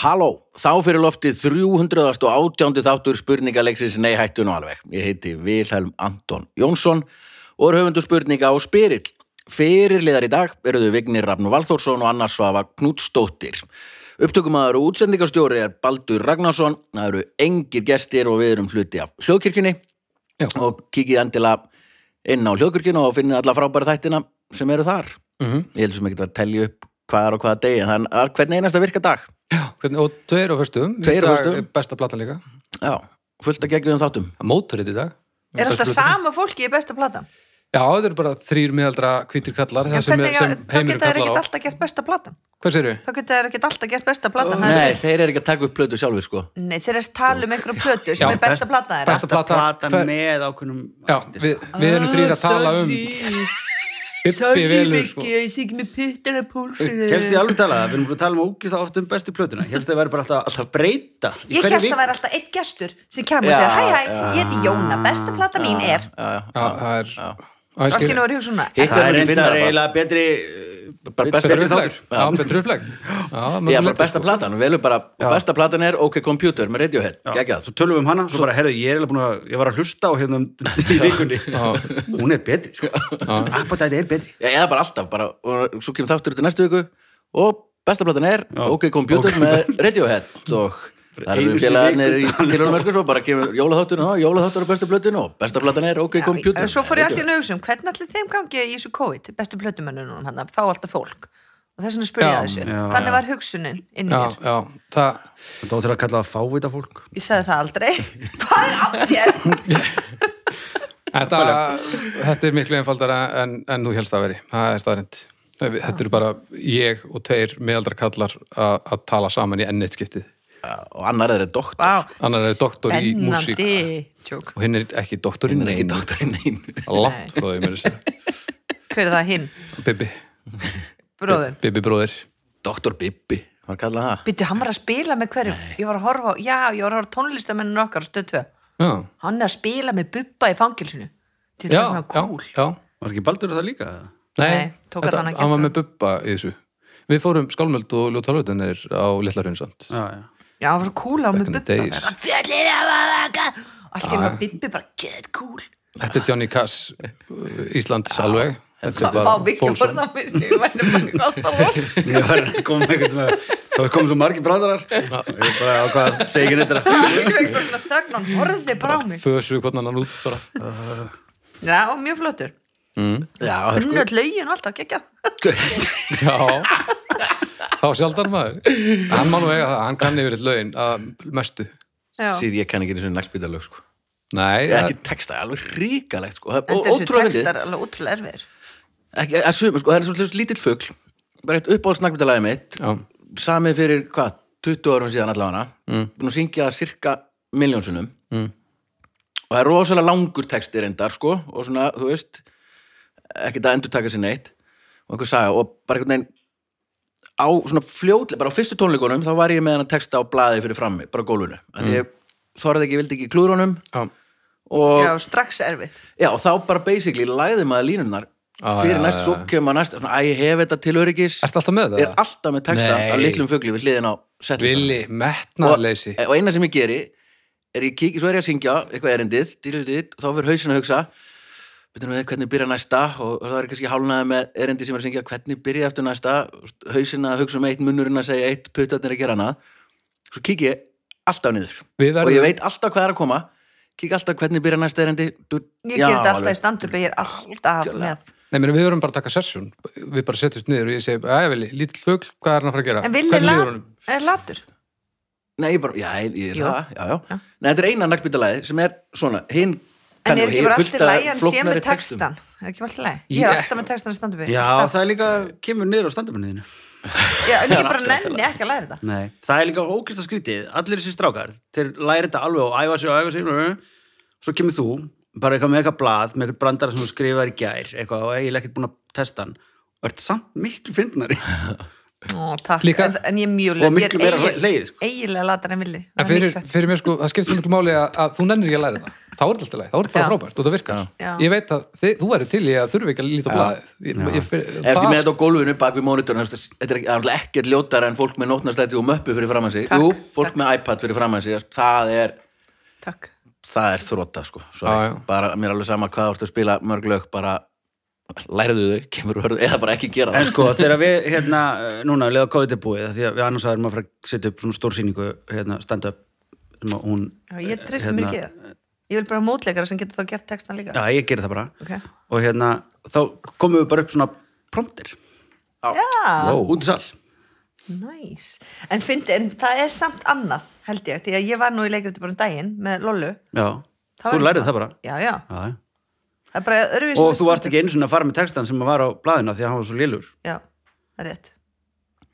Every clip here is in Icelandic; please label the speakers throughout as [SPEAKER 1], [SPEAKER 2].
[SPEAKER 1] Halló, þá fyrir loftið 318. þáttur spurningaleiksins Nei hættu nú alveg. Ég heiti Vilhelm Anton Jónsson og er höfundu spurninga á Spyrill. Fyrirliðar í dag eruðu Vignir Rafn Valþórsson og Anna Svava Knútsdóttir. Upptökumaður og útsendingarstjóri er Baldur Ragnarsson, það eru engir gestir og við erum fluti af hljóðkirkjunni
[SPEAKER 2] Já.
[SPEAKER 1] og kikið endilega inn á hljóðkirkjunni og finnið alla frábæra þættina sem eru þar.
[SPEAKER 2] mm -hmm.
[SPEAKER 1] Ég held sem ekki að telja upp hvað er og hvaða degi, en það er hvernig einasta virka dag.
[SPEAKER 2] Hvernig, og tveir á fyrstum
[SPEAKER 1] Tveir á föstudögum.
[SPEAKER 2] besta platan líka,
[SPEAKER 1] Já, fullt að geggjum þáttum.
[SPEAKER 2] mótorið í dag
[SPEAKER 3] Er alltaf
[SPEAKER 2] Besta platan.
[SPEAKER 3] sama fólki í besta platan?
[SPEAKER 2] já, þetta eru bara þrýr miðaldra hvítir kallar
[SPEAKER 3] En
[SPEAKER 2] það sem,
[SPEAKER 3] hvernig-
[SPEAKER 2] er, sem
[SPEAKER 3] þá
[SPEAKER 2] heimir
[SPEAKER 3] geta þeir
[SPEAKER 2] kallar á
[SPEAKER 3] ekkert alltaf gert besta platan
[SPEAKER 2] hvað sér
[SPEAKER 3] Þá geta þeir ekkert alltaf gert besta platan Það er
[SPEAKER 1] Nei,
[SPEAKER 3] svo-
[SPEAKER 1] þeir eru ekki að taka upp plötu sjálfur sko
[SPEAKER 3] Nei, þeir er að tala um einhverju plötu sem
[SPEAKER 2] Já,
[SPEAKER 3] er besta platan þeirra
[SPEAKER 2] besta plata,
[SPEAKER 4] platan
[SPEAKER 2] hver-
[SPEAKER 4] með ákveðnum
[SPEAKER 2] já, við, við erum þrýr að tala um Bibbi velur sko.
[SPEAKER 3] ég sé ekki með pittina púlsinu
[SPEAKER 4] Kemst ég alveg talað, við erum búin að tala um ógjöð oft um bestu plötuna Kemst það væri bara alltaf, alltaf breyta í
[SPEAKER 3] Ég held
[SPEAKER 4] hverri
[SPEAKER 3] að
[SPEAKER 4] viku.
[SPEAKER 3] það væri alltaf eitt gestur sem kemur
[SPEAKER 1] Já,
[SPEAKER 3] og segja Hæ, hæ,
[SPEAKER 1] já.
[SPEAKER 3] ég heiti Jóna, besta plata mín er
[SPEAKER 2] já, það er Á, ég
[SPEAKER 3] Allt í
[SPEAKER 2] skil.
[SPEAKER 3] nú er ég hugsa svona
[SPEAKER 1] Hitt er
[SPEAKER 4] Það er
[SPEAKER 1] ekki
[SPEAKER 4] reynda
[SPEAKER 1] finnar bara,
[SPEAKER 4] eiginlega betri uh,
[SPEAKER 1] bara besta,
[SPEAKER 2] betra upplegg
[SPEAKER 4] þáttur.
[SPEAKER 2] já, betra upplegg já,
[SPEAKER 1] Já, bara
[SPEAKER 2] mögulegur,
[SPEAKER 1] besta
[SPEAKER 2] sko.
[SPEAKER 1] platan, við velum bara Besta platan er OK Computer með Radiohead Gægjað
[SPEAKER 4] Svo tölum við um hana, svo bara, herðu, ég er eiginlega búin að ég var að hlusta á hérna um- í vikunni Hún er betri, sko Appatæti er betri
[SPEAKER 1] Já, Eða bara alltaf, bara, og svo kemur þáttur til næstu viku Og besta platan er OK Computer með Radiohead Og það
[SPEAKER 4] Einu
[SPEAKER 1] eru
[SPEAKER 4] sinni
[SPEAKER 1] félagarnir í
[SPEAKER 4] viku, Dan.
[SPEAKER 1] tilhörnumörkur Svo bara kemur jólaþáttur, ná, jólaþáttur er bestu plötun Og besta platan er OK
[SPEAKER 3] Já,
[SPEAKER 1] Computer
[SPEAKER 3] en Svo fór ég allt í
[SPEAKER 1] Radiohead.
[SPEAKER 3] nú hugsa um Hvernig allir þeim gangi í þessu COVID bestu plötumönnunum hann að fá alltaf fólk og þess vegna spurði ég
[SPEAKER 2] Já,
[SPEAKER 3] að þessu
[SPEAKER 4] já,
[SPEAKER 3] Þannig var hugsunin inn í
[SPEAKER 2] já,
[SPEAKER 3] mér
[SPEAKER 2] já, það
[SPEAKER 4] Þá þurfum að kalla það fávita fólk
[SPEAKER 3] Ég sagði það aldrei Hvað er að þér?
[SPEAKER 2] Þetta, þetta er miklu einfaldara en, en þú helst að veri. Það er staðrind. Þetta eru bara ég og tveir meðaldra kallar að að tala saman í ennitt skiptið.
[SPEAKER 1] Já, Og annar er doktor
[SPEAKER 3] Vá,
[SPEAKER 2] Annar er doktor í músík.
[SPEAKER 3] Spennandi Tjók.
[SPEAKER 2] Og hinn er ekki doktorinn.
[SPEAKER 1] Hinn er ekki doktorinn einn
[SPEAKER 2] Látt frá því, mér að segja.
[SPEAKER 3] Hver er það hinn?
[SPEAKER 2] Bibi.
[SPEAKER 3] Bróðin
[SPEAKER 2] Bibi bróðir.
[SPEAKER 1] Doktor Bibbi, hvað kallað það?
[SPEAKER 3] Býttu, hann var að spila með hverjum Ég var að horfa á, já, ég var að horfa á tónlistamennin okkar á stöð 2
[SPEAKER 2] Já,
[SPEAKER 3] Hann er að spila með bubba í fangilsinu Til
[SPEAKER 2] já,
[SPEAKER 3] það hann
[SPEAKER 2] já,
[SPEAKER 3] kúl
[SPEAKER 2] já.
[SPEAKER 4] Var ekki Baldur það líka?
[SPEAKER 2] Nei,
[SPEAKER 3] Nei, tók
[SPEAKER 2] þetta-
[SPEAKER 3] allan að
[SPEAKER 2] hann var
[SPEAKER 3] geta.
[SPEAKER 2] með Bubba í þessu. Við fórum skálmöld og ljóttalvöldinir á Littlarhundsand.
[SPEAKER 1] Ah.
[SPEAKER 4] Já, já
[SPEAKER 3] Já, hann var svo kúl á með
[SPEAKER 2] in the
[SPEAKER 3] bubba
[SPEAKER 2] days. Ah.
[SPEAKER 3] Hann fjallir af að vaka Allt í hann var bubbi bara get cool
[SPEAKER 2] Þetta er Johnny Cass, uh, Íslands alveg.
[SPEAKER 1] Ah,
[SPEAKER 2] Þetta er
[SPEAKER 3] Bá,
[SPEAKER 2] bara
[SPEAKER 3] Viki
[SPEAKER 2] Folsom.
[SPEAKER 3] borða á mig Ég væri bara hvað það var
[SPEAKER 4] Ég var að koma með eitthvað svona Það kom svo margir brandarar Ég bara ákvað að segja ekki neitt þetta.
[SPEAKER 3] Ég veit bara svona þögn Hann horfði bara á mig
[SPEAKER 2] Fösu hvernig hann út bara.
[SPEAKER 3] Já, og mjög flottur
[SPEAKER 2] Mm.
[SPEAKER 1] Já,
[SPEAKER 3] Kunnu
[SPEAKER 2] sko-
[SPEAKER 3] öll lögin og alltaf, gekkja
[SPEAKER 2] Já Þá sjaldan maður Hann má nú eiga það, hann kann yfir eitt lögin að mestu
[SPEAKER 1] síð ég kann ekki eins og nagspítalög sko
[SPEAKER 2] Nei,
[SPEAKER 1] Ég,
[SPEAKER 2] það,
[SPEAKER 1] ekki texta, alveg ríkalegt sko. Það er ó-
[SPEAKER 3] Þetta þessu
[SPEAKER 1] ótrúlega fyndið.
[SPEAKER 3] textar er alveg ótrúlega erfiðir
[SPEAKER 1] Ekki- að sum, sko, það er svolítið lítill fugl bara eitt uppáhaldsnakmyndalagið mitt
[SPEAKER 2] já,
[SPEAKER 1] samið fyrir hvað, 20 árum síðan allavega mm. búin að syngja það cirka miljónsunum mm. og það er rosalega langur texti reyndar sko, og svona, þú veist ekkert að endur taka sér neitt og einhver saga, og bara einhvern veginn á svona fljótlega, bara á fyrstu tónleikunum þá var ég með hann texta á blaði fyrir frammi bara á gólfinu, mm. að ég þorði ekki, vildi ekki klúður honum
[SPEAKER 2] já,
[SPEAKER 1] og
[SPEAKER 3] Já, strax erfitt
[SPEAKER 1] Já, og þá bara basically læði maður línunar
[SPEAKER 2] Á,
[SPEAKER 1] fyrir
[SPEAKER 2] Ah, já,
[SPEAKER 1] næst,
[SPEAKER 2] já,
[SPEAKER 1] svo
[SPEAKER 2] já.
[SPEAKER 1] kemur maður næst svona, æ, ég hef þetta til öryggis
[SPEAKER 2] Ertu alltaf með það?
[SPEAKER 1] er alltaf með texta
[SPEAKER 2] Nei.
[SPEAKER 1] af litlum fugli við hliðin á setlistanum.
[SPEAKER 2] Vili, metnaðarleysi
[SPEAKER 1] og, og eina sem ég geri er ég kík, svo er ég að syngja eitthvað erindið, dýlildið, og þá fyrir hausin að hugsa byrjum við hvernig byrja næsta og, og þá er ég kannski hálnaði með erindi sem er að syngja hvernig byrja eftir næsta, hausin að hugsa um eitt munnurinn að segja eitt, puttarnir að gera annað svo kík ég alltaf niður
[SPEAKER 2] Við
[SPEAKER 1] og ég
[SPEAKER 2] verðum,
[SPEAKER 1] veit alltaf hvað er að koma kík alltaf hvernig byrja næsta erindi du,
[SPEAKER 3] Ég ger þetta alltaf í standup Ég er alltaf með
[SPEAKER 2] nei, meni, við verðum bara að taka sessun Við bara setjumst niður og ég segi Æ, Vili, lítill fugl, hvað er hann að fara að gera?
[SPEAKER 3] En Vili
[SPEAKER 2] Hvernig
[SPEAKER 3] la-
[SPEAKER 2] líður honum?
[SPEAKER 3] er latur
[SPEAKER 1] Nei, ég bara, já, ég, ég er
[SPEAKER 3] Jú.
[SPEAKER 1] það, já, já.
[SPEAKER 3] Já.
[SPEAKER 1] Nei, þetta er eina naglbítalagið sem er svona, hinn
[SPEAKER 3] En er ekki bara allt í lægi Hann sé með
[SPEAKER 1] textum.
[SPEAKER 3] textan Er ekki bara allt í lægi Ég er
[SPEAKER 2] Ég-
[SPEAKER 3] alltaf með textan í standup
[SPEAKER 4] Já,
[SPEAKER 3] Alltaf.
[SPEAKER 4] það er líka, kemur niður á standupenniðinu
[SPEAKER 3] Já, En ég bara nenni ekki að læra þetta
[SPEAKER 4] Nei, það er líka ókvist að skrítið allir þessi strákar, þeir læri þetta alveg og æfa sig og æfa sig nö. svo kemur þú, bara eitthvað með eitthvað blað með eitthvað brandara sem þú skrifar í gær eitthvað og eiginlega ekkert búin að testa hann og ert samt miklu fyndnari
[SPEAKER 3] Ó, takk,
[SPEAKER 2] Líka-
[SPEAKER 3] en, en ég er mjög
[SPEAKER 4] Og miklu meira
[SPEAKER 3] eiginlega-
[SPEAKER 4] hlegið, sko.
[SPEAKER 3] eiginlega latar en villi
[SPEAKER 2] En fyrir, fyrir mér sko, það skiptir miklu máli að, að þú nennir ekki að læra það. Þá er þetta alltaf læg, þá er þetta bara
[SPEAKER 3] Já.
[SPEAKER 2] frábært og það virkar.
[SPEAKER 3] Já.
[SPEAKER 2] Ég veit að þið, þú verður til í að þurfi ekki að líta á blaðið. Ég, ég, fyrir,
[SPEAKER 1] Er því
[SPEAKER 2] það-
[SPEAKER 1] með þetta á gólfinu bak við mónitorinn Þetta er ekki- það er náttúrulega ekkert ljótara en fólk með nótnastæti og möppu fyrir framann sig
[SPEAKER 3] Takk,
[SPEAKER 1] Jú, fólk með iPad fyrir framann sig Það er,
[SPEAKER 3] takk,
[SPEAKER 1] það er þróta sko
[SPEAKER 2] Já,
[SPEAKER 1] Sorry.
[SPEAKER 2] já.
[SPEAKER 1] Bara mér er alveg sama hvað þú ert að spila mörg lög Bara læriðu þau, kemur hörðu Eða bara ekki gera
[SPEAKER 4] En
[SPEAKER 1] það
[SPEAKER 4] sko, þegar við, hérna, eh, núna, leða COVID er búið, af því að við annars aðeins að fara að setja upp svona stórsýningu, hérna, stand-up, sem að hún...
[SPEAKER 3] Já, ég treysti
[SPEAKER 4] hérna,
[SPEAKER 3] mér ekki í það ég vil bara mótleikara sem getur þá gert textan líka
[SPEAKER 4] Já, ég gerir það bara.
[SPEAKER 3] Ok.
[SPEAKER 4] Og hérna, þá komum við bara upp svona promptir,
[SPEAKER 3] já,
[SPEAKER 2] Wow.
[SPEAKER 4] út í sal.
[SPEAKER 3] næs en, fyndi, en það er samt annað held ég, því að ég var nú í leikriti bara um daginn með Lollu
[SPEAKER 4] Já,
[SPEAKER 3] Það
[SPEAKER 4] þú
[SPEAKER 3] var
[SPEAKER 4] lærið það bara.
[SPEAKER 3] já, já,
[SPEAKER 4] Já, já.
[SPEAKER 3] það er bara öðruvísi
[SPEAKER 4] Og þú varst ekki einu svona að fara með textan sem var á blaðina því að hann var svo lélur.
[SPEAKER 3] já, það er rétt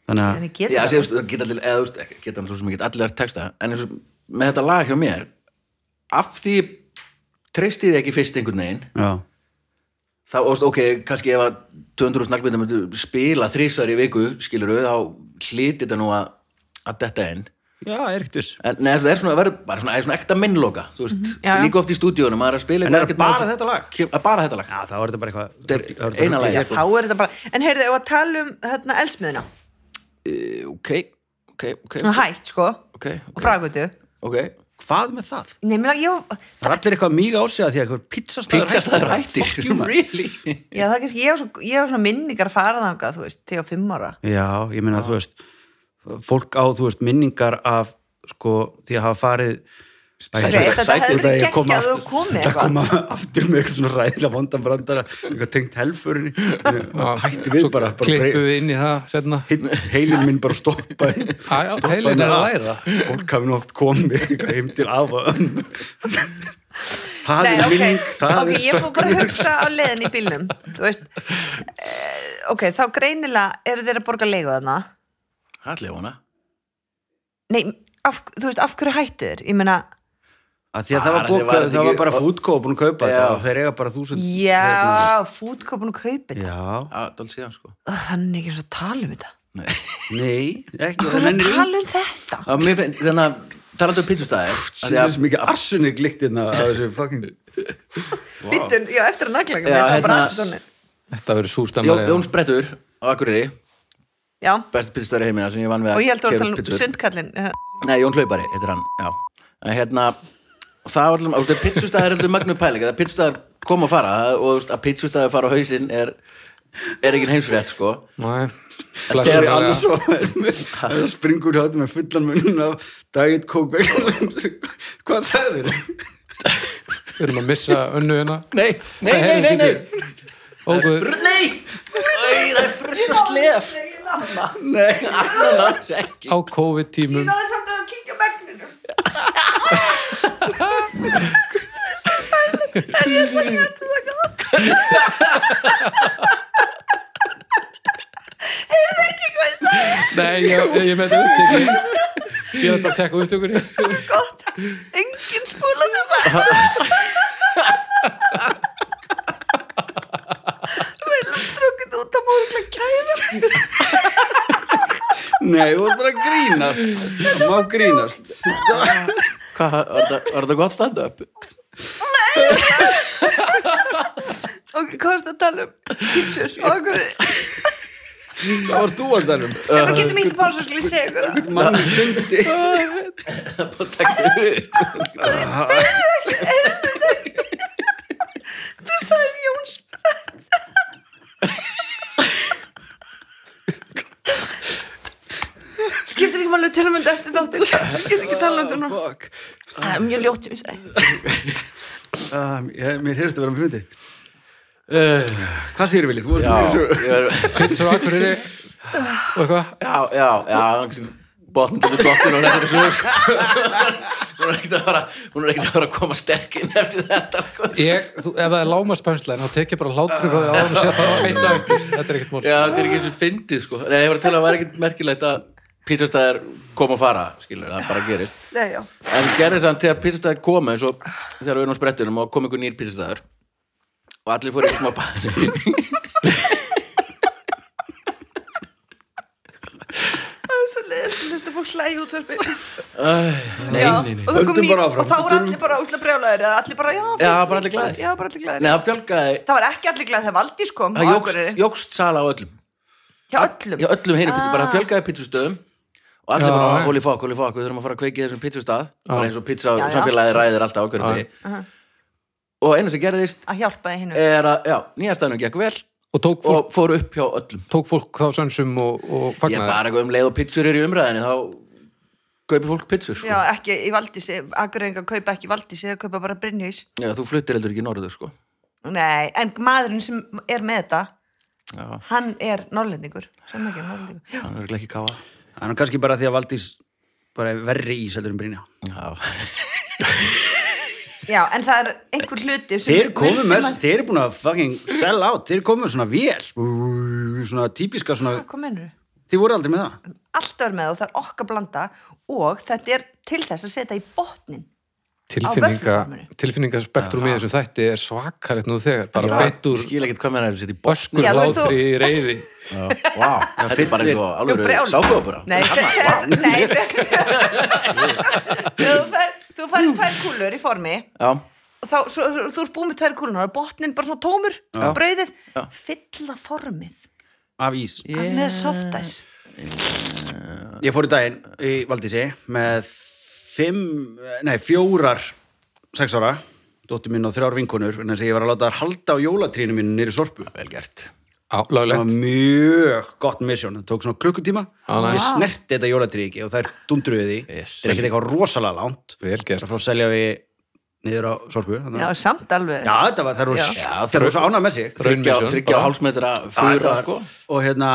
[SPEAKER 4] Þannig að,
[SPEAKER 3] þannig getur
[SPEAKER 1] Já,
[SPEAKER 3] það.
[SPEAKER 1] sé, þú veist, það geta allir, eða, þú veist, ekki- geta allir, svo sem geta allir texta En eins og með þetta lag hjá mér Af því treysti þið ekki fyrst einhvern veginn
[SPEAKER 4] já,
[SPEAKER 1] þá, óst, ok, kannski ef að 200 snarkmyndar myndu spila þrísvar í viku, skilur við, þá hlýtir þetta nú að, að detta inn
[SPEAKER 4] já, er ekkert viss.
[SPEAKER 1] en neða, það er svona, verður bara svona, það er svona ekta minnloka, þú veist,
[SPEAKER 3] Mhm. Já, já.
[SPEAKER 1] líka oft í stúdíunum maður er að spila
[SPEAKER 4] En er
[SPEAKER 1] eitthvað,
[SPEAKER 4] bara
[SPEAKER 1] maður-
[SPEAKER 4] þetta lag?
[SPEAKER 1] Kem- að bara þetta lag
[SPEAKER 4] Já, þá er þetta bara eitthvað...
[SPEAKER 1] Þetta er
[SPEAKER 4] þetta
[SPEAKER 1] eina
[SPEAKER 3] Já,
[SPEAKER 1] lagi,
[SPEAKER 3] þá
[SPEAKER 1] sko.
[SPEAKER 3] er þetta bara, en heyrðu, ef að tala um hérna elsmiðuna,
[SPEAKER 1] E, ok, ok, ok
[SPEAKER 3] Hún er hætt sko og
[SPEAKER 1] ok, ok,
[SPEAKER 3] bragutu,
[SPEAKER 1] ok
[SPEAKER 4] Hvað með það?
[SPEAKER 3] nei, mér, ég,
[SPEAKER 4] Það er allir eitthvað mýga á sig að því að eitthvað pizzastæður
[SPEAKER 1] pizzastæður hættir,
[SPEAKER 4] Fuck you, man.
[SPEAKER 1] really
[SPEAKER 3] já, það er kannski, ég hef svo, ég hef svona minningar farað þangað, þú veist, þegar fimm ára
[SPEAKER 4] Já, ég meina, þú veist, fólk á, þú veist, minningar af, sko, því að hafa farið
[SPEAKER 1] Sætur-
[SPEAKER 3] Nei, þetta
[SPEAKER 1] sætur-
[SPEAKER 3] hefði verið
[SPEAKER 4] Ég kom
[SPEAKER 3] geggjað
[SPEAKER 4] aftur-
[SPEAKER 3] og komið
[SPEAKER 4] Þetta
[SPEAKER 3] eitthvað
[SPEAKER 4] koma aftur með eitthvað svona ræðilega vondanbrandara, eitthvað tengt helfurinni, hætti við
[SPEAKER 2] Svo
[SPEAKER 4] bara, bara
[SPEAKER 2] klippu við inn í það setna.
[SPEAKER 4] brey- heilin minn bara stoppaði.
[SPEAKER 2] Á, já,
[SPEAKER 4] stoppaði
[SPEAKER 2] heilinn er
[SPEAKER 4] mig
[SPEAKER 2] að
[SPEAKER 4] af.
[SPEAKER 2] læra.
[SPEAKER 4] Fólk hafi nú oft komið eitthvað heim til afa. Það
[SPEAKER 3] Nei,
[SPEAKER 4] er
[SPEAKER 3] ok,
[SPEAKER 4] minning, það
[SPEAKER 3] ok,
[SPEAKER 4] er
[SPEAKER 3] ég fór bara að
[SPEAKER 4] söknuður.
[SPEAKER 3] hugsa á leiðin í bílnum Þú veist eh, Ok, þá greinilega eru þeir að borga leigu þarna
[SPEAKER 1] hættilega vona
[SPEAKER 3] Nei, af, þú veist, af hverju hættu þeir? Ég meina,
[SPEAKER 4] Að Því að það
[SPEAKER 1] Bara,
[SPEAKER 4] var,
[SPEAKER 1] þið
[SPEAKER 4] bókað,
[SPEAKER 1] varð
[SPEAKER 4] það var
[SPEAKER 1] ekki-
[SPEAKER 4] bara fútkóp búin að kaupa
[SPEAKER 1] Já.
[SPEAKER 4] þetta og þeir eiga bara þúsund
[SPEAKER 3] já, fútkopun og kaupin Já.
[SPEAKER 4] Já,
[SPEAKER 1] það er síðan, sko
[SPEAKER 3] Þannig ekki eins og tala um þetta
[SPEAKER 1] Nei.
[SPEAKER 4] nei, ekki
[SPEAKER 3] Hvað er að tala um þetta?
[SPEAKER 1] Já, mér finn- þannig að talandi um pizzastæði af því
[SPEAKER 4] Það er
[SPEAKER 1] að
[SPEAKER 4] svo mikið arsunni glittina að þessu fucking
[SPEAKER 3] Bíddu, já, eftir að nagla ekki
[SPEAKER 1] Já,
[SPEAKER 3] mér, það
[SPEAKER 1] hérna-
[SPEAKER 3] bara allt svona.
[SPEAKER 2] Þetta verður
[SPEAKER 1] Jón,
[SPEAKER 2] súrstemmari.
[SPEAKER 1] Jón Sprettur á Akureyri
[SPEAKER 3] Já,
[SPEAKER 1] besti pizzastæri heimina sem ég vann við
[SPEAKER 3] og ég held að um
[SPEAKER 1] keyra
[SPEAKER 3] það
[SPEAKER 1] upp
[SPEAKER 3] var
[SPEAKER 1] pizzur.
[SPEAKER 3] sundkallin
[SPEAKER 1] Nei, Jón Hlaupari, heitir hann, já en hérna, það var allum pizzustæðar er alltaf magnum pæling, það pizzustæðar koma og fara og þú veist, að pizzustæðar fara á hausinn er, er ekki heimsfrétt sko
[SPEAKER 2] Nei,
[SPEAKER 1] þegar
[SPEAKER 4] Það er
[SPEAKER 1] Sannlega.
[SPEAKER 4] alveg svo það springur hættu með fullan munn af dagit kók Hvað sagði þér?
[SPEAKER 2] Við erum að missa önnu hérna.
[SPEAKER 1] Nei, nei, nei, nei, nei
[SPEAKER 2] Óguð,
[SPEAKER 1] Nei, Æ, það er fyrir svo slef
[SPEAKER 4] Nei,
[SPEAKER 1] Annars ekki
[SPEAKER 2] á COVID-tímum.
[SPEAKER 3] náðu samt að kíkja megninu
[SPEAKER 2] Nei, ég, ég, ég með þetta upptökunni. Ég er bara að tekka upptökunni.
[SPEAKER 3] gott, engin spúla til það vel að strúkið út að múrla kæra mig.
[SPEAKER 4] nei, þú var bara að grínast Það má grínast
[SPEAKER 1] Hvað, var þetta- var þetta gott stand-up?
[SPEAKER 3] ok, hvað varst að tala um pítsur og okkur hérna ef
[SPEAKER 4] Það var þú að tala um
[SPEAKER 3] við getum ítt pásu og skilja segja ykkur það.
[SPEAKER 4] Manni sundi
[SPEAKER 1] Bara takk upp.
[SPEAKER 3] þú sagði Jóns skiptir ekki máli til og mynd eftir þáttin ég get ekki tala um þetta nú
[SPEAKER 4] Fuck
[SPEAKER 3] það er mjög ljótt sem ég segi
[SPEAKER 4] Ah, ég- Mér heyrst að vera með fundi Uh, hvað segir Vili? Þú varst
[SPEAKER 1] Já,
[SPEAKER 4] með þessu
[SPEAKER 1] ég er-
[SPEAKER 2] Pitsur á Akureyri og eitthvað.
[SPEAKER 1] já, já, já Botnum til dottinn og þessari sögur sko. Hún er ekkert að fara Hún er ekkert að fara að koma sterk inn eftir þetta sko.
[SPEAKER 2] Ég, þú, ef það er lámaspenslein, þá tek ég bara hlátur frá því áður og setja það eitt af ykkur. Þetta er ekkert mál.
[SPEAKER 1] Já, þetta er ekki eins og fyndið sko Nei, ég var að tala að það var ekkert merkilegt að pítsastæðar kom og fara, skilur, það bara gerist
[SPEAKER 3] nei já
[SPEAKER 1] En gerði samt þegar pítsastæðar komu eins og þegar við erum á sprettunum og kom einhver nýr pítsastæðar og allir fóru eitthvað smá bæði
[SPEAKER 3] fólk hlæði út þörfi
[SPEAKER 1] Nei, nei, nei
[SPEAKER 3] og, það kom
[SPEAKER 4] Höldum
[SPEAKER 3] ný-
[SPEAKER 4] bara áfram.
[SPEAKER 3] og þá voru allir bara úslega brjálæður eða allir bara, já,
[SPEAKER 1] Já,
[SPEAKER 3] fínt,
[SPEAKER 1] bara allir glaðir.
[SPEAKER 3] já, bara allir
[SPEAKER 1] Nei,
[SPEAKER 3] glæðir
[SPEAKER 1] það fjölgaði,
[SPEAKER 3] það var ekki allir glæðir þegar Valdís kom
[SPEAKER 1] það
[SPEAKER 3] á
[SPEAKER 1] jógst,
[SPEAKER 3] Akureyri.
[SPEAKER 1] jógst sala á öllum
[SPEAKER 3] hjá öllum Ah.
[SPEAKER 1] Já, öllum hinum pítsu, bara það fjölgaði pítsustöðum og allir
[SPEAKER 2] Já,
[SPEAKER 1] bara,
[SPEAKER 2] já.
[SPEAKER 1] holy fuck, holy fuck, við þurfum að fara að kveiki í þessum pítsustað bara eins og pítsa
[SPEAKER 3] Já, já.
[SPEAKER 1] samfélagið ræðir alltaf á
[SPEAKER 2] Já.
[SPEAKER 1] hverju begi og einu sem gerðist
[SPEAKER 3] að hjálpaði hinn
[SPEAKER 4] Eh,
[SPEAKER 1] er að, já, nýjastæðnum gekk vel
[SPEAKER 2] Og tók fólk,
[SPEAKER 1] og fór upp hjá öllum
[SPEAKER 2] tók fólk þá sönsum og, og
[SPEAKER 1] ég
[SPEAKER 2] fagnaði.
[SPEAKER 1] bara eitthvað um leið og pítsur eru í umræðinni þá kaupir fólk pítsur sko.
[SPEAKER 3] já, ekki í Valdísi, Akureyringar kaupa ekki Valdísi þau kaupa bara Brynjus
[SPEAKER 1] já, þú fluttir heldur ekki í norður sko.
[SPEAKER 3] nei, en maðurinn sem er með þetta
[SPEAKER 1] Já.
[SPEAKER 3] hann er norrlendingur sem ekki er norrlendingur
[SPEAKER 1] það er örugglega ekki káa
[SPEAKER 4] Það er nú kannski bara því að Valdís bara er verri ís heldur en Brynja
[SPEAKER 1] já,
[SPEAKER 3] já, en það er einhver hluti sem
[SPEAKER 4] Þeir komu
[SPEAKER 3] við-
[SPEAKER 4] með, þeir eru búin að fucking sell out Þeir komu með svona vél Svona típiska svona
[SPEAKER 3] hvað mennur
[SPEAKER 4] Þið voru aldrei með það
[SPEAKER 3] alltaf er með og það er okkar blanda og þetta er til þess að setja í botnin
[SPEAKER 2] Tilfinninga,
[SPEAKER 3] vöffluforminu.
[SPEAKER 2] tilfinningaspektrum í þessum þætti er svakalegt nú þegar. Bara beint
[SPEAKER 1] ég
[SPEAKER 2] úr
[SPEAKER 1] skil ekkert hvað með það er sitt í boss
[SPEAKER 2] öskur,
[SPEAKER 3] Já, þú veist, þú-
[SPEAKER 2] látri, reyði.
[SPEAKER 1] wow, þetta er bara eins og alveg
[SPEAKER 3] brjál.
[SPEAKER 1] sákópura
[SPEAKER 3] nei, nei þú fær- þú farir tvær kúlur í formi
[SPEAKER 1] já,
[SPEAKER 3] og þá, svo, svo, þú ert búið með tvær kúlunar og botnin bara svona tómur, brauðið fylla formið,
[SPEAKER 4] Af ís
[SPEAKER 3] yeah. með softice
[SPEAKER 4] Ég fór í daginn í Valdísi með fimm, nei, fjórar sex ára, dóttir mín og þrjár vinkonur en þess að ég var að láta þær halda á jólatrínu mínu nýri sorpu.
[SPEAKER 1] vel gert
[SPEAKER 2] Á,
[SPEAKER 4] Það
[SPEAKER 2] löglegt.
[SPEAKER 4] var mjög gott misjón, það tók svona klukkutíma
[SPEAKER 1] Ah,
[SPEAKER 2] Á, næs.
[SPEAKER 4] ég snerti þetta jólatrí ekki og þær dundruði því
[SPEAKER 1] Yes.
[SPEAKER 4] það er ekkert eitthvað rosalega langt
[SPEAKER 2] Vel gert.
[SPEAKER 4] og þá selja við niður á sorpu þannig
[SPEAKER 3] já,
[SPEAKER 4] að-
[SPEAKER 3] samt alveg
[SPEAKER 4] Já, þetta var, þær voru
[SPEAKER 1] Já,
[SPEAKER 4] þær voru svo ánað með sig
[SPEAKER 1] þryggja
[SPEAKER 2] Raunmission,
[SPEAKER 1] þryggja
[SPEAKER 2] bara.
[SPEAKER 1] og hálsmetra
[SPEAKER 4] Já, þetta
[SPEAKER 1] fyrir
[SPEAKER 4] var-
[SPEAKER 1] sko
[SPEAKER 4] og hérna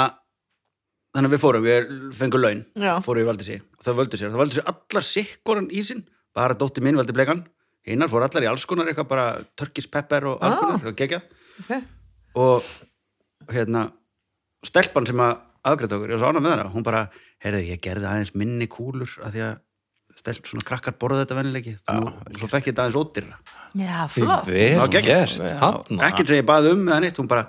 [SPEAKER 4] þannig að við fórum, við fengum laun
[SPEAKER 3] Já.
[SPEAKER 4] fórum við valdið sér, það völdu sér það völdu sér allar sikkoran ísinn bara dótti minn valdi blegan hinnar fór allar í alls konar eitthvað bara turkish pepper og alls
[SPEAKER 3] Ah.
[SPEAKER 4] konar, ah. gegja
[SPEAKER 3] Ok.
[SPEAKER 4] og hérna stelpan sem að afgræta okkur, ég var svo ánað með hana hún bara, heyrðu, ég gerði aðeins minni kúlur af því að stelp svona krakkar borða þetta venilegi, svo fekk ég þetta aðeins ótir
[SPEAKER 3] já flott
[SPEAKER 2] Vel
[SPEAKER 4] Já, geggjað.
[SPEAKER 2] gert. Hanna.
[SPEAKER 4] ekkert sem ég baði um eða neitt, hún bara,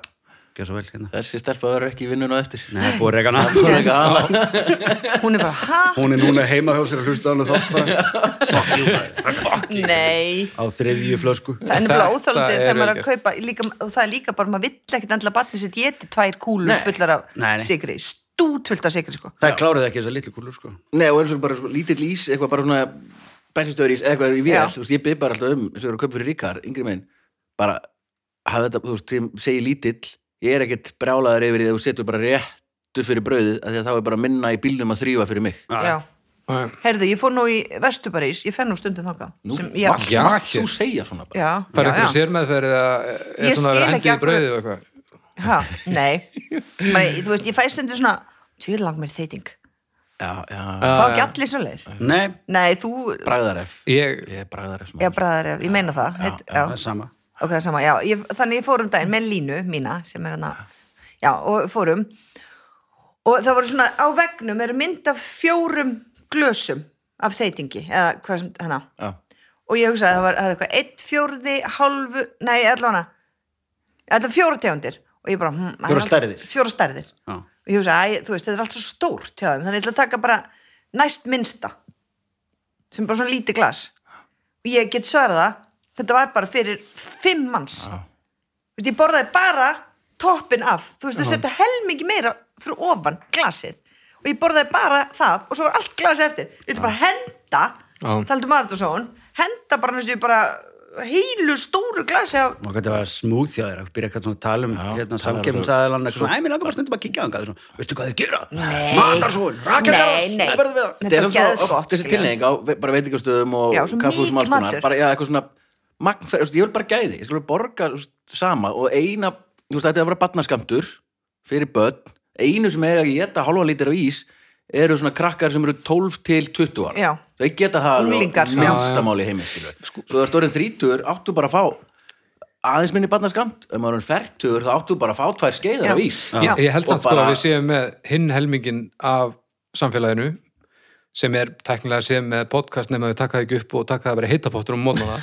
[SPEAKER 4] gjör svo vel hérna.
[SPEAKER 1] þessi stelpa verður ekki í vinnun og eftir
[SPEAKER 4] Nei, búið regana
[SPEAKER 1] Hún er ekki aðalega.
[SPEAKER 3] hún er bara, ha,
[SPEAKER 4] hún er núna heima hjá sér að hlusta á hann og þá bara fuck you maður, fuck you
[SPEAKER 3] nei
[SPEAKER 4] á þriðju flösku
[SPEAKER 3] það er nefnilega
[SPEAKER 2] Þetta
[SPEAKER 3] óþálandi
[SPEAKER 2] er
[SPEAKER 3] þegar maður er að
[SPEAKER 2] vel
[SPEAKER 3] kaupa líka, og það er líka bara, maður vill ekkert endilega barnið sitt geti tvær kúlur fullar af
[SPEAKER 4] Nei, nei.
[SPEAKER 3] sigri, stútfullt af sigri sko.
[SPEAKER 4] það kláruði ekki þessa litlu kúlur sko
[SPEAKER 1] Nei, og eins og bara sko, lítill ís, eitthvað bara svona bensinstöður ís, eitthvað í vél,
[SPEAKER 3] Já.
[SPEAKER 1] þú veist, ég byrð bara alltaf um eins og eru að kaupa fyrir ríkar, yngri minn bara, hafa þetta, þú veist, þeim segi lítill ég er ekkert brjálaður yfir því að þú setur bara réttu fyrir brauðið af því að þá er bara minna í bílnum að þrýfa fyrir mig
[SPEAKER 3] já,
[SPEAKER 2] Já.
[SPEAKER 3] heyrðu, ég fór nú í Vestubarís ég fer nú stundum þangað
[SPEAKER 1] Nú,
[SPEAKER 3] sem ég,
[SPEAKER 1] mátt
[SPEAKER 2] Já,
[SPEAKER 1] mátt
[SPEAKER 2] hér.
[SPEAKER 1] þú segja svona bara
[SPEAKER 3] já,
[SPEAKER 2] Það er
[SPEAKER 3] já,
[SPEAKER 2] einhverju
[SPEAKER 3] já.
[SPEAKER 2] sérmeðferð eða
[SPEAKER 3] Ég
[SPEAKER 2] er svona að vera
[SPEAKER 3] skil
[SPEAKER 2] hendið
[SPEAKER 3] ekki
[SPEAKER 2] í
[SPEAKER 3] af hverju-
[SPEAKER 2] brauðið og eitthvað.
[SPEAKER 3] Ha, nei, bara, ég- þú veist, ég fæ stundu svona tvíð lang mér þeiting
[SPEAKER 1] Já, já,
[SPEAKER 2] Eh,
[SPEAKER 3] fá ekki allir svo leiðis
[SPEAKER 4] nei,
[SPEAKER 3] nei, þú,
[SPEAKER 1] bragðaref
[SPEAKER 2] Ég,
[SPEAKER 1] Ég er bragðaref smá
[SPEAKER 3] já, bræðar, ég meina það já, já,
[SPEAKER 4] það er sama
[SPEAKER 3] ok, það er sama, já, ég, þannig ég fórum daginn með línu mína sem er hérna já, og fórum og það voru svona, á vegnum eru mynd af fjórum glösum af þeitingi, eða hvað sem, hérna
[SPEAKER 1] Já,
[SPEAKER 3] og ég hugsaði að það var það var eitthvað eitt fjórði, halvu, nei, allavega allavega fjóra tegundir og ég bara, hm,
[SPEAKER 4] Fjórar stærðir.
[SPEAKER 3] fjóra stærðir
[SPEAKER 4] Já.
[SPEAKER 3] og ég hugsaði, æ, þú veist, þetta er allt svo stórt hjá þeim, þannig ég ætla að taka bara næst minnsta sem er bara svona lítið glas og ég get svarað það þetta var bara fyrir fimm manns
[SPEAKER 1] Já.
[SPEAKER 3] Þú veist, ég borðaði bara toppin af, þú veist, þau setja helmingi meira frá ofan glasið og ég borðaði bara það og svo var allt glasið eftir, þetta er bara að henda
[SPEAKER 2] Já.
[SPEAKER 3] taldu Maratosón, henda bara næstu bara heilu stóru glasi af
[SPEAKER 4] og þetta var smooth hjá þér að byrja eitthvað svona að tala um hérna
[SPEAKER 1] talar
[SPEAKER 4] samkefnsaðalann eitthvað svona, æ, mér langar bara stundum að kíkja á hann svona, veistu hvað þið gera?
[SPEAKER 3] Nei.
[SPEAKER 4] Matarsón,
[SPEAKER 3] Nei, nei,
[SPEAKER 1] Þetta
[SPEAKER 4] rakeldaras
[SPEAKER 1] er
[SPEAKER 3] geðveikt
[SPEAKER 1] svo
[SPEAKER 3] gott,
[SPEAKER 1] oft þessi
[SPEAKER 3] skilja.
[SPEAKER 1] tilneying á ve- bara veitingastöðum og
[SPEAKER 3] Já, svo
[SPEAKER 1] kaffhúsum
[SPEAKER 3] mikill
[SPEAKER 1] alls konar.
[SPEAKER 3] matur.
[SPEAKER 1] bara, já, eitthvað svona magnferð, þú veist, ég vil bara gæði, ég skulle borga þú veist, sama og eina, þú veist, þetta er að vera batnaskamtur fyrir börn einu sem eiga að geta halva lítir af ís eru svona krakkar sem eru 12 til 20 ára,
[SPEAKER 3] Já.
[SPEAKER 1] þau geta það
[SPEAKER 3] Unglingar. Sko-
[SPEAKER 1] minnstamáli heimi skilur. svo þú ert orðin 30, áttu bara að fá aðeins minni batnaskamt, ef maður er fertur þá áttu bara að fá tvær skeiðar
[SPEAKER 3] Já.
[SPEAKER 1] af ís
[SPEAKER 2] ég, ég held
[SPEAKER 1] Og
[SPEAKER 2] samt sko
[SPEAKER 1] bara-
[SPEAKER 2] að við séum með hinn helmingin af samfélaginu sem er teknilega séum með podcast nema við taka það ekki upp og taka það bara heitapottur um mótnana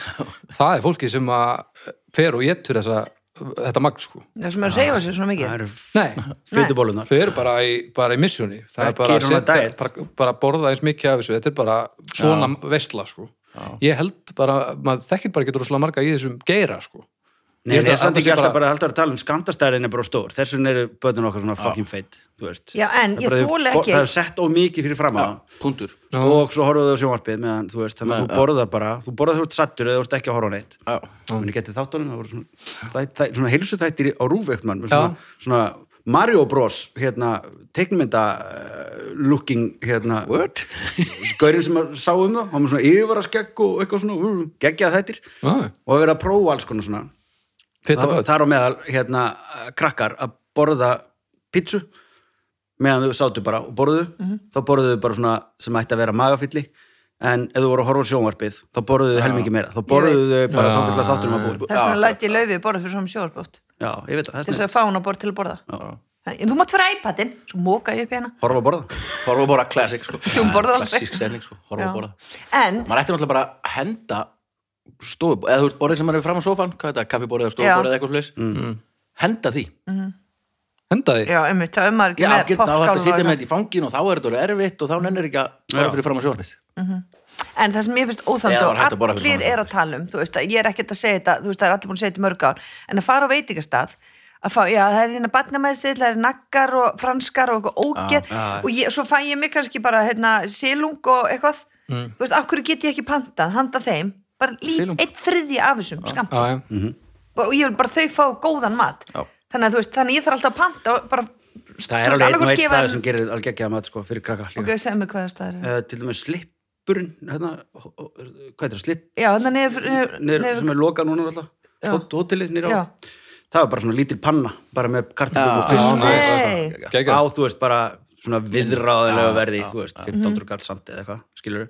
[SPEAKER 2] það er fólki sem að fer og getur þessa þetta magn sko
[SPEAKER 3] það sem er að reyfa sér svona mikið
[SPEAKER 4] það eru
[SPEAKER 2] Nei,
[SPEAKER 4] fytubólunar
[SPEAKER 2] þau eru bara í, bara í missjóni það
[SPEAKER 4] Það
[SPEAKER 2] er bara að
[SPEAKER 4] gerir hún að
[SPEAKER 2] setja,
[SPEAKER 4] diet.
[SPEAKER 2] bara, bara að borða eins mikið af þessu, þetta er bara svona veistla sko, ég held bara maður þekkir bara ekki droslega marga í þessum geira sko,
[SPEAKER 4] Nei,
[SPEAKER 2] Ég held
[SPEAKER 4] nei,
[SPEAKER 2] að
[SPEAKER 4] samt
[SPEAKER 2] þetta sé
[SPEAKER 4] ekki alltaf
[SPEAKER 2] bara-
[SPEAKER 4] bara alltaf að tala um skamtastæðin er bara stór, þess vegna eru börnun okkar svona fucking feit, þú veist
[SPEAKER 3] Já, en
[SPEAKER 4] Það er
[SPEAKER 3] ég
[SPEAKER 4] bara þau-
[SPEAKER 3] þoli
[SPEAKER 4] bo-
[SPEAKER 3] ekki-
[SPEAKER 4] Það er sett of mikið fyrir fram að
[SPEAKER 1] Puntur
[SPEAKER 2] Já.
[SPEAKER 4] og svo horfðu þau á sjónvarpið meðan, þú veist, þannig að þú borðar bara þú borðar þegar þú ert sattur eða þú ert ekki að horfa á neitt
[SPEAKER 1] Já.
[SPEAKER 2] Mm.
[SPEAKER 4] en ég getið þáttunum, það voru svona þæ, þæ, svona heilsu þættir í- á rúfveikt mann
[SPEAKER 2] Já.
[SPEAKER 4] svona, svona Mario Bros hérna, teiknmynda uh, looking, hérna
[SPEAKER 1] What?
[SPEAKER 4] gaurinn sem að sá um það, hann var svona yfir að skegg og eitthvað svona, uh, geggjað þættir
[SPEAKER 2] Já.
[SPEAKER 4] og að vera að prófa alls konar svona
[SPEAKER 2] feta
[SPEAKER 4] það,
[SPEAKER 2] böt
[SPEAKER 4] þar á meðal hérna, krakkar að borða pítsu meðan þau sátu bara og borðuðu
[SPEAKER 2] Mhm.
[SPEAKER 4] þá borðuðu þau bara svona sem ætti að vera magafylli en ef þú voru að horfa á sjónvarpið þá borðuðu þau helmingi meira þá borðuðu þau bara
[SPEAKER 2] Já.
[SPEAKER 4] þá byrja þáttunum að búin
[SPEAKER 3] það er svona læti í laufi borða fyrir svona sjórbótt
[SPEAKER 4] já, ég veit það,
[SPEAKER 3] til
[SPEAKER 4] það
[SPEAKER 3] þess
[SPEAKER 4] er
[SPEAKER 3] að fá hún að borða til að borða en þú mátt fyrir iPadin, svo móka ég upp hérna
[SPEAKER 4] horfa að borða
[SPEAKER 1] Horfa að borða classic sko
[SPEAKER 3] Þú borðar aldrei.
[SPEAKER 1] Classic setning sko, horfa
[SPEAKER 3] Já.
[SPEAKER 1] að borða
[SPEAKER 3] en,
[SPEAKER 1] Maður ætti náttúrulega bara að henda stofu, eða þú veist borðið sem maður er fram á sófan hvað er þetta, kaffiborðið eða stofuborðið eða eitthvað slags
[SPEAKER 4] Mm.
[SPEAKER 1] henda því
[SPEAKER 2] henda því,
[SPEAKER 3] já, einmitt, það er maður
[SPEAKER 1] Já,
[SPEAKER 3] ekki með
[SPEAKER 1] get, þá er þetta að sitja með
[SPEAKER 3] popskál
[SPEAKER 1] þetta í fangin og þá er þetta orðið erfitt og þá nennir ekki að borða
[SPEAKER 4] Já.
[SPEAKER 1] fyrir fram á sjónarfið
[SPEAKER 3] en það sem ég finnst óþandu
[SPEAKER 1] Eða
[SPEAKER 3] og
[SPEAKER 1] var hægt að borða fyrir
[SPEAKER 3] allir
[SPEAKER 1] svona.
[SPEAKER 3] er að tala um þú veist, að ég er ekkert að segja þetta, þú veist, það er allir búin að segja þetta í mörg ár en að fara á veitingastað að fá, já, það er hérna batnamæðstil, það er nakkar og franskar og eitthvað ógeð
[SPEAKER 1] Ah,
[SPEAKER 3] og ég, svo fæ ég mig kannski bara, hérna, silung og eitthvað, þú veist, af hverju get ég ekki pantað, handa þeim, bara lít,
[SPEAKER 1] Mm. Silung. Ah,
[SPEAKER 3] eitt þriðji af þessum, skamt
[SPEAKER 2] já, já
[SPEAKER 3] Bara- og ég vil bara þau fá góðan mat
[SPEAKER 1] Já.
[SPEAKER 3] þannig að þú veist, þannig að ég þarf alltaf að panta og bara,
[SPEAKER 4] það er alveg einn og einn staður sem
[SPEAKER 3] gerir
[SPEAKER 4] gerir alveg ekki að maður sko, fyrir krakka
[SPEAKER 3] ok,
[SPEAKER 4] okay.
[SPEAKER 3] segðu mig hvaða staður er.
[SPEAKER 4] uh, til dæmis slippurinn hérna, hó- hó- hvað er það, slipp
[SPEAKER 3] já, þannig nefnir,
[SPEAKER 4] niður,
[SPEAKER 3] nefnir,
[SPEAKER 4] sem er lokað núna alltaf
[SPEAKER 3] Já.
[SPEAKER 4] Hót- hótelið nýra
[SPEAKER 3] Já.
[SPEAKER 4] á það var bara svona lítil panna bara með kartabum
[SPEAKER 1] Já.
[SPEAKER 4] og fisk
[SPEAKER 2] Já,
[SPEAKER 4] og-
[SPEAKER 3] nei.
[SPEAKER 4] og-
[SPEAKER 2] Geggjað.
[SPEAKER 4] á þú veist bara svona viðráðanlega
[SPEAKER 1] Já,
[SPEAKER 4] verði
[SPEAKER 1] já,
[SPEAKER 4] þú veist
[SPEAKER 3] Mhm.
[SPEAKER 4] 15 kall samt eða eitthvað skilur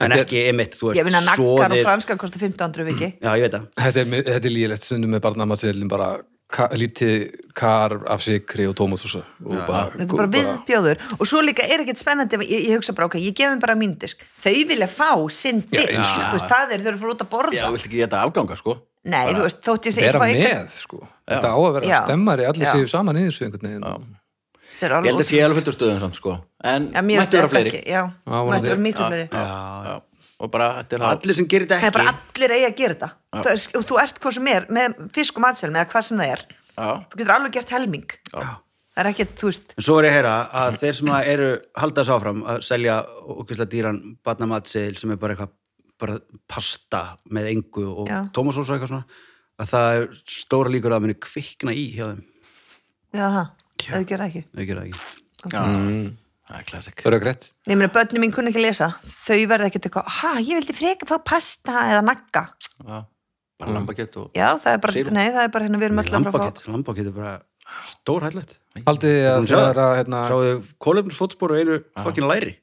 [SPEAKER 4] en
[SPEAKER 2] Þetta er-
[SPEAKER 4] ekki einmitt þú
[SPEAKER 3] ég
[SPEAKER 4] veist
[SPEAKER 3] finna nakkar og
[SPEAKER 4] soðið-
[SPEAKER 3] franskar kosti 1500 viki
[SPEAKER 4] já ég veit það
[SPEAKER 2] þetta er, þetta er lígilegt stundum með barnamatsillin bara ka, lítið kar af sikri og tómatsúsa og bara,
[SPEAKER 3] þetta er bara viðbjóður og svo líka er ekkert spennandi ef- ég, ég hugsa bara, ok, ég gef þeim bara mín disk þau vilja fá sinn disk
[SPEAKER 2] já.
[SPEAKER 3] þú veist, það er þau eru fyrir út að borða
[SPEAKER 1] Já, þú vilt ekki geta afganga sko
[SPEAKER 3] nei, þú veist, þótt ég segi
[SPEAKER 2] vera
[SPEAKER 3] fá
[SPEAKER 2] með
[SPEAKER 3] ykkur-
[SPEAKER 2] sko, þetta á að vera
[SPEAKER 3] Já.
[SPEAKER 2] stemmari allir
[SPEAKER 3] Já.
[SPEAKER 2] séu saman í þessu einhvern veginn
[SPEAKER 3] Þetta er
[SPEAKER 1] Ég
[SPEAKER 3] alveg
[SPEAKER 1] held að sé alveg fyrir stöðum samt sko En
[SPEAKER 3] Já,
[SPEAKER 1] mættu
[SPEAKER 3] mér finnst
[SPEAKER 1] vera
[SPEAKER 3] þetta
[SPEAKER 1] fleiri
[SPEAKER 3] ekki, já,
[SPEAKER 2] vonandi.
[SPEAKER 3] mættu vera miklu fleiri
[SPEAKER 1] Já, og bara þetta er að
[SPEAKER 4] allir sem gerir
[SPEAKER 3] Það er
[SPEAKER 4] þetta
[SPEAKER 3] bara
[SPEAKER 4] ekki
[SPEAKER 3] allir eigi að gera þetta Það er- og þú ert hvað sem er með fisk og matselmi eða hvað sem það er
[SPEAKER 1] Já,
[SPEAKER 3] þú getur alveg gert helming það er ekkert, þú veist,
[SPEAKER 4] en svo er ég að heyra að þeir sem að eru halda þess áfram að selja okkislega dýran barnamatsil sem er bara eitthvað bara pasta með engu og
[SPEAKER 3] Já.
[SPEAKER 4] tómasós og eitthvað svona að það er stóra líkur að það muni kvikna í hjá þeim,
[SPEAKER 3] já það það þú gerir ekki
[SPEAKER 4] þau gera það ekki
[SPEAKER 1] já,
[SPEAKER 4] Mm.
[SPEAKER 1] það er klassik
[SPEAKER 2] röggrétt
[SPEAKER 3] Nei, mér að börnum mín kunni ekki að lesa þau verða ekkert eitthvað, ha, ég vildi freka fá pasta eða nagga
[SPEAKER 1] Já,
[SPEAKER 4] Mm.
[SPEAKER 1] bara lambakett og
[SPEAKER 3] já, það er bara,
[SPEAKER 1] Silung.
[SPEAKER 3] nei, það er bara hérna við erum öll að fara að fá
[SPEAKER 4] Lambakett, lambakett er bara stórhællett
[SPEAKER 2] haldið þið að
[SPEAKER 4] Búin að sjá
[SPEAKER 2] þegar
[SPEAKER 4] það?
[SPEAKER 2] að hérna,
[SPEAKER 4] Sáuðu kólefnisfótspor og einu fokkin læri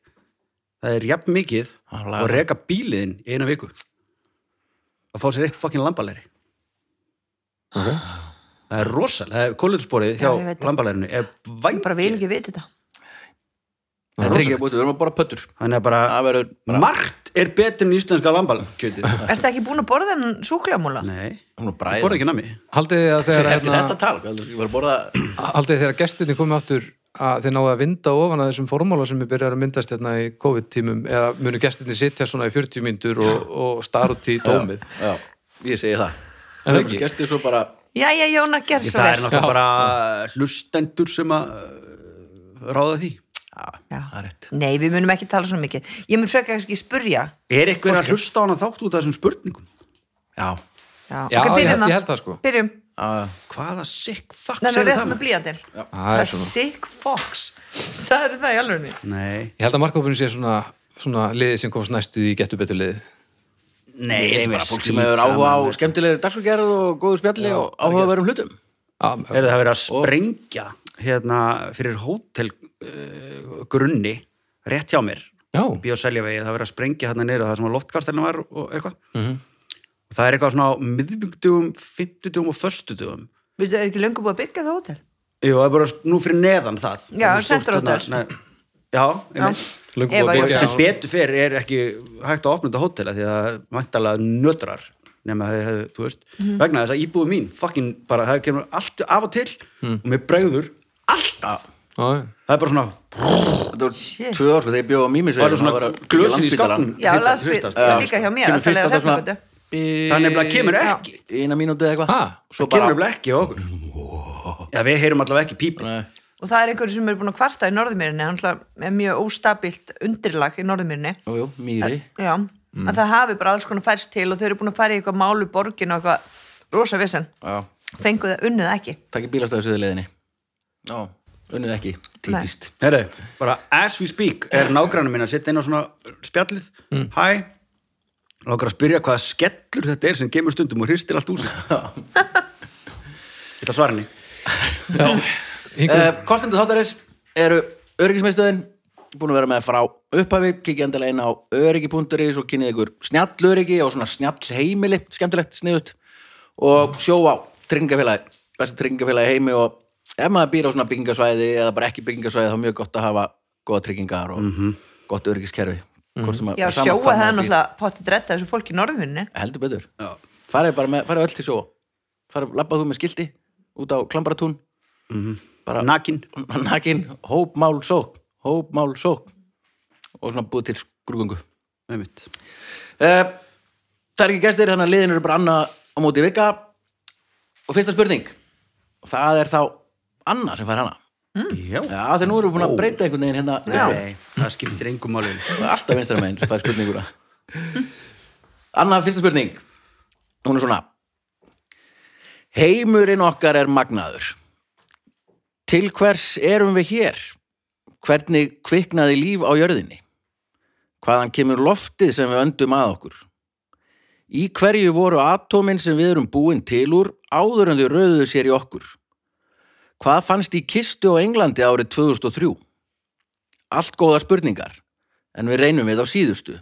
[SPEAKER 4] Það er jafn mikið
[SPEAKER 1] Já, laga.
[SPEAKER 4] og reka bíliðin í eina viku að fá sér eitt fokkin lambalæri
[SPEAKER 2] Ok.
[SPEAKER 4] Það er rosal, það er kólefnisforið
[SPEAKER 3] Já, ég veit
[SPEAKER 4] hjá
[SPEAKER 3] það.
[SPEAKER 4] lambalærinu er
[SPEAKER 3] ég bara vil
[SPEAKER 4] vængið,
[SPEAKER 3] ekki viti þetta
[SPEAKER 1] Þetta er ekki að búið, við erum að borða pöttur
[SPEAKER 4] þannig að bara
[SPEAKER 1] Það verður bara,
[SPEAKER 4] margt er betur en íslenska lambalkjötið
[SPEAKER 3] Ertu ekki búin að borða þennan súklamúla?
[SPEAKER 4] Nei,
[SPEAKER 1] hún er
[SPEAKER 4] það
[SPEAKER 1] bræð
[SPEAKER 4] borði ekki nami
[SPEAKER 2] haldið þið að
[SPEAKER 1] Eftir
[SPEAKER 2] þegar
[SPEAKER 1] þetta
[SPEAKER 2] hérna,
[SPEAKER 1] tal, heldur, ég var að borða
[SPEAKER 2] haldið þið þegar gestinni komið áttur að þið náðu að vinda ofan að þessum formála sem við byrjar að myndast hérna í COVID-tímum eða munu gestinni sitja svona í 40 myndur og, og star út í dómið
[SPEAKER 1] Já, ég segi það
[SPEAKER 2] En
[SPEAKER 1] Það
[SPEAKER 2] ekki.
[SPEAKER 1] er gestið svo bara
[SPEAKER 3] Jæja, Jóna, gerð svo
[SPEAKER 4] Það er
[SPEAKER 3] vel
[SPEAKER 4] náttúrulega bara hlustendur sem að uh, ráða því
[SPEAKER 3] Já.
[SPEAKER 1] Það er rétt.
[SPEAKER 3] Nei, við munum ekki tala svona mikið Ég mun freka kannski spurja
[SPEAKER 4] Er eitthvað að hlusta á hana þátt út af þessum spurningum?
[SPEAKER 1] Já,
[SPEAKER 3] Já,
[SPEAKER 2] Já,
[SPEAKER 3] ok,
[SPEAKER 2] ég
[SPEAKER 3] byrjum
[SPEAKER 2] held- ég
[SPEAKER 3] það.
[SPEAKER 2] held það, sko.
[SPEAKER 3] Byrjum,
[SPEAKER 1] já,
[SPEAKER 4] Hvaða sick fuck
[SPEAKER 3] þannig
[SPEAKER 4] segir
[SPEAKER 3] rétt
[SPEAKER 4] það?
[SPEAKER 3] með
[SPEAKER 4] maður?
[SPEAKER 3] blíjandinn
[SPEAKER 2] það
[SPEAKER 3] Það
[SPEAKER 2] er
[SPEAKER 3] er
[SPEAKER 2] svona
[SPEAKER 3] sick fox Sæður það í alvegni
[SPEAKER 4] Nei,
[SPEAKER 2] ég held að markhópurinn sé svona, svona liðið sem komst næstu í getur betur liðið
[SPEAKER 4] nei,
[SPEAKER 1] Ég er bara fólk sem hefur áhuga á skemmtilegri dagskvægerð og góðu spjalli og áhuga verðum hlutum.
[SPEAKER 2] Já,
[SPEAKER 4] Er það verið að sprengja hérna fyrir hótel uh, grunni, rétt hjá mér
[SPEAKER 2] já,
[SPEAKER 4] bíó seljavegi, það verið að sprengja hérna niður það sem að loftkastelina var og eitthvað og það er eitthvað svona á miðvindugum fimmtudugum og föstudugum
[SPEAKER 3] Við erum ekki löngu búið að byggja það hótel
[SPEAKER 4] Jú, það er bara nú fyrir neðan það
[SPEAKER 3] Já,
[SPEAKER 4] Það er stórt
[SPEAKER 3] sendirótel.
[SPEAKER 4] hérna, nei, Já, ég
[SPEAKER 3] Já.
[SPEAKER 4] meint
[SPEAKER 2] löngu búið
[SPEAKER 3] Ef að
[SPEAKER 2] að
[SPEAKER 3] ég-
[SPEAKER 2] byggja
[SPEAKER 4] sem betur fyrir er ekki hægt að opna þetta hótela því að það vantala nötrar nema þeir hefðu, þú veist vegna þess að íbúðu mín, fucking bara það kemur allt af og til og mér bregður alltaf,
[SPEAKER 2] já,
[SPEAKER 4] það er bara svona
[SPEAKER 1] Þetta var tvö ár sko, þegar ég bjóð á
[SPEAKER 4] það
[SPEAKER 1] Mímisvegin
[SPEAKER 4] er svona glösin í skápnum
[SPEAKER 3] Já,
[SPEAKER 4] Hristast,
[SPEAKER 3] landsbyr-
[SPEAKER 4] hristast.
[SPEAKER 3] Já, líka hjá
[SPEAKER 1] Kemur
[SPEAKER 3] mér, alltaf
[SPEAKER 1] fyrst
[SPEAKER 3] leið á
[SPEAKER 1] að það svona
[SPEAKER 3] Hrefnugötu.
[SPEAKER 1] bí-
[SPEAKER 4] það nefnilega kemur ekki
[SPEAKER 1] eina mínútu eða
[SPEAKER 2] Ha?
[SPEAKER 1] eitthvað svo
[SPEAKER 4] það
[SPEAKER 1] bara
[SPEAKER 4] kemur nefnilega ekki á okkur já, við heyrum allavega ekki pípi
[SPEAKER 1] Nei.
[SPEAKER 3] og það er einhverju sem eru búin að kvarta í norðumýrinni hann er mjög óstabilt undirlag í norðumýrinni
[SPEAKER 1] jú, jú, mýri
[SPEAKER 3] já, að það hafi bara alls konar færst til og þau eru búin að fara í eitthvað málu borgin og eitthvað rosa vissan
[SPEAKER 1] já,
[SPEAKER 3] fenguð það, unnuð það ekki
[SPEAKER 1] takk í bílastæðisöðu leiðinni já, unnið ekki, típist
[SPEAKER 4] Heri, bara as we speak er nágrannum minn að sitta inn á svona spjallið hæ, lókar að spyrja hvaða skellur þetta er sem kemur stundum og hristir allt úr sig Þetta svara henni
[SPEAKER 2] hingur,
[SPEAKER 1] uh, kostendur þáttarins eru öryggismiðstöðin búin að vera með frá upphafi kikið endilega inn á öryggi.is og kynnið ykkur snjallöryggi og svona snjall heimili skemmtilegt, sniðut og sjó á tryggingafélagi besta tryggingafélagi í heimi og ef maður býr á svona byggingasvæði eða bara ekki byggingasvæði þá er mjög gott að hafa góða tryggingar og gott öryggiskerfi mm -hmm.
[SPEAKER 3] já, sjóa það er náttúrulega potti dretta þessu fólki í norðumýrinni
[SPEAKER 1] heldur betur
[SPEAKER 4] Já.
[SPEAKER 1] farið bara með, farið öll til sjóa farið, labbað þú með skilti út á klambaratún bara
[SPEAKER 4] Nakin
[SPEAKER 1] nakin, hópmál sók hópmál sók og svona búið til skrúgungu
[SPEAKER 4] einmitt.
[SPEAKER 1] uh, það er ekki gestir, þannig að liðin eru bara annað á móti í vika og fyrsta spurning og það er þá Anna sem fær hana
[SPEAKER 4] Já,
[SPEAKER 1] já, þegar nú erum við búin að breyta einhvern veginn hérna upp.
[SPEAKER 4] Nei, það skiptir engum máli
[SPEAKER 1] Það er alltaf vinstra meginn sem fær spurninguna Anna, fyrsta spurning hún er svona heimurinn okkar er magnaður til hvers erum við hér hvernig kviknaði líf á jörðinni hvaðan kemur loftið sem við öndum að okkur í hverju voru atómin sem við erum búin til úr áður en þau rauðuðu sér í okkur hvað fannst í kistu á Englandi árið 2003 allt góða spurningar en við reynum við á síðustu.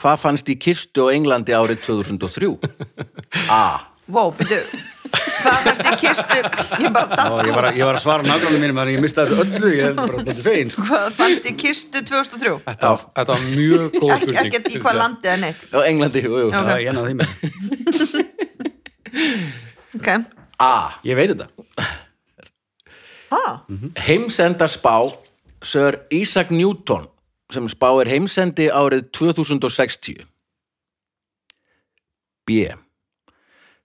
[SPEAKER 1] Hvað fannst í kistu á Englandi árið 2003? A.
[SPEAKER 3] wow, byrju, hvað fannst ég kistu ég bara
[SPEAKER 4] Og
[SPEAKER 3] datt
[SPEAKER 4] ég
[SPEAKER 3] úr
[SPEAKER 4] var, að- ég var að svara nágrannum mínum þannig að ég mistaði þessu öllu, ég heldur bara að þetta er fegin sko.
[SPEAKER 3] hvað fannst ég kistu 2003
[SPEAKER 2] þetta, var- þetta var mjög góð
[SPEAKER 3] ekki,
[SPEAKER 2] spurning
[SPEAKER 3] ekki í hvað landið er neitt
[SPEAKER 1] Á Englandi, jú, jú.
[SPEAKER 4] Já, ég náði því með
[SPEAKER 3] ok,
[SPEAKER 1] A.
[SPEAKER 4] Ég veit þetta
[SPEAKER 3] ha,
[SPEAKER 1] Heimsendar spá Sir Isaac Newton sem spáir heimsendi árið 2060. B.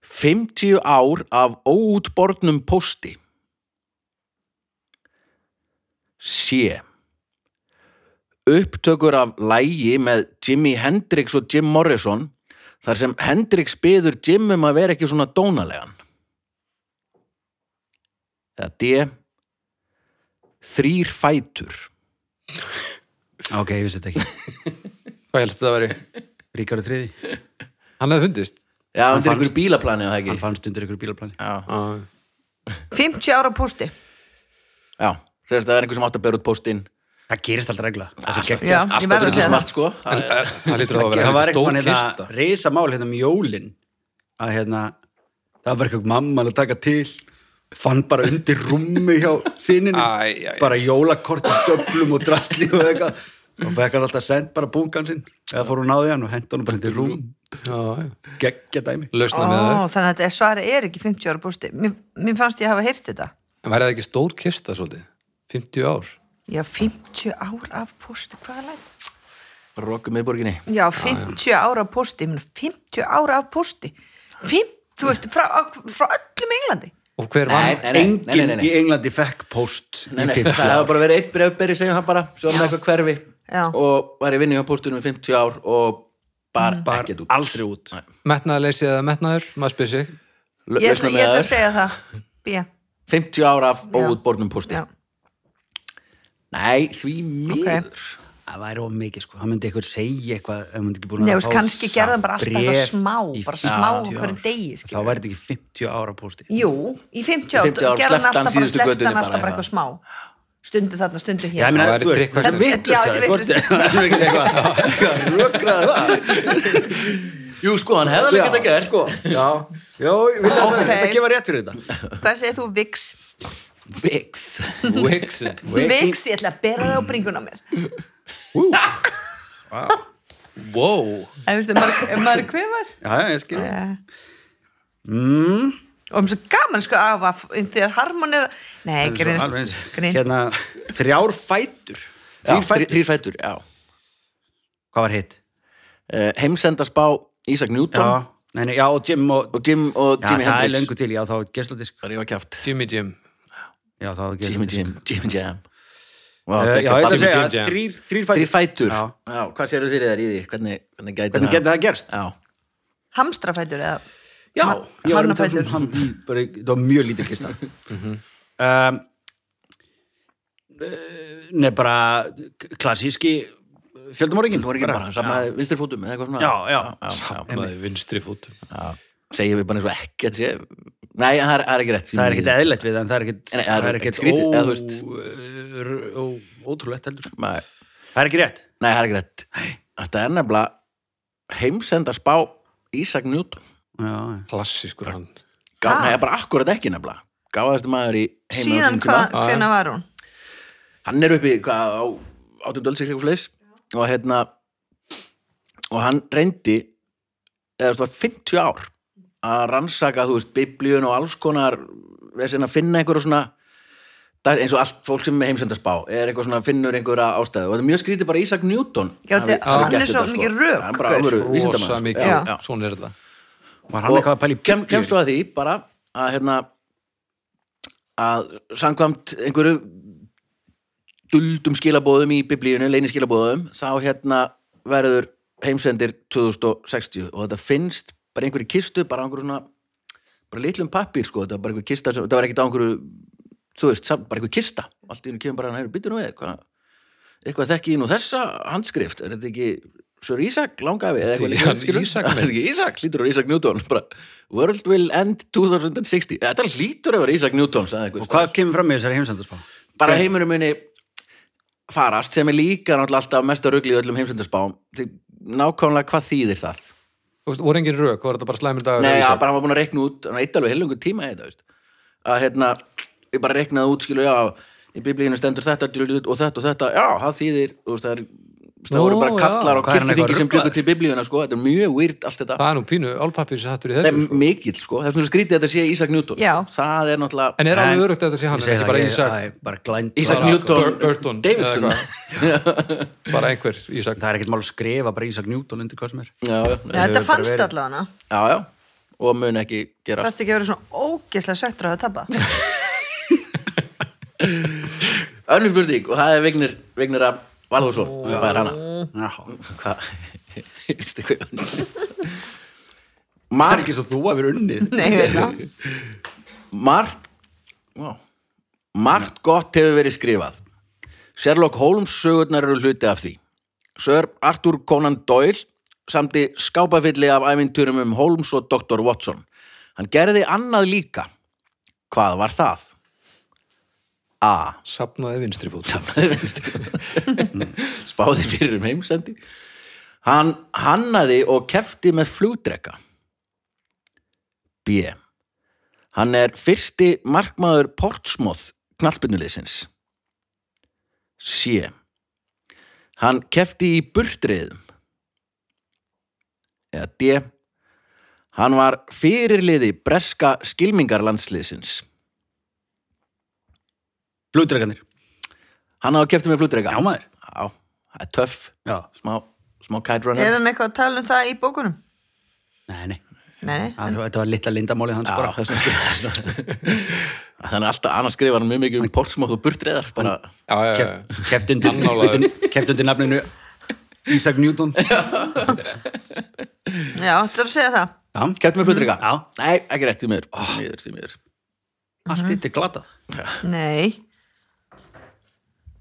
[SPEAKER 1] 50 ár af óútbornum pósti. C. Upptökur af lægi með Jimi Hendrix og Jim Morrison þar sem Hendrix byður Jim um að vera ekki svona dónalegan. Eða D. Þrýr fætur.
[SPEAKER 4] Ok, ég vissi þetta ekki
[SPEAKER 2] hvað helst þetta að veri?
[SPEAKER 4] Ríkarur þriði,
[SPEAKER 2] hann hefði fundist
[SPEAKER 1] Já, hann er
[SPEAKER 4] fannst-
[SPEAKER 1] ykkur bílaplani eða
[SPEAKER 4] hann
[SPEAKER 1] ekki.
[SPEAKER 4] fannst undir ykkur bílaplani
[SPEAKER 1] Já,
[SPEAKER 2] Já.
[SPEAKER 3] 50 ára pústi
[SPEAKER 1] já. Sérst, það er einhver sem átt að bera út póstinn.
[SPEAKER 4] Það gerist alltaf regla Það sem gekk-
[SPEAKER 3] já, ég
[SPEAKER 1] Alltaf
[SPEAKER 3] verður að
[SPEAKER 1] drullu
[SPEAKER 3] segja það
[SPEAKER 1] smart, sko.
[SPEAKER 2] En
[SPEAKER 1] Það er-
[SPEAKER 2] er- það lítur þá að vera
[SPEAKER 4] það var
[SPEAKER 2] helviti stór
[SPEAKER 4] eitthvað hérna
[SPEAKER 2] kista
[SPEAKER 4] reysa mál hérna um jólin að hérna það var bara eitthvað mamma að taka til fann bara undir rúmi hjá sinnin
[SPEAKER 2] Æ, æ, æ.
[SPEAKER 4] bara jólakort í stöflum og drastli og eitthvað og bekkar alltaf send bara bungan sinn eða fór hún á því hann og henda hann bara undir rúm
[SPEAKER 2] Já, já.
[SPEAKER 4] geggja dæmi
[SPEAKER 2] lausna með
[SPEAKER 3] Ó,
[SPEAKER 2] það
[SPEAKER 3] þannig að þetta svari er ekki 50 ára bústi mér, mér fannst ég hafa heyrt þetta
[SPEAKER 2] en væri það ekki stór kista svolítið 50 ár
[SPEAKER 3] já, 50 ára af bústi, hvað er læg?
[SPEAKER 1] Rokk um miðborginni.
[SPEAKER 3] já, 50 ára af bústi, ég meina 50 ára af bústi 50, þú veist, frá, frá öllum Englandi
[SPEAKER 2] og hver vann?
[SPEAKER 4] enginn í Englandi fekk post
[SPEAKER 1] Nei, nei,
[SPEAKER 4] í 50
[SPEAKER 1] það
[SPEAKER 4] ár
[SPEAKER 1] hafa bara verið eitt brefberi, segjum hann bara, svo var með eitthvað hverfi
[SPEAKER 3] Já.
[SPEAKER 1] og var í vinnu hjá póstunum í 50 ár og bar
[SPEAKER 3] Mm.
[SPEAKER 4] Bar
[SPEAKER 1] ekkert út.
[SPEAKER 4] aldrei út
[SPEAKER 2] metnaðarleysi eða metnaður, maður spyr sig
[SPEAKER 1] L-
[SPEAKER 3] ég ætla,
[SPEAKER 1] lausnum
[SPEAKER 3] ég ætla að
[SPEAKER 1] með það.
[SPEAKER 3] segja það B,
[SPEAKER 1] 50 ár af óútbornum
[SPEAKER 3] já,
[SPEAKER 1] pósti. Nei, því miður.
[SPEAKER 4] það væri of mikið sko, það myndi eitthvað segja eitthvað ef hann myndi ekki búin
[SPEAKER 3] Nei,
[SPEAKER 4] að
[SPEAKER 3] þú veist,
[SPEAKER 4] fá
[SPEAKER 3] kannski gerðan bara alltaf eitthvað
[SPEAKER 4] bréf
[SPEAKER 3] smá,
[SPEAKER 4] í
[SPEAKER 3] bara smá
[SPEAKER 4] 50 ár.
[SPEAKER 3] hverju degi,
[SPEAKER 4] þá
[SPEAKER 3] skilur
[SPEAKER 4] væri þetta ekki 50 ára posti
[SPEAKER 3] Jú, í 50 ára,
[SPEAKER 1] 50 ár, sleppti
[SPEAKER 3] gerðan
[SPEAKER 1] hann
[SPEAKER 3] alltaf bara
[SPEAKER 1] síðustu
[SPEAKER 3] slepptan
[SPEAKER 1] götunni
[SPEAKER 3] alltaf
[SPEAKER 1] bara,
[SPEAKER 3] bara
[SPEAKER 1] já.
[SPEAKER 3] eitthvað smá stundu þarna, stundu hér
[SPEAKER 4] Já, ég meina,
[SPEAKER 2] Það væri
[SPEAKER 4] þú veist,
[SPEAKER 2] drikkfest.
[SPEAKER 4] þetta er
[SPEAKER 3] Já,
[SPEAKER 4] vittlust
[SPEAKER 3] þetta er vitlaust.
[SPEAKER 4] Það er ekkert eitthvað, eitthvað rökraði það
[SPEAKER 1] Jú, sko, hann hefði alveg getað gert.
[SPEAKER 4] sko, já Jó, ég vil að
[SPEAKER 3] Ok.
[SPEAKER 4] það gefa rétt fyrir þetta
[SPEAKER 3] Hvað segir þú, Vix?
[SPEAKER 1] Vix.
[SPEAKER 2] Wix
[SPEAKER 3] Vix, ég ætla að bera það á bringuna á mér
[SPEAKER 2] wow.
[SPEAKER 3] En veistu, maður, ef maður er kvefar
[SPEAKER 4] já, já, ég skil
[SPEAKER 3] ja.
[SPEAKER 4] mm,
[SPEAKER 3] Og um svo gaman sko af að þegar harmon er Nei,
[SPEAKER 4] svo alveg
[SPEAKER 3] grínast
[SPEAKER 4] eins.
[SPEAKER 3] grín.
[SPEAKER 4] hérna, þrjár fætur
[SPEAKER 1] fætur,
[SPEAKER 4] þrjár fætur,
[SPEAKER 1] þrír fætur já.
[SPEAKER 4] hvað var hitt?
[SPEAKER 1] Uh, heimsendarspá Ísak Newton
[SPEAKER 4] Já, nei, nei, já, og Jim og,
[SPEAKER 1] og Jim og
[SPEAKER 4] já,
[SPEAKER 1] Jimi
[SPEAKER 4] það er
[SPEAKER 1] Hendrix
[SPEAKER 4] löngu til, já, þá er geisladisk
[SPEAKER 1] það er ég að kjátt
[SPEAKER 2] Jimmy Jim
[SPEAKER 4] já, þá
[SPEAKER 1] Jimmy
[SPEAKER 4] er geisladisk
[SPEAKER 1] Jam Jimmy Jam
[SPEAKER 4] Uh, já, ég ætla að segja,
[SPEAKER 2] Jim Jam.
[SPEAKER 4] þrýr, þrýr
[SPEAKER 1] Þrýr
[SPEAKER 4] fætur
[SPEAKER 1] fætur
[SPEAKER 4] Já.
[SPEAKER 1] Já, hvað sérðu fyrir þær í því? Hvernig, hvernig gæti
[SPEAKER 4] hvernig geti það gerst?
[SPEAKER 1] Já,
[SPEAKER 3] Hamstrafætur eða
[SPEAKER 4] Já, ég var um
[SPEAKER 3] Hannafætur.
[SPEAKER 4] tættum hann, bara, það var mjög lítið kista um, eh, Nei, bara klassíski fjöldumorðingin
[SPEAKER 1] þú var ekki bara hann samlaði vinstri fótum eða eitthvað svona
[SPEAKER 4] Já, já.
[SPEAKER 1] já,
[SPEAKER 2] Samlaði vinstri fótum
[SPEAKER 1] já Segjum við bara eins og ekkert sé Nei, það er, það er ekki rétt
[SPEAKER 4] Það er ekkert eðlætt við, en það er ekkert
[SPEAKER 1] Nei, það er ekkert skrítið, eða þú veist.
[SPEAKER 4] ó- ó- ótrúlegt heldur
[SPEAKER 1] Nei,
[SPEAKER 4] Það er ekki rétt
[SPEAKER 1] nei, það er ekki rétt Þetta er nefnilega heimsenda spá Ísak Newton
[SPEAKER 4] Já,
[SPEAKER 2] Klassískur hann
[SPEAKER 1] Gá,
[SPEAKER 3] Ha?
[SPEAKER 1] Nei, það er bara akkurat ekki nefnilega Gáðasti maður í heima
[SPEAKER 3] Síðan hvað,
[SPEAKER 2] Já, já.
[SPEAKER 3] hvena var hún?
[SPEAKER 1] Hann er uppi, hvað, á átundöldsir eitthvað leis og hérna og hann reyndi eða þú veist, var 50 ár að rannsaka, þú veist, biblíun og alls konar þess að finna einhverja svona dag- eins og allt fólk sem er heimsendarspá er eitthvað svona finnur einhverja ástæðu og þetta er mjög skrítið bara Ísak Newton
[SPEAKER 3] Já,
[SPEAKER 1] hafi-
[SPEAKER 3] því að
[SPEAKER 1] hafi
[SPEAKER 3] hann
[SPEAKER 1] gert
[SPEAKER 3] er svo
[SPEAKER 1] þetta, sko.
[SPEAKER 3] mikið rök,
[SPEAKER 1] hann er bara
[SPEAKER 3] gaur.
[SPEAKER 1] alvöru vísindamaður,
[SPEAKER 2] Rosa
[SPEAKER 1] sko.
[SPEAKER 2] mikið,
[SPEAKER 1] já,
[SPEAKER 3] Já.
[SPEAKER 1] já.
[SPEAKER 2] svona er þetta
[SPEAKER 4] var hann eitthvað að pæli
[SPEAKER 1] Kem, kemst þú að því bara að hérna að samkvæmt einhverju duldum skilabóðum í biblíunum, leini skilabóðum þá hérna verður heimsendir 2060 og þetta finnst bara einhverju kistu, bara á einhverju svona bara litlum pappír sko, þetta var bara einhverju kista sem, þetta var ekkert á einhverju þú veist, sam- bara einhverju kista, allt í hennu kemur bara hann hefur byttu nú við, eitthvað eitthvað þekki ég nú þessa handskrift, er þetta ekki Sör Ísak, langafi eða
[SPEAKER 2] Þetta er
[SPEAKER 1] eitthvað
[SPEAKER 2] hann
[SPEAKER 1] skilur?
[SPEAKER 2] Ísak
[SPEAKER 1] Er
[SPEAKER 2] minn.
[SPEAKER 1] þetta ekki Ísak, lítur á Ísak Newton bara, World will end 2060 Þetta lítur að vera Ísak Newton sagði einhver
[SPEAKER 4] Og hvað kemur fram í þessari heimsendarspá?
[SPEAKER 1] bara heimurum muni farast sem er líka náttúrulega alltaf mesta rugli í öllum heimsendarspám Því nákvæmlega hvað þýðir það
[SPEAKER 2] Þú veist, voru engin rök, var þetta bara slæmur dagur
[SPEAKER 1] Nei,
[SPEAKER 2] eða
[SPEAKER 1] já,
[SPEAKER 2] vísa?
[SPEAKER 1] bara hann var búin að reikna út hann eitt alveg heilungu tíma í þetta veist. að hérna, ég bara reiknaði út skilu, já, í biblíinu stendur þetta djúlút, og þetta og þetta, já, það þýðir þú veist, það er það
[SPEAKER 2] Ó,
[SPEAKER 1] voru bara
[SPEAKER 2] já.
[SPEAKER 1] kallar og
[SPEAKER 4] Hvað er hann
[SPEAKER 1] kirkjuþingi
[SPEAKER 4] eitthvað
[SPEAKER 1] sem byggur
[SPEAKER 4] ruglaður?
[SPEAKER 1] til biblíuna sko, þetta er mjög weird allt þetta
[SPEAKER 2] Það er nú pínu álpappir sem hattur í
[SPEAKER 1] það
[SPEAKER 2] þessu
[SPEAKER 1] er
[SPEAKER 2] sko.
[SPEAKER 1] mikill sko, það er svona skrítið að þetta sé Ísak Newton
[SPEAKER 3] Já.
[SPEAKER 1] sko. það er náttúrulega
[SPEAKER 2] En er
[SPEAKER 4] En-
[SPEAKER 2] alveg örugt að þetta sé hann, er
[SPEAKER 4] Ég segi
[SPEAKER 2] ekki
[SPEAKER 4] það,
[SPEAKER 2] bara
[SPEAKER 4] ég-
[SPEAKER 2] Ísak
[SPEAKER 4] það er bara glænd
[SPEAKER 1] Ísak
[SPEAKER 2] bara
[SPEAKER 1] Newton
[SPEAKER 2] Bur- Burton,
[SPEAKER 1] Davidson
[SPEAKER 2] eða bara einhver Ísak
[SPEAKER 4] Það er ekkert mál að skrifa bara Ísak Newton undir hvað sem er
[SPEAKER 1] já, já,
[SPEAKER 3] Ja,
[SPEAKER 1] já,
[SPEAKER 4] hefur
[SPEAKER 3] þetta
[SPEAKER 4] bara
[SPEAKER 3] fannst
[SPEAKER 4] verið-
[SPEAKER 3] allavega hana
[SPEAKER 1] já, og mun ekki
[SPEAKER 3] Það
[SPEAKER 1] gerast
[SPEAKER 3] ætti ekki að vera svona ógeðslega sveittur að hafa tappað
[SPEAKER 1] önnur spurning og það er Vignir, Vignir af Valhússon sem fær hana
[SPEAKER 4] Já.
[SPEAKER 1] hvað veistu hvað
[SPEAKER 4] Það er
[SPEAKER 1] margt
[SPEAKER 4] ekki svo þú að vera unnið
[SPEAKER 3] Nei, ég veit það
[SPEAKER 1] margt wow. margt gott hefur verið skrifað Sherlock Holmes sögurnar eru hluti af því Sir Arthur Conan Doyle samti skápafylli af ævinturum um Holmes og Dr. Watson hann gerði annað líka hvað var það? A
[SPEAKER 2] sapnaði vinstri fót
[SPEAKER 1] safnaði vinstri spáði fyrir um heimsendi hann hannaði og kefti með flugdreka B hann er fyrsti markmaður Portsmouth knallbynnuleysins C hann kefti í burtriðum eða D hann var fyrirliði breska skilmingarlandsliðsins
[SPEAKER 4] Blúdreganir
[SPEAKER 1] hann hafa kefti með flugdreka
[SPEAKER 4] Já maður
[SPEAKER 1] Já, það er töff
[SPEAKER 4] Já
[SPEAKER 1] smá, smá
[SPEAKER 3] Er
[SPEAKER 1] kætrunner
[SPEAKER 3] hann eitthvað að tala um það í bókunum?
[SPEAKER 4] Nei, nei
[SPEAKER 3] Nei, nei.
[SPEAKER 4] Það- Þetta var litla lindamálið hans bara
[SPEAKER 1] þannig alltaf annars skrifa hann mjög mikið um portsmátt og burtreðar bara,
[SPEAKER 2] já, já, já,
[SPEAKER 4] Keft- Keft undir,
[SPEAKER 2] Annálaður.
[SPEAKER 4] undir- keft undir nafninu Ísak Newton
[SPEAKER 3] Já, ætlar að segja það
[SPEAKER 4] Já
[SPEAKER 1] kefti með flutreika
[SPEAKER 4] Já.
[SPEAKER 1] nei, ekki rétt í mér, því miður, því miður.
[SPEAKER 4] Allt þetta er glatað
[SPEAKER 3] Nei,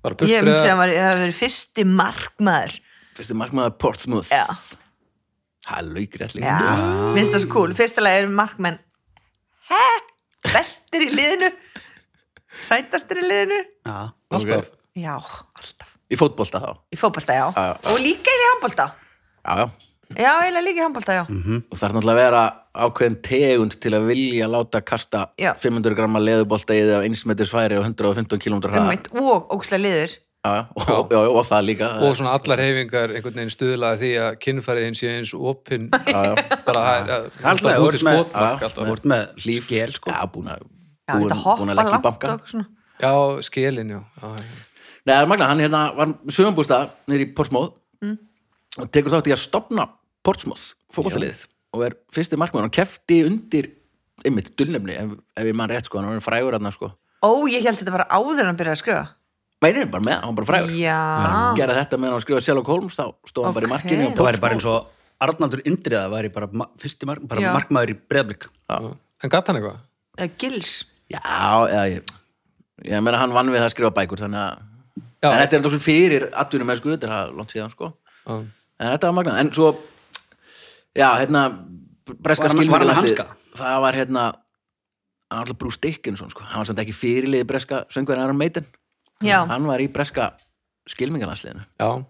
[SPEAKER 2] bara
[SPEAKER 3] ég myndi að
[SPEAKER 2] burtreða
[SPEAKER 3] hann var- hafi verið fyrsti markmaður
[SPEAKER 1] fyrsti markmaður portsmátt
[SPEAKER 3] Já.
[SPEAKER 1] það er laugrétt
[SPEAKER 3] Já,
[SPEAKER 1] líka
[SPEAKER 3] minnst það svo cool Fyrsta lega eru markmenn Hæ? Bestir í liðinu Sætastir í liðinu
[SPEAKER 4] Já
[SPEAKER 2] alltaf
[SPEAKER 3] Já, alltaf
[SPEAKER 1] í fótbolta þá
[SPEAKER 3] Í fótbolta, já
[SPEAKER 1] Já, já.
[SPEAKER 3] Og líka í handbolta
[SPEAKER 1] já, já.
[SPEAKER 3] Já, eiginlega líka í handbolta, já
[SPEAKER 1] og það er náttúrulega að vera ákveðin tegund til að vilja láta kasta
[SPEAKER 3] Já.
[SPEAKER 1] 500 gramma leðubolta í því af 1 metri sværi og 115 km hraða
[SPEAKER 3] Ummætt Um og ókslega liður
[SPEAKER 1] já, já, og, já, já, og það líka
[SPEAKER 2] og svona allar hefingar einhvern veginn stuðlaði því að kynfæriðin sé eins opin
[SPEAKER 1] já, já,
[SPEAKER 2] bara það er-
[SPEAKER 4] Alltaf,
[SPEAKER 2] það er
[SPEAKER 4] þú ert
[SPEAKER 2] út í
[SPEAKER 4] með-
[SPEAKER 2] skotmark alltaf.
[SPEAKER 4] Þú ert með
[SPEAKER 1] Líf.
[SPEAKER 4] skél, sko.
[SPEAKER 1] já, búin að
[SPEAKER 3] Já, þetta
[SPEAKER 1] búin, búin
[SPEAKER 3] hoppa
[SPEAKER 1] að leggja í
[SPEAKER 3] langt
[SPEAKER 1] banka
[SPEAKER 3] og svona.
[SPEAKER 2] já, skilin, já, já, já.
[SPEAKER 1] Nei, það er magna, hann hérna var sögumbústa nýri í Portsmóð
[SPEAKER 4] Mm.
[SPEAKER 1] og tekur þátt í að stopna Portsmóð fókvallaliðið og er fyrsti markmann og kefti undir einmitt dulnefni ef, ef ég mann rétt sko, hann var frægur hann sko
[SPEAKER 3] Ó, ég held þetta var áður en hann byrjaði að skrifa
[SPEAKER 1] meinir bara með, hann var bara frægur
[SPEAKER 3] Já,
[SPEAKER 1] gera þetta meðan hann skrifa Sherlock Holmes þá stóð hann bara í
[SPEAKER 3] Ok.
[SPEAKER 1] markinu og
[SPEAKER 4] Það væri
[SPEAKER 1] Portsmóð
[SPEAKER 4] bara eins og Arnaldur Indriða væri bara ma fyrsti mark, bara
[SPEAKER 3] Já.
[SPEAKER 4] markmaður í breðblik.
[SPEAKER 2] en gatt hann eitthvað?
[SPEAKER 3] eða gils
[SPEAKER 1] Já, eða ég ég meina hann vann við það að skrifa bækur þannig að
[SPEAKER 2] Já.
[SPEAKER 1] en þetta er þetta fyrir atvinnum með sko, þetta er langt síðan sko
[SPEAKER 2] Já.
[SPEAKER 1] en þetta var magnað, en svo já, hérna breska
[SPEAKER 4] Var hann- var hann
[SPEAKER 1] skilvíkilandsliðið,
[SPEAKER 4] með hanska?
[SPEAKER 1] það var hérna hann var alltaf Bruce Dickinson sko, hann var samt ekki fyrirliði breska söngverðin Aron Maiden,
[SPEAKER 3] Já,
[SPEAKER 1] hann var í breska skilmingarlandsliðinu
[SPEAKER 2] já,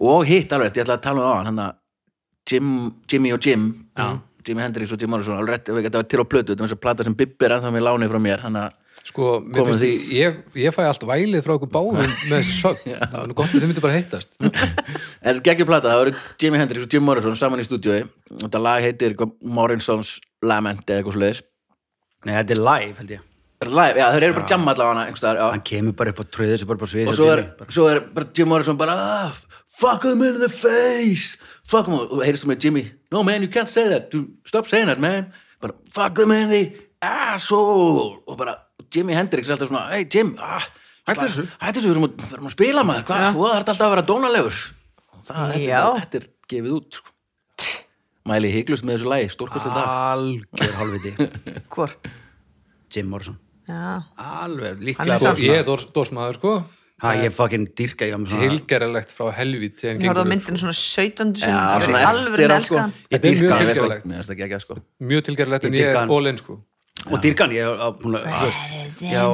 [SPEAKER 1] og hitt alveg, ég ætla að tala um það hann að Jim, Jimmy og Jim já. Jimmy Hendrix og Jim Morrison alveg rétt, þetta var til á plötu, þetta var þess að plata sem Bibbi er ennþá með lánið frá mér, hann að
[SPEAKER 2] sko, mér
[SPEAKER 1] Komum
[SPEAKER 2] finnst því ég, ég fæ allt vælið frá okkur báðum með þessi sögn, það var nú gott að þið myndi bara heitast
[SPEAKER 1] En geggjum plata, það voru Jimi Hendrix og Jim Morrison saman í stúdíói og þetta lag heitir eitthvað Morrison's Lament eða eitthvað svoleiðis
[SPEAKER 4] Nei, þetta er live, held ég.
[SPEAKER 1] Er það live? Já, þeir eru bara að jamma allavega hana einhverstaðar,
[SPEAKER 4] Hann kemur bara upp á tröðið sem bara bara svið.
[SPEAKER 1] já Og svo er, svo er bara Jim Morrison bara ah, Fuck them in the face Fuck them, og heyrst þú með Jimmy No man, you can't say that, Dude, stop saying that man bara, Fuck them in the asshole Og bara Jimi Hendrix er alltaf svona Hey Jim, ah,
[SPEAKER 4] Hættu þessu.
[SPEAKER 1] Hættu þessu, við erum að, við erum að spila maður Hvað, þú þarf alltaf að vera dónalegur Og það, þetta,
[SPEAKER 3] Já.
[SPEAKER 1] er- þetta er gefið út sko. Mæli hygglust með þessu lagi, stórkostið
[SPEAKER 4] Ah.
[SPEAKER 1] dag
[SPEAKER 4] Algjör hálfviti.
[SPEAKER 3] hvor
[SPEAKER 4] Jim Morrison.
[SPEAKER 3] Já,
[SPEAKER 4] Alveg,
[SPEAKER 3] Hann er
[SPEAKER 4] líklega.
[SPEAKER 2] sko,
[SPEAKER 4] bara
[SPEAKER 3] samt-
[SPEAKER 4] svona-
[SPEAKER 2] ég er dors- dórsmaður, sko
[SPEAKER 4] Ha, ég fucking dyrka, ég var með svona...
[SPEAKER 2] tilgerðalegt frá helvíti en
[SPEAKER 3] ég horfði
[SPEAKER 2] gengur
[SPEAKER 3] á
[SPEAKER 2] upp,
[SPEAKER 3] myndinu svona 17 sem
[SPEAKER 1] Já,
[SPEAKER 3] ég
[SPEAKER 1] svona
[SPEAKER 3] er alveg
[SPEAKER 1] eftir
[SPEAKER 3] en
[SPEAKER 1] á sko
[SPEAKER 3] elska hann
[SPEAKER 4] Ég
[SPEAKER 2] Þetta er mjög
[SPEAKER 4] dyrka hann.
[SPEAKER 2] tilgerðalegt.
[SPEAKER 1] Mér finnst það geggjað sko
[SPEAKER 2] sko. mjög tilgerðalegt en
[SPEAKER 4] Ég
[SPEAKER 2] ég
[SPEAKER 4] dyrka
[SPEAKER 2] er
[SPEAKER 4] hann.
[SPEAKER 2] ólinn, sko
[SPEAKER 4] Og dyrka hann, ég var búin að... þú veist, Já,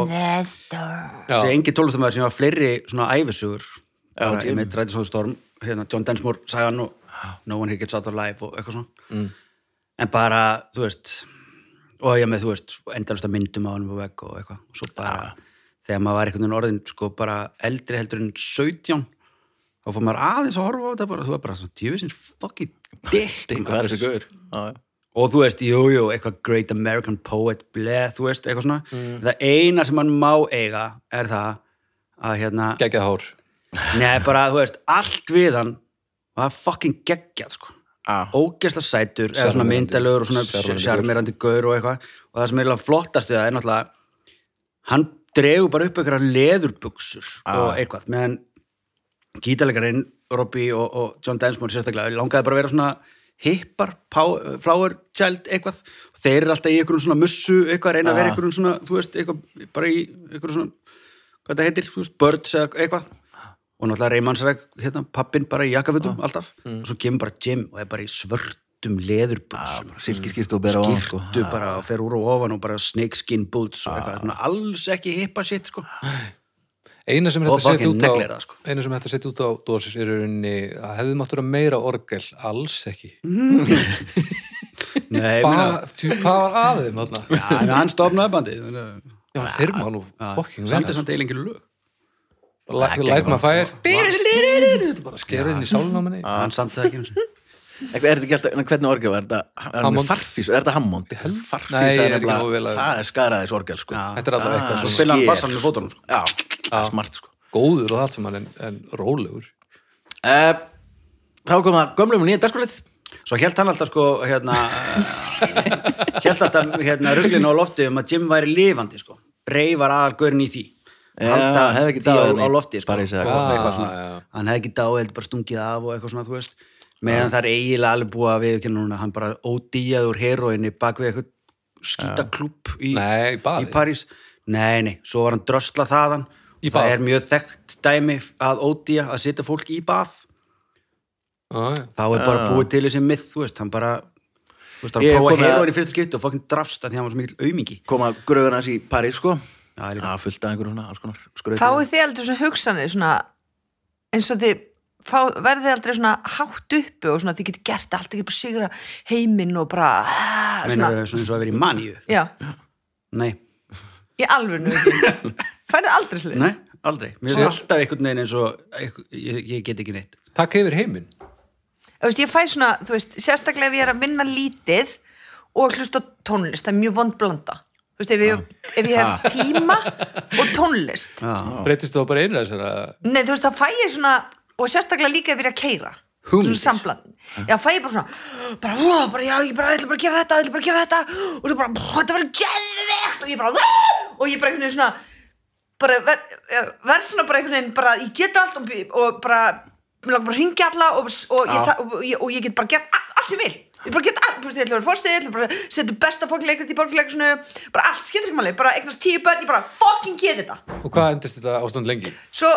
[SPEAKER 2] já,
[SPEAKER 4] sé engi tólestamæður sem hafa fleiri svona æfisugur
[SPEAKER 1] Já,
[SPEAKER 4] bara
[SPEAKER 1] Jim.
[SPEAKER 4] einmitt Ræðis og Storm hérna, John Densmore sagði hann og No One Here Gets Out Alive og eitthvað svona
[SPEAKER 1] Mm.
[SPEAKER 4] en bara, þú veist og ég með, þú veist, endalasta myndum á hann og vekk og eitthvað og svo bara, þegar maður var einhvern veginn orðin sko bara eldri heldur en 17 þá fór maður aðeins að horfa á þetta bara, þú var bara svona djöfisins fucking dick
[SPEAKER 1] Hvað er þessi gaur? Já, já.
[SPEAKER 4] og þú veist, jú, jú, eitthvað Great American Poet, bleh, þú veist, eitthvað svona það eina sem hann má eiga er það að hérna
[SPEAKER 2] geggjað hár
[SPEAKER 4] Nei, bara, þú veist, allt við hann var fucking geggjað, sko
[SPEAKER 1] Ah.
[SPEAKER 4] ógeðsla sætur, eða svona
[SPEAKER 2] Sjarmerandi.
[SPEAKER 4] myndalögur og svona
[SPEAKER 2] Sjarmerandi
[SPEAKER 4] sjarmerandi gaur og eitthvað og það sem er eiginlega flottast við það er náttúrulega hann dregur bara upp einhverjar leðurbuxur
[SPEAKER 2] Ah.
[SPEAKER 4] og eitthvað, meðan gítalegarinn, Robbie og, og John Densmore sérstaklega, langaði bara að vera svona hippar, pá- flower child eitthvað, og þeir eru alltaf í einhverjum svona mussu, eitthvað, reyna að
[SPEAKER 2] Ah.
[SPEAKER 4] vera einhverjum svona þú veist, eitthvað, bara í einhverjum svona hvað þetta heitir, þú veist, birds eða eitthvað og náttúrulega Reymannsræk hérna, pappin bara í jakkafutum alltaf og svo kemur bara Jim og er bara í svörtum leðurbuxum,
[SPEAKER 1] Silkiskýrtu og bera á hann Ah, sko
[SPEAKER 4] skýrtu bara og fer úr og ofan og bara snakeskin boots og eitthvað, svona alls ekki hippa shit sko
[SPEAKER 2] eina sem er
[SPEAKER 4] Og
[SPEAKER 2] hægt að setja
[SPEAKER 4] fucking
[SPEAKER 2] út á
[SPEAKER 4] neglir það, sko.
[SPEAKER 2] eina sem er hægt að setja út á dósis er í rauninni að hefði mátt vera meira orgel alls ekki
[SPEAKER 4] Nei, ég meina,
[SPEAKER 2] Ba- tjú, hvað var að þeim þarna
[SPEAKER 4] ja, en hann stofnaði bandið þannig að-
[SPEAKER 2] já, hann firma nú fokking
[SPEAKER 4] samt
[SPEAKER 2] vel
[SPEAKER 4] er samt eiginlega lög
[SPEAKER 2] Like, like my fire
[SPEAKER 4] sko.
[SPEAKER 2] Þetta bara skerði inn í sálunáminni
[SPEAKER 4] hann samt það ekki einu sinni.
[SPEAKER 1] Eitthvað, er þetta ekki alltaf, en hvernig orgel var þetta? Er þetta
[SPEAKER 2] Hammond.
[SPEAKER 1] með farfís, er þetta Hammond? Farfís
[SPEAKER 2] Nei, ég er
[SPEAKER 1] er
[SPEAKER 2] ekki nógu vel
[SPEAKER 1] nefnilega,
[SPEAKER 2] að-
[SPEAKER 1] það er skaraðis orgel sko
[SPEAKER 4] Já.
[SPEAKER 2] Þetta er alltaf eitthvað
[SPEAKER 4] svo
[SPEAKER 2] svona
[SPEAKER 4] spila hann
[SPEAKER 1] sker,
[SPEAKER 4] bassan með fótunum sko.
[SPEAKER 1] Já, það er smart sko
[SPEAKER 2] góður og allt saman en, en rólegur
[SPEAKER 1] Eh, Þá kom það gömlum og nýjum dagskrálið
[SPEAKER 4] svo held hann alltaf sko hérna, held alltaf hérna, ruglinu á lofti um að Jim væri lifandi sko Rey var aðal gaurin í því
[SPEAKER 1] Já,
[SPEAKER 4] Halda
[SPEAKER 1] hann hefði ekki
[SPEAKER 4] því á,
[SPEAKER 1] dáið
[SPEAKER 4] á
[SPEAKER 1] í
[SPEAKER 4] lofti sko.
[SPEAKER 1] París eða
[SPEAKER 4] Og
[SPEAKER 2] eitthvað.
[SPEAKER 4] eitthvað
[SPEAKER 2] Ah,
[SPEAKER 4] svona.
[SPEAKER 2] já.
[SPEAKER 4] hann hefði ekki dáið, heldur bara stungið af og eitthvað svona, þú veist
[SPEAKER 1] Ah.
[SPEAKER 4] meðan það er eiginlega alveg búið að við núna, hann bara ódýjað úr heroinni bak við eitthvað skítaklúb í,
[SPEAKER 2] Nei, í baði.
[SPEAKER 4] í París nei, nei, svo var hann drösla þaðan
[SPEAKER 2] Í
[SPEAKER 4] það
[SPEAKER 2] bað.
[SPEAKER 4] er mjög þekkt dæmi að ódýja að setja fólk í bað
[SPEAKER 2] ah, já.
[SPEAKER 4] þá er bara búið til þessi mið, þú veist, hann bara þú veist, hann
[SPEAKER 1] Ég er
[SPEAKER 4] prófaði
[SPEAKER 1] komið að-
[SPEAKER 4] heroin í fyrsta skipti og fokkin drafst að því að hann var svo mikill aumingi
[SPEAKER 1] koma gröfun hans í París sko Já,
[SPEAKER 4] það er líka,
[SPEAKER 1] fullt af einhverjum svona, alls konar skrauti.
[SPEAKER 3] Fáið þið aldrei svona hugsanir svona, eins og þið fá, verðið þið aldrei svona hátt uppi og svona þið getið gert allt, þið getið bara sigra heiminn og bara ah,
[SPEAKER 4] meina
[SPEAKER 3] svona,
[SPEAKER 4] það er svona eins og að vera í maníu
[SPEAKER 3] já,
[SPEAKER 4] nei,
[SPEAKER 3] í alveg nú færðið aldrei slið
[SPEAKER 4] nei, aldrei mér er alltaf einhvern veginn eins og einhver- ég, ég get ekki neitt
[SPEAKER 2] Takk yfir heiminn
[SPEAKER 3] Þú veist, ég fæ svona, þú veist, sérstaklega ef ég er að vinna lítið og hlusta á tónlist, það er mjög vond blanda. Þú veist, ef ég, ef ég hef tíma og tónlist.
[SPEAKER 4] Já.
[SPEAKER 2] Breytist þú bara einu þessar að
[SPEAKER 3] Nei, þú veist, það fæ ég svona, og sérstaklega líka ef ég er að keira.
[SPEAKER 4] Hugmyndir.
[SPEAKER 3] Svona sambland. Já, fæ ég bara svona, bara, ó, bara, já, ég bara, ætla bara að gera þetta, ætla bara að gera þetta, og svo bara, brr, þetta verður geðvegt, og ég bara, "Vá!" og ég bara einhvern veginn svona, bara, verð ver verð svona bara einhvern veginn, bara, ég get allt og, og bara, mér langar bara að ringja alla og, og, ég, þa- og, ég, og ég get bara gert a- allt sem ég vil. Ég bara get allt, þú veist, ég ætla að vera fórstið, ég ætla bara að setja besta fólkleikrit í borgleikusinu, bara allt, skiptir ekki máli, bara eignast tíu börn, ég bara fucking get þetta
[SPEAKER 2] og hvað endist þetta ástand lengi?
[SPEAKER 3] svo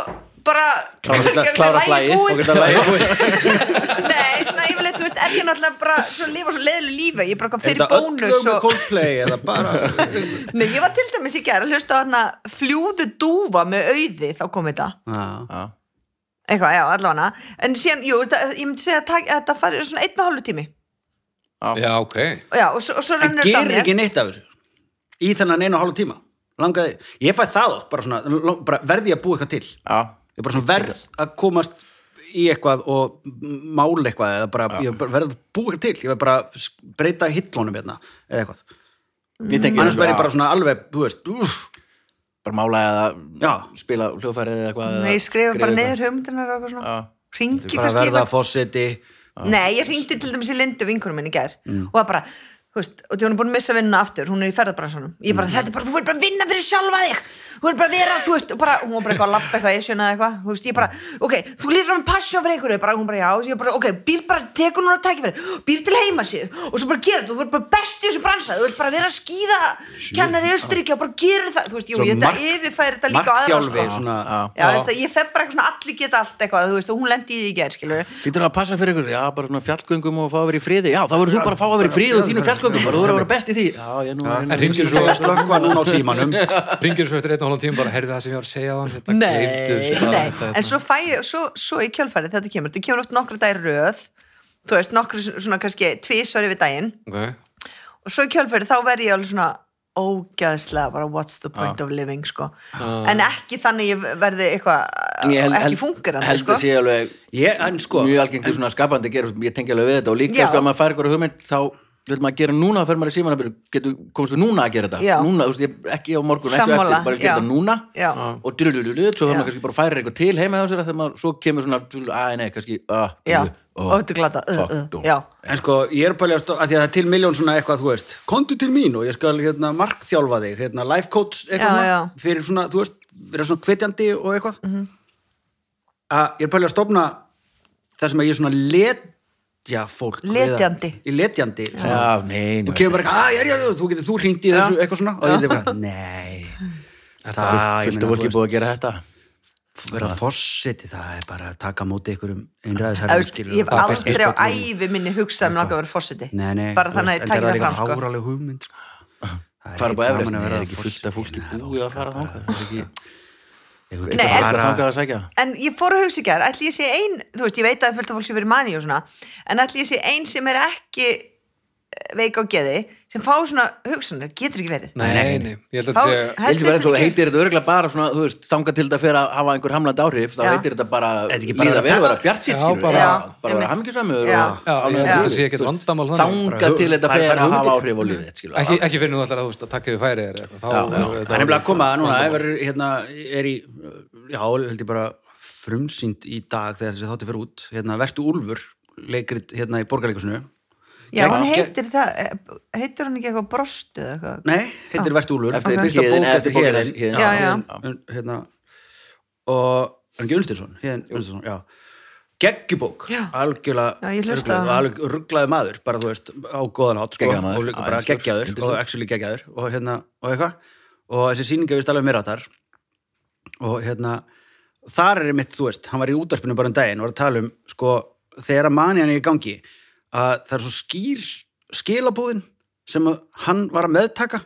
[SPEAKER 3] bara
[SPEAKER 1] Klára-
[SPEAKER 3] kannski
[SPEAKER 1] klára
[SPEAKER 3] alveg lagið
[SPEAKER 1] slagið.
[SPEAKER 3] búið.
[SPEAKER 1] Og geta lagið
[SPEAKER 3] nei, svona yfirleitt, þú veist, er ég náttúrulega bara svo að lifa svo leiðlu lífi, ég bara kom
[SPEAKER 4] Er
[SPEAKER 3] fyrir
[SPEAKER 4] þetta öllum
[SPEAKER 3] bónus
[SPEAKER 4] með
[SPEAKER 3] og,
[SPEAKER 4] Coldplay eða bara
[SPEAKER 3] nei, ég var til dæmis í gær að hlusta á hérna fljúðu dúfa með auði, þá kom þetta
[SPEAKER 4] Já.
[SPEAKER 1] Já.
[SPEAKER 3] eitthvað, já, allavega en síðan, jú, þetta, ég myndi segja að tak- að þetta fari svona einn og hálfu tími
[SPEAKER 2] Já, ok.
[SPEAKER 3] og já, og svo, og svo
[SPEAKER 4] en
[SPEAKER 3] rennur þetta af
[SPEAKER 4] gerir
[SPEAKER 3] mér
[SPEAKER 4] ekki neitt af þessu í þennan einu og hálfu tíma langaði, ég fæ það oft bara svona, lang- bara verði ég að búa eitthvað til ég
[SPEAKER 1] Já.
[SPEAKER 4] er bara svona verð að komast í eitthvað og mála eitthvað eða bara, ég bara verð að búa eitthvað til ég verð bara að sk- breyta hillónum hérna eða eitthvað,
[SPEAKER 1] Ég tengi
[SPEAKER 4] annars
[SPEAKER 1] þessu,
[SPEAKER 4] verð ég
[SPEAKER 1] já.
[SPEAKER 4] bara svona alveg, þú veist, úf
[SPEAKER 1] bara mála eða
[SPEAKER 4] Já.
[SPEAKER 1] spila hljóðfærið eða eitthvað
[SPEAKER 3] nei,
[SPEAKER 1] eða
[SPEAKER 3] ég skrifa bara
[SPEAKER 1] greiða
[SPEAKER 3] niður hugmyndunar og eitthvað svona
[SPEAKER 1] Já.
[SPEAKER 3] ringi
[SPEAKER 4] bara
[SPEAKER 3] kannski
[SPEAKER 4] verða
[SPEAKER 3] yfir-
[SPEAKER 4] að fórseti Ah,
[SPEAKER 3] Nei, ég ringdi til dæmis í Lindu vinkunum minni í gær
[SPEAKER 4] Mm.
[SPEAKER 3] og það bara, þú veist, og því hún er búin að missa vinnuna aftur, hún er í ferðabransanum ég
[SPEAKER 4] Mm.
[SPEAKER 3] bara, þetta er bara, þú verður bara að vinna fyrir sjálfa þig þú verður bara að vera, þú veist, og bara hún var bara eitthvað að lappa eitthvað, ég sjönaði eitthvað, þú veist, ég bara ok, þú lýtur hann passion fyrir einhverju, bara hún bara, já ég bara, ok, býr bara, tekur núna tækifæri býr til heima síð og svo bara gera þetta, þú verður bara best í þessu bransa, þú vilt bara vera að skýða kennari austuríkja og bara gera það þú veist, jú,
[SPEAKER 4] Svo
[SPEAKER 3] ég, þetta
[SPEAKER 4] mark-
[SPEAKER 3] yfirfæri þetta líka á aðra,
[SPEAKER 4] markþjálfi,
[SPEAKER 3] sko.
[SPEAKER 4] svona
[SPEAKER 1] Já.
[SPEAKER 3] Já, þú veist, ég fer bara eitthvað svona allir geta allt eitthvað, þú veist, og hún lendi í því í gær, skilur
[SPEAKER 1] Getur það að passa fyrir ykkur? Já, bara svona fjallgöngum og fá að vera í friði Já, þá verður þú bara að fá að vera í friði og þínum fjallgöngum bara þú verður að vera best í því Já, ég nú er
[SPEAKER 2] En ringir svo,
[SPEAKER 4] slökva núna á símanum
[SPEAKER 2] ringir svo eftir einn og hálfum tíma bara, heyrðu það sem ég var að segja þann, þetta gleymdu
[SPEAKER 3] nei,
[SPEAKER 2] þessu bara,
[SPEAKER 3] nei.
[SPEAKER 2] þetta, hérna.
[SPEAKER 3] en svo fæ ég svo, svo í kjálfærið þetta kemur, þetta kemur oft nokkra dagir röð þú veist, nokkru svona kannski tvisar yfir daginn
[SPEAKER 2] þetta. Ok.
[SPEAKER 3] og svo í kjálfærið þá verð ég alveg svona ógæðslega bara what's the point of living sko. en ekki þannig ég verði eitthvað ekki fungur hann
[SPEAKER 1] Heldur
[SPEAKER 3] sko.
[SPEAKER 1] sé alveg
[SPEAKER 4] ég, en sko,
[SPEAKER 1] mjög algengt í svona skapandi gerist Ég tengi alveg við þetta og
[SPEAKER 3] Já.
[SPEAKER 1] líka sko að maður fær ykkur hugmynd þá vil maður gera núna fyrir maður í síman getur komst við núna að gera
[SPEAKER 3] Já.
[SPEAKER 1] þetta núna, þú veist, ég- ekki á morgun, ekki á
[SPEAKER 3] Sammála,
[SPEAKER 1] eftir, bara
[SPEAKER 3] já.
[SPEAKER 1] gera þetta núna
[SPEAKER 3] Já.
[SPEAKER 1] og dyrulululu, svo
[SPEAKER 3] Já.
[SPEAKER 1] þarf maður kannski bara að færa eitthvað til heima hjá sér þegar maður, svo kemur svona, að nei, kannski ah,
[SPEAKER 3] já,
[SPEAKER 1] dululu, ó,
[SPEAKER 3] og þetta er glata uh,
[SPEAKER 1] fuck,
[SPEAKER 3] uh,
[SPEAKER 1] dú.
[SPEAKER 3] já,
[SPEAKER 4] en sko ég er bara að stó- að því að það er til miljón svona eitthvað, þú veist kontu til mín og ég skal hérna markþjálfa þig hérna life coach, eitthvað
[SPEAKER 3] Já,
[SPEAKER 4] svona
[SPEAKER 3] já. Mhm.
[SPEAKER 4] fyrir svona, þú veist, vera svona hvetjandi og eitthvað að ég er bara að stofna það sem að ég er svona letja fólk við að-
[SPEAKER 3] Letjandi.
[SPEAKER 4] í letjandi, svona,
[SPEAKER 1] Já, nei, nei
[SPEAKER 4] þú kemur bara eitthvað, að, já, já, já, þú getur þú hringt í þessu, eitthvað svona og ég er bara, nei
[SPEAKER 2] Er
[SPEAKER 4] það
[SPEAKER 1] Ah,
[SPEAKER 4] ég
[SPEAKER 1] fullt af
[SPEAKER 4] meina, þú
[SPEAKER 1] fólki
[SPEAKER 4] veist,
[SPEAKER 1] búið að gera þetta
[SPEAKER 4] vera fórseti, það er bara að taka á móti einhverjum
[SPEAKER 3] Þú
[SPEAKER 4] einræðisherrum
[SPEAKER 3] veist, ég hef
[SPEAKER 4] og-
[SPEAKER 3] aldrei á ævi minni hugsað um langa að vera fórseti
[SPEAKER 4] Nei, nei,
[SPEAKER 3] bara
[SPEAKER 4] þú
[SPEAKER 3] þannig
[SPEAKER 4] veist,
[SPEAKER 3] að ég
[SPEAKER 4] en
[SPEAKER 3] takk það fram sko.
[SPEAKER 4] það er eitthvað fáraleg hugmynd sko. Það
[SPEAKER 1] fara
[SPEAKER 4] ekki
[SPEAKER 1] bara efrest,
[SPEAKER 4] gaman að
[SPEAKER 1] það
[SPEAKER 4] vera
[SPEAKER 1] er ekki fullt af fólki
[SPEAKER 4] forseti, nei,
[SPEAKER 1] búið að fara
[SPEAKER 4] óskaplega.
[SPEAKER 1] þangað það er ekki
[SPEAKER 4] Eitthvað
[SPEAKER 3] Nei,
[SPEAKER 4] sko.
[SPEAKER 1] það
[SPEAKER 4] bara-
[SPEAKER 1] er þangað að sækja
[SPEAKER 3] en ég fór að hugsa í gerð, ætli ég sé ein þú veist, ég veit að það er fullt af fólk sem verið mani og svona en ætli ég sé ein sem er ekki eh, veik á geði sem fá svona hugsanir, getur ekki verið
[SPEAKER 2] Nei, nei, nei, ég held að þetta
[SPEAKER 3] Þá-
[SPEAKER 2] sé,
[SPEAKER 1] Helst bara eins og
[SPEAKER 3] ekki-
[SPEAKER 1] heitir þetta örgulega bara svona, þú veist, þangað til þetta fyrir að hafa einhver hamlandi áhrif þá
[SPEAKER 3] Já.
[SPEAKER 1] heitir þetta bara,
[SPEAKER 4] Þetta ekki bara
[SPEAKER 1] líða
[SPEAKER 4] að
[SPEAKER 1] vel að
[SPEAKER 4] taka-
[SPEAKER 1] vera bjart
[SPEAKER 2] Já,
[SPEAKER 1] sítt skilur
[SPEAKER 2] bara-
[SPEAKER 1] bara,
[SPEAKER 3] Já,
[SPEAKER 1] bara
[SPEAKER 3] einmitt.
[SPEAKER 1] vera hamingjusamur
[SPEAKER 3] Já.
[SPEAKER 1] og
[SPEAKER 2] já, ég held að þetta sé ekkert
[SPEAKER 1] Þú veist,
[SPEAKER 2] vandamál þannig.
[SPEAKER 1] þangað til þetta
[SPEAKER 4] Fær-
[SPEAKER 1] fyrir
[SPEAKER 4] fær
[SPEAKER 1] að hafa
[SPEAKER 4] hugmyndir.
[SPEAKER 1] áhrif á lífið þitt, skilur.
[SPEAKER 2] Ekki, ekki finnum allar að þú veist að taka yfir færi eða eitthvað, þá er
[SPEAKER 4] Það er nefnilega að koma núna, ef er, hérna, er í, já, held ég bara frumsýnd í dag þegar þessi þátti fyrir út, hérna, Vertu Úlfur, leikrit hérna í borgarleikusinu.
[SPEAKER 3] já, hún
[SPEAKER 4] Gegn-
[SPEAKER 3] heitir það eh, heitir hún ekki eitthvað brostu eða eitthvað
[SPEAKER 4] Nei, heitir Vertu Úlfur,
[SPEAKER 1] Eftir
[SPEAKER 4] Birta
[SPEAKER 1] Héðin,
[SPEAKER 4] bók
[SPEAKER 1] eftir
[SPEAKER 4] eftir
[SPEAKER 1] bókina
[SPEAKER 4] Héðin,
[SPEAKER 1] hans, Héðin.
[SPEAKER 3] Ah. Já, já.
[SPEAKER 4] En, Hérna, og, er ekki Unstinsson, Héðin Unstinsson, já. Geggjubók,
[SPEAKER 3] Já.
[SPEAKER 4] algjörlega
[SPEAKER 3] Já, ég hlustaði á
[SPEAKER 4] rugglaður,
[SPEAKER 3] hana.
[SPEAKER 4] alveg rugglaður maður, bara þú veist, á góðan átt, sko,
[SPEAKER 1] Geggjaður maður,
[SPEAKER 4] og líka bara
[SPEAKER 1] aðeins,
[SPEAKER 4] geggjaður,
[SPEAKER 1] yndislegur.
[SPEAKER 4] og actually geggjaður, og hérna, og eitthvað, og þessi sýninga við stælum mér að þar, og hérna þar er einmitt, þú veist, hann var í útarpinu bara um daginn og var að tala um, sko, þegar að mani hann er í gangi að það er svo skýr skilabúðin sem að hann var að meðtaka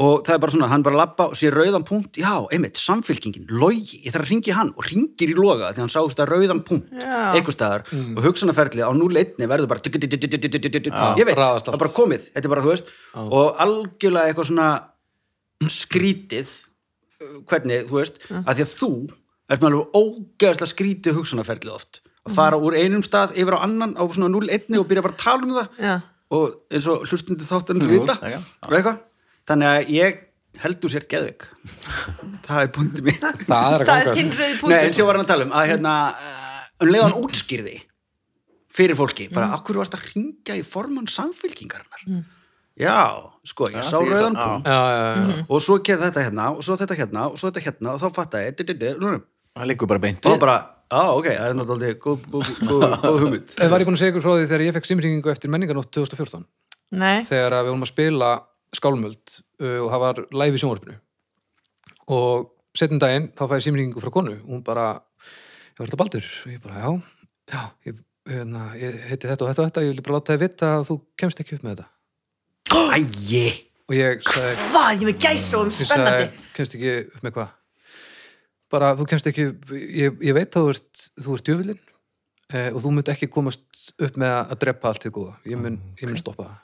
[SPEAKER 4] og það er bara svona, hann bara labba og sé rauðan punkt, já, einmitt, samfylkingin logi, ég þarf að ringi hann og ringir í loga því hann sást að rauðan punkt
[SPEAKER 3] Já.
[SPEAKER 4] einhver staðar og hugsanaferlið á núleitni verður bara ég veit,
[SPEAKER 2] raðast
[SPEAKER 4] það
[SPEAKER 2] allt.
[SPEAKER 4] er bara komið, þetta er bara, þú veist og algjörlega eitthvað svona skrítið uh, hvernig, þú veist, að því að þú ert með alveg ógeðslega skrítið hugsunarferðlið oft að fara úr einum stað yfir á annan á svona 0-1 og byrja bara að tala um það
[SPEAKER 3] Já.
[SPEAKER 4] og eins og hlustundu þáttan vita,
[SPEAKER 1] já, já.
[SPEAKER 4] og eitthvað þannig að ég heldur sér geðveik það er punktið mitt
[SPEAKER 2] það er að
[SPEAKER 3] það er
[SPEAKER 2] ganga sko.
[SPEAKER 3] þinn rauði
[SPEAKER 4] Nei,
[SPEAKER 3] punktur
[SPEAKER 4] eins og ég var hann að tala um að hérna, eh, um leiðan útskýrði fyrir fólki, bara akkur varst að ringja í formann samfylkingarinnar Já, sko, ég
[SPEAKER 1] Já,
[SPEAKER 4] sá
[SPEAKER 1] því ég
[SPEAKER 4] rauðan
[SPEAKER 1] sá-
[SPEAKER 4] punkt
[SPEAKER 2] Já, já, já,
[SPEAKER 3] Mhm.
[SPEAKER 2] já.
[SPEAKER 4] og svo keði þetta hérna og svo þetta hérna og svo þetta hérna og þá fatta ég di, di, di, nú, nú.
[SPEAKER 1] það liggur bara beint
[SPEAKER 4] og þá
[SPEAKER 1] við
[SPEAKER 4] bara, á ok, það er náttúrulega góð, góð, góð, góð hugmynd
[SPEAKER 2] Eh, Var ég búin að segja ykkur frá því þegar ég fekk simringingu eftir menninganótt 2014
[SPEAKER 3] Nei,
[SPEAKER 2] þegar að við vorum að spila skálmöld uh, og það var live í sjónvarpinu og setjum daginn þá fæði símringingu frá konu hún bara, ég var þetta baldur og ég bara, já, já ég, hérna, ég heiti þetta og þetta og þetta ég vildi bara láta þið vita að þú kemst ekki upp með þetta
[SPEAKER 4] Æi,
[SPEAKER 2] og ég sagði,
[SPEAKER 3] hvað, ég er með gæsa og um
[SPEAKER 2] ég
[SPEAKER 3] spennandi
[SPEAKER 2] sagði, kemst ekki upp með hvað bara þú kemst ekki ég, ég veit að þú ert, þú ert djöfilinn eh, og þú munt ekki komast upp með að drepa allt þið góða ég mun, ég mun stoppa það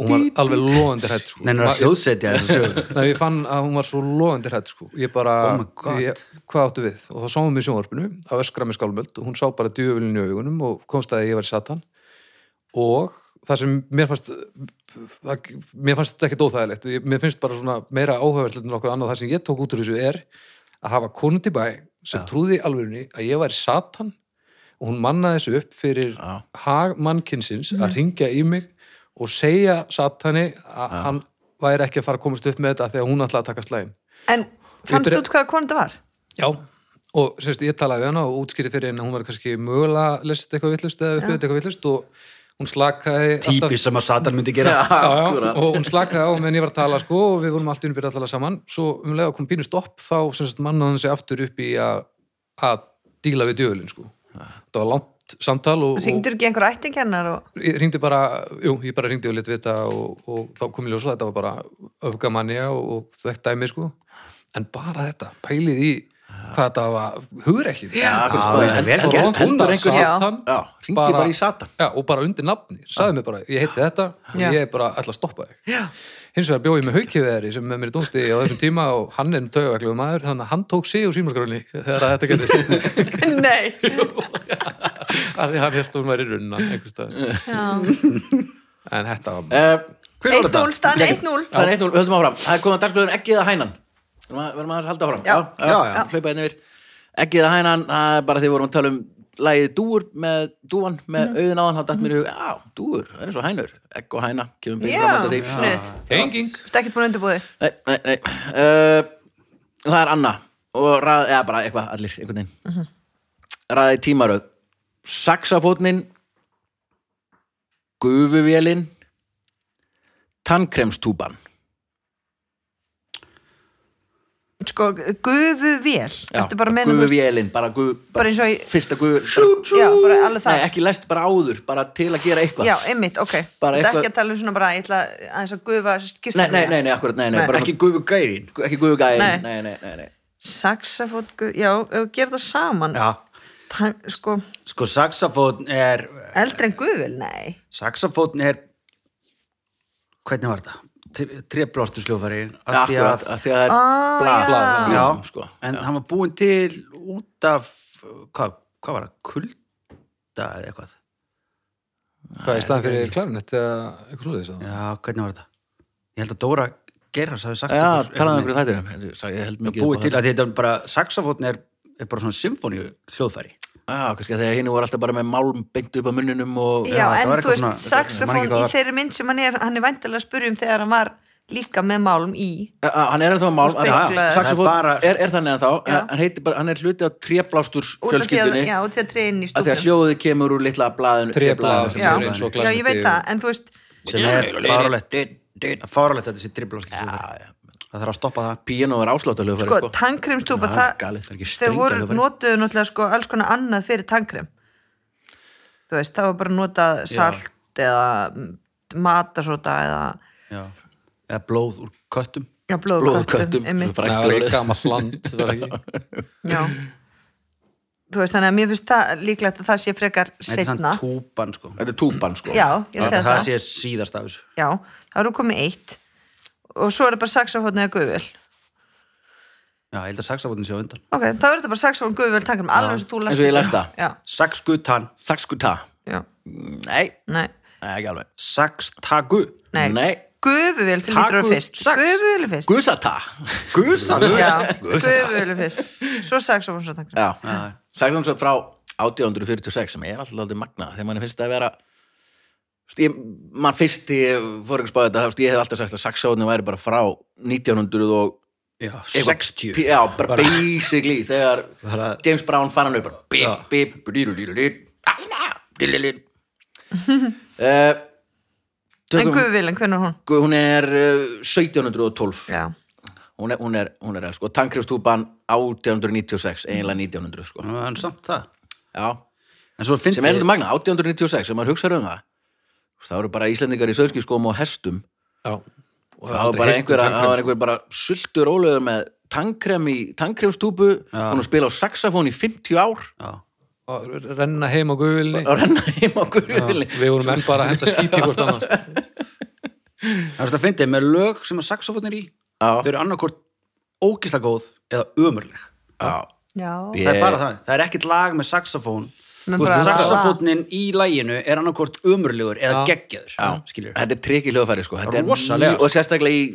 [SPEAKER 2] og hún var alveg loðandi hrætt sko.
[SPEAKER 4] neina
[SPEAKER 2] Ma-
[SPEAKER 4] að hljóðsetja þessu sögur
[SPEAKER 2] Nei, ég fann að hún var svo loðandi hrætt sko. ég bara,
[SPEAKER 4] Oh my God.
[SPEAKER 2] ég, hvað áttu við og þá sáum við í sjónvarpinu að öskra með skálmöld og hún sá bara djöfulinu í augunum og komst að ég var í satan og það sem mér fannst það, mér fannst þetta ekkert óþægilegt Ég- mér finnst bara svona meira áhugavert en okkur annað það sem ég tók út úr þessu er að hafa konu til bæ sem trúði í alvörunni að ég var í satan og hún mannaði þessu upp fyrir
[SPEAKER 1] Já.
[SPEAKER 2] hag mannkinsins að ringja í mig og segja satani að hann væri ekki að fara að komast upp með þetta þegar hún ætlaði að taka slægin
[SPEAKER 3] En fannst
[SPEAKER 2] byrja-
[SPEAKER 3] þú út hvaða konu þetta var?
[SPEAKER 2] Já, og semst ég talaði við hana og útskýri fyrir henni að hún var kannski mögulega lest eitthvað villust eða uppið eitthvað villust og hún slakaði alltaf-
[SPEAKER 4] típis sem að Satan myndi gera
[SPEAKER 2] já, já,
[SPEAKER 1] Akkúrat.
[SPEAKER 2] og hún slakaði á meðan ég var að tala sko, og við vorum allt innbyrð að tala saman svo um leið að kom pínu stopp þá sem sagt, mannaði hann sig aftur upp í að að díla við djöfulinn sko. það var langt samtal og, og
[SPEAKER 3] Ringdur ekki einhver ættingjarnar og
[SPEAKER 2] ég ringdi bara, jú, ég bara ringdi og lit vita og, og þá kom ég ljósa þetta var bara öfgamannja og, og þetta dæmi sko, en bara þetta pælið í hvað þetta var hugrekkið
[SPEAKER 1] Já, akkur
[SPEAKER 4] Já,
[SPEAKER 1] spáði.
[SPEAKER 4] það er vel
[SPEAKER 1] En-
[SPEAKER 4] gert.
[SPEAKER 1] Þó- endar einhver-
[SPEAKER 3] Já.
[SPEAKER 2] satan
[SPEAKER 1] Já, hringi bara í Satan.
[SPEAKER 2] já, og bara undir nafni, sagði mér bara ég heiti þetta og
[SPEAKER 3] Já.
[SPEAKER 2] ég er bara ætla að stoppa þig já. hins vegar bjóði með haukiðveri sem með mér dónsti á þessum tíma og hann er um taugaklegu maður þannig að hann tók sig úr símarskröðinni þegar að þetta gerðist
[SPEAKER 3] Nei,
[SPEAKER 2] af því hann held að hún væri runna einhvers staðar. en þetta var
[SPEAKER 1] Eh,
[SPEAKER 4] Hver var
[SPEAKER 3] 1-0
[SPEAKER 4] þetta?
[SPEAKER 3] staðan
[SPEAKER 1] Nei,
[SPEAKER 3] 1-0
[SPEAKER 1] Það er 1-0, við höldum áfram Það er komið að dagsklöðun eggið að hænan Verðum að- Verðum að halda áfram
[SPEAKER 3] Já.
[SPEAKER 4] Já, já.
[SPEAKER 1] Hlaupa einn yfir Eggið að hænan, það er bara því við vorum að tala um Lægið dúur með dúan Með mm. auðin áðan, þá datt mér í hug Já, dúur, það er svo hænur Egg og hæna, kemum beint fram
[SPEAKER 3] Já,
[SPEAKER 1] alltaf því
[SPEAKER 3] snuð
[SPEAKER 2] henging
[SPEAKER 3] Þetta ekkert búin að undirbúði
[SPEAKER 1] Nei, nei, nei uh, Það er Anna Og ræði, eða bara eitthvað, allir, einhvern veginn
[SPEAKER 3] Mhm.
[SPEAKER 1] mm Ræði tímaröð Saxafótnin Gufuvélin Tannkremstúban
[SPEAKER 3] Sko, gufu vel
[SPEAKER 1] Já,
[SPEAKER 3] Ertu bara að meina þú veist
[SPEAKER 1] gufuvélin, bara gufu
[SPEAKER 3] Bara eins og í-
[SPEAKER 1] fyrsta gufu
[SPEAKER 3] Já, bara alveg það
[SPEAKER 1] Nei, ekki læst bara áður, bara til að gera eitthvað
[SPEAKER 3] Já, einmitt, ok Þetta
[SPEAKER 1] Bara
[SPEAKER 3] er
[SPEAKER 1] eitthvað-
[SPEAKER 3] ekki að tala um svona bara Ég ætla aðeins að gufa skýrta
[SPEAKER 1] Nei, nei, nei, nei, akkurat, nei, nei,
[SPEAKER 3] Nei.
[SPEAKER 1] bara
[SPEAKER 4] Ekki Gufu Gærin
[SPEAKER 1] svona- ekki gufugæðin
[SPEAKER 3] Nei.
[SPEAKER 1] Nei, nei, nei, nei
[SPEAKER 3] Saxafót, gu- já, ef við gerum það saman
[SPEAKER 4] Já,
[SPEAKER 3] Tan, Sko,
[SPEAKER 4] sko saxafón er
[SPEAKER 3] eldri en gufil, nei
[SPEAKER 4] saxafón er hvernig var þetta? Treblástur sljófari
[SPEAKER 1] Akkurat, af því að það er
[SPEAKER 3] Ó,
[SPEAKER 1] blað,
[SPEAKER 3] já.
[SPEAKER 1] blað
[SPEAKER 4] Já,
[SPEAKER 1] já, sko
[SPEAKER 4] en hann var búin til út af hvað, hvað var það, kulda eða eitthvað
[SPEAKER 2] hvað er staðan fyrir klarinett eða eitthvað slúðið það
[SPEAKER 4] já, hvernig var þetta ég held að Dóra Gerhars hafi sagt
[SPEAKER 1] Já,
[SPEAKER 4] okkur-
[SPEAKER 1] talaðu um einhverju þættir Ég sagði- ég held mikið
[SPEAKER 4] búið
[SPEAKER 1] upp á
[SPEAKER 4] til
[SPEAKER 1] það.
[SPEAKER 4] að þetta er bara saxafótn er, er bara svona symfóníu hljóðfæri
[SPEAKER 1] Já, kannski að þegar hinn voru alltaf bara með málm beint upp á munninum og
[SPEAKER 3] Já,
[SPEAKER 4] það
[SPEAKER 3] en
[SPEAKER 4] var
[SPEAKER 3] þú
[SPEAKER 4] eitthvað
[SPEAKER 3] veist,
[SPEAKER 4] svona- ég man
[SPEAKER 3] saxafón
[SPEAKER 4] ekki hvað
[SPEAKER 3] í
[SPEAKER 4] var.
[SPEAKER 3] þeirri mynd sem hann er Hann er væntalega að spyrja um þegar hann var líka með málum í
[SPEAKER 1] Já, Hann er ennþá málm en-
[SPEAKER 3] Speglaður.
[SPEAKER 1] Já, saxófónn
[SPEAKER 4] Það er bara-
[SPEAKER 1] er, er þannig ennþá
[SPEAKER 3] Já.
[SPEAKER 1] en hann, heitir bara, hann er hluti á tréblásturs
[SPEAKER 3] Út af því að,
[SPEAKER 1] fjölskyldunni
[SPEAKER 3] já, út af því að treyna í
[SPEAKER 1] af því að
[SPEAKER 3] stúknum
[SPEAKER 1] hljóðið kemur úr litla blaðinu
[SPEAKER 2] treblað
[SPEAKER 1] tréblaðinu.
[SPEAKER 2] sem er eins og
[SPEAKER 3] Já, ég veit
[SPEAKER 2] klarinetti
[SPEAKER 3] það, en þú veist
[SPEAKER 4] sem er fáralegt
[SPEAKER 1] Já,
[SPEAKER 4] fáralegt að þetta sé dribblástur hljóðfæri
[SPEAKER 1] já.
[SPEAKER 4] það þarf að stoppa það
[SPEAKER 1] Píanó er ásláttalög
[SPEAKER 3] sko, tannkremstúpa,
[SPEAKER 1] Já, galið,
[SPEAKER 4] það er ekki
[SPEAKER 3] það þeir
[SPEAKER 4] strengja
[SPEAKER 3] voru
[SPEAKER 4] alveg.
[SPEAKER 3] notuðu náttúrulega sko alls konar annað fyrir tannkrem þú veist, það var bara notað salt eða matasóta eða
[SPEAKER 4] já. eða blóð úr köttum
[SPEAKER 3] já, blóðköttum
[SPEAKER 1] Blóðköttum,
[SPEAKER 3] einmitt.
[SPEAKER 1] bara-
[SPEAKER 2] það var ekki gammal land var ekki
[SPEAKER 3] já. þú veist, þannig að mér finnst það líklegt að það sé frekar
[SPEAKER 4] þetta er
[SPEAKER 3] setna
[SPEAKER 4] sann túpan sko
[SPEAKER 1] Þetta er túpan sko
[SPEAKER 3] já, ég
[SPEAKER 4] það,
[SPEAKER 3] segi
[SPEAKER 4] það
[SPEAKER 3] það,
[SPEAKER 4] sé síðast af þessu
[SPEAKER 3] já, það eru komið eitt og svo er það bara saxafótnið að guðvel
[SPEAKER 4] Já, ég held að saxafótin sé á undan
[SPEAKER 3] ok, þá er þetta bara saxofón guðvöld tankarum alveg eins og þú
[SPEAKER 1] Eins og ég las það.
[SPEAKER 3] já,
[SPEAKER 4] Saxgutan,
[SPEAKER 1] Saxkuta
[SPEAKER 3] já,
[SPEAKER 1] Nei,
[SPEAKER 3] nei,
[SPEAKER 1] nei, ekki alveg
[SPEAKER 4] saxtagu
[SPEAKER 3] nei,
[SPEAKER 1] Nei.
[SPEAKER 3] guðvöld fyrir
[SPEAKER 4] Taku
[SPEAKER 3] lítur og fyrst
[SPEAKER 4] sax.
[SPEAKER 3] guðvöld fyrst
[SPEAKER 1] Gusata Gusata
[SPEAKER 3] já, guðvöld fyrst svo saxofón svo tankarum
[SPEAKER 1] Já, saxónsöld frá 1846 sem er alltaf aldrei magnað þegar mann finnst að vera Þú veist, ég, mann fyrst til ég fór ekki að spáði þetta þá veist, ég hef alltaf sagt að saxónin væri bara frá 1900 og
[SPEAKER 4] Já,
[SPEAKER 1] eitthvað-
[SPEAKER 4] 60
[SPEAKER 1] P- já, bara basically þegar
[SPEAKER 4] Bara-
[SPEAKER 1] James Brown fann hann upp bara bip,
[SPEAKER 4] Já.
[SPEAKER 1] bip, blílulílulít, alina, blílulít. Eh,
[SPEAKER 3] en
[SPEAKER 1] tökum-
[SPEAKER 3] guðvöld, hvernig er hún?
[SPEAKER 1] Guð, hún er eh, 1712
[SPEAKER 3] já,
[SPEAKER 1] hún er, hún er, hún er sko, tankrifstúpan 1896 eiginlega 1900 sko.
[SPEAKER 4] En samt það
[SPEAKER 1] já,
[SPEAKER 4] En svo finnst
[SPEAKER 1] sem er svolítið magna, 1896 sem maður hugsaður um það þú veist, það eru bara Íslendingar í sauðskiskóm og hestum
[SPEAKER 2] Já. Og
[SPEAKER 1] það var
[SPEAKER 2] aldrei
[SPEAKER 1] bara
[SPEAKER 2] heyrt um
[SPEAKER 1] einhver,
[SPEAKER 2] tannkrem,
[SPEAKER 1] það var einhver bara sultur ólegur með tankrem í tankremstúpu hún að spila á saxafón í 50 ár
[SPEAKER 4] Já,
[SPEAKER 2] sko. Að renna heim á guðvilni
[SPEAKER 1] og renna heim á guðvilli
[SPEAKER 2] við vorum enn bara að henda skíti hvort annars
[SPEAKER 4] það er svolítið að fyndið með lög sem að saxafótin er í
[SPEAKER 1] Já.
[SPEAKER 4] Þau eru annarkort ógisla góð eða ömurleg
[SPEAKER 1] Já.
[SPEAKER 3] já,
[SPEAKER 1] Ég-
[SPEAKER 4] Það er bara það, það er ekkert lag með saxafón
[SPEAKER 3] Men
[SPEAKER 4] Þú veist,
[SPEAKER 3] bara-
[SPEAKER 4] saxafónin í læginu er annarkort ömurlegur eða geggjaður Skilur
[SPEAKER 1] þetta er trikk í hljóðfæri sko. Þetta er
[SPEAKER 4] Rosalega,
[SPEAKER 1] mjög-
[SPEAKER 4] sko.
[SPEAKER 1] og sérstaklega í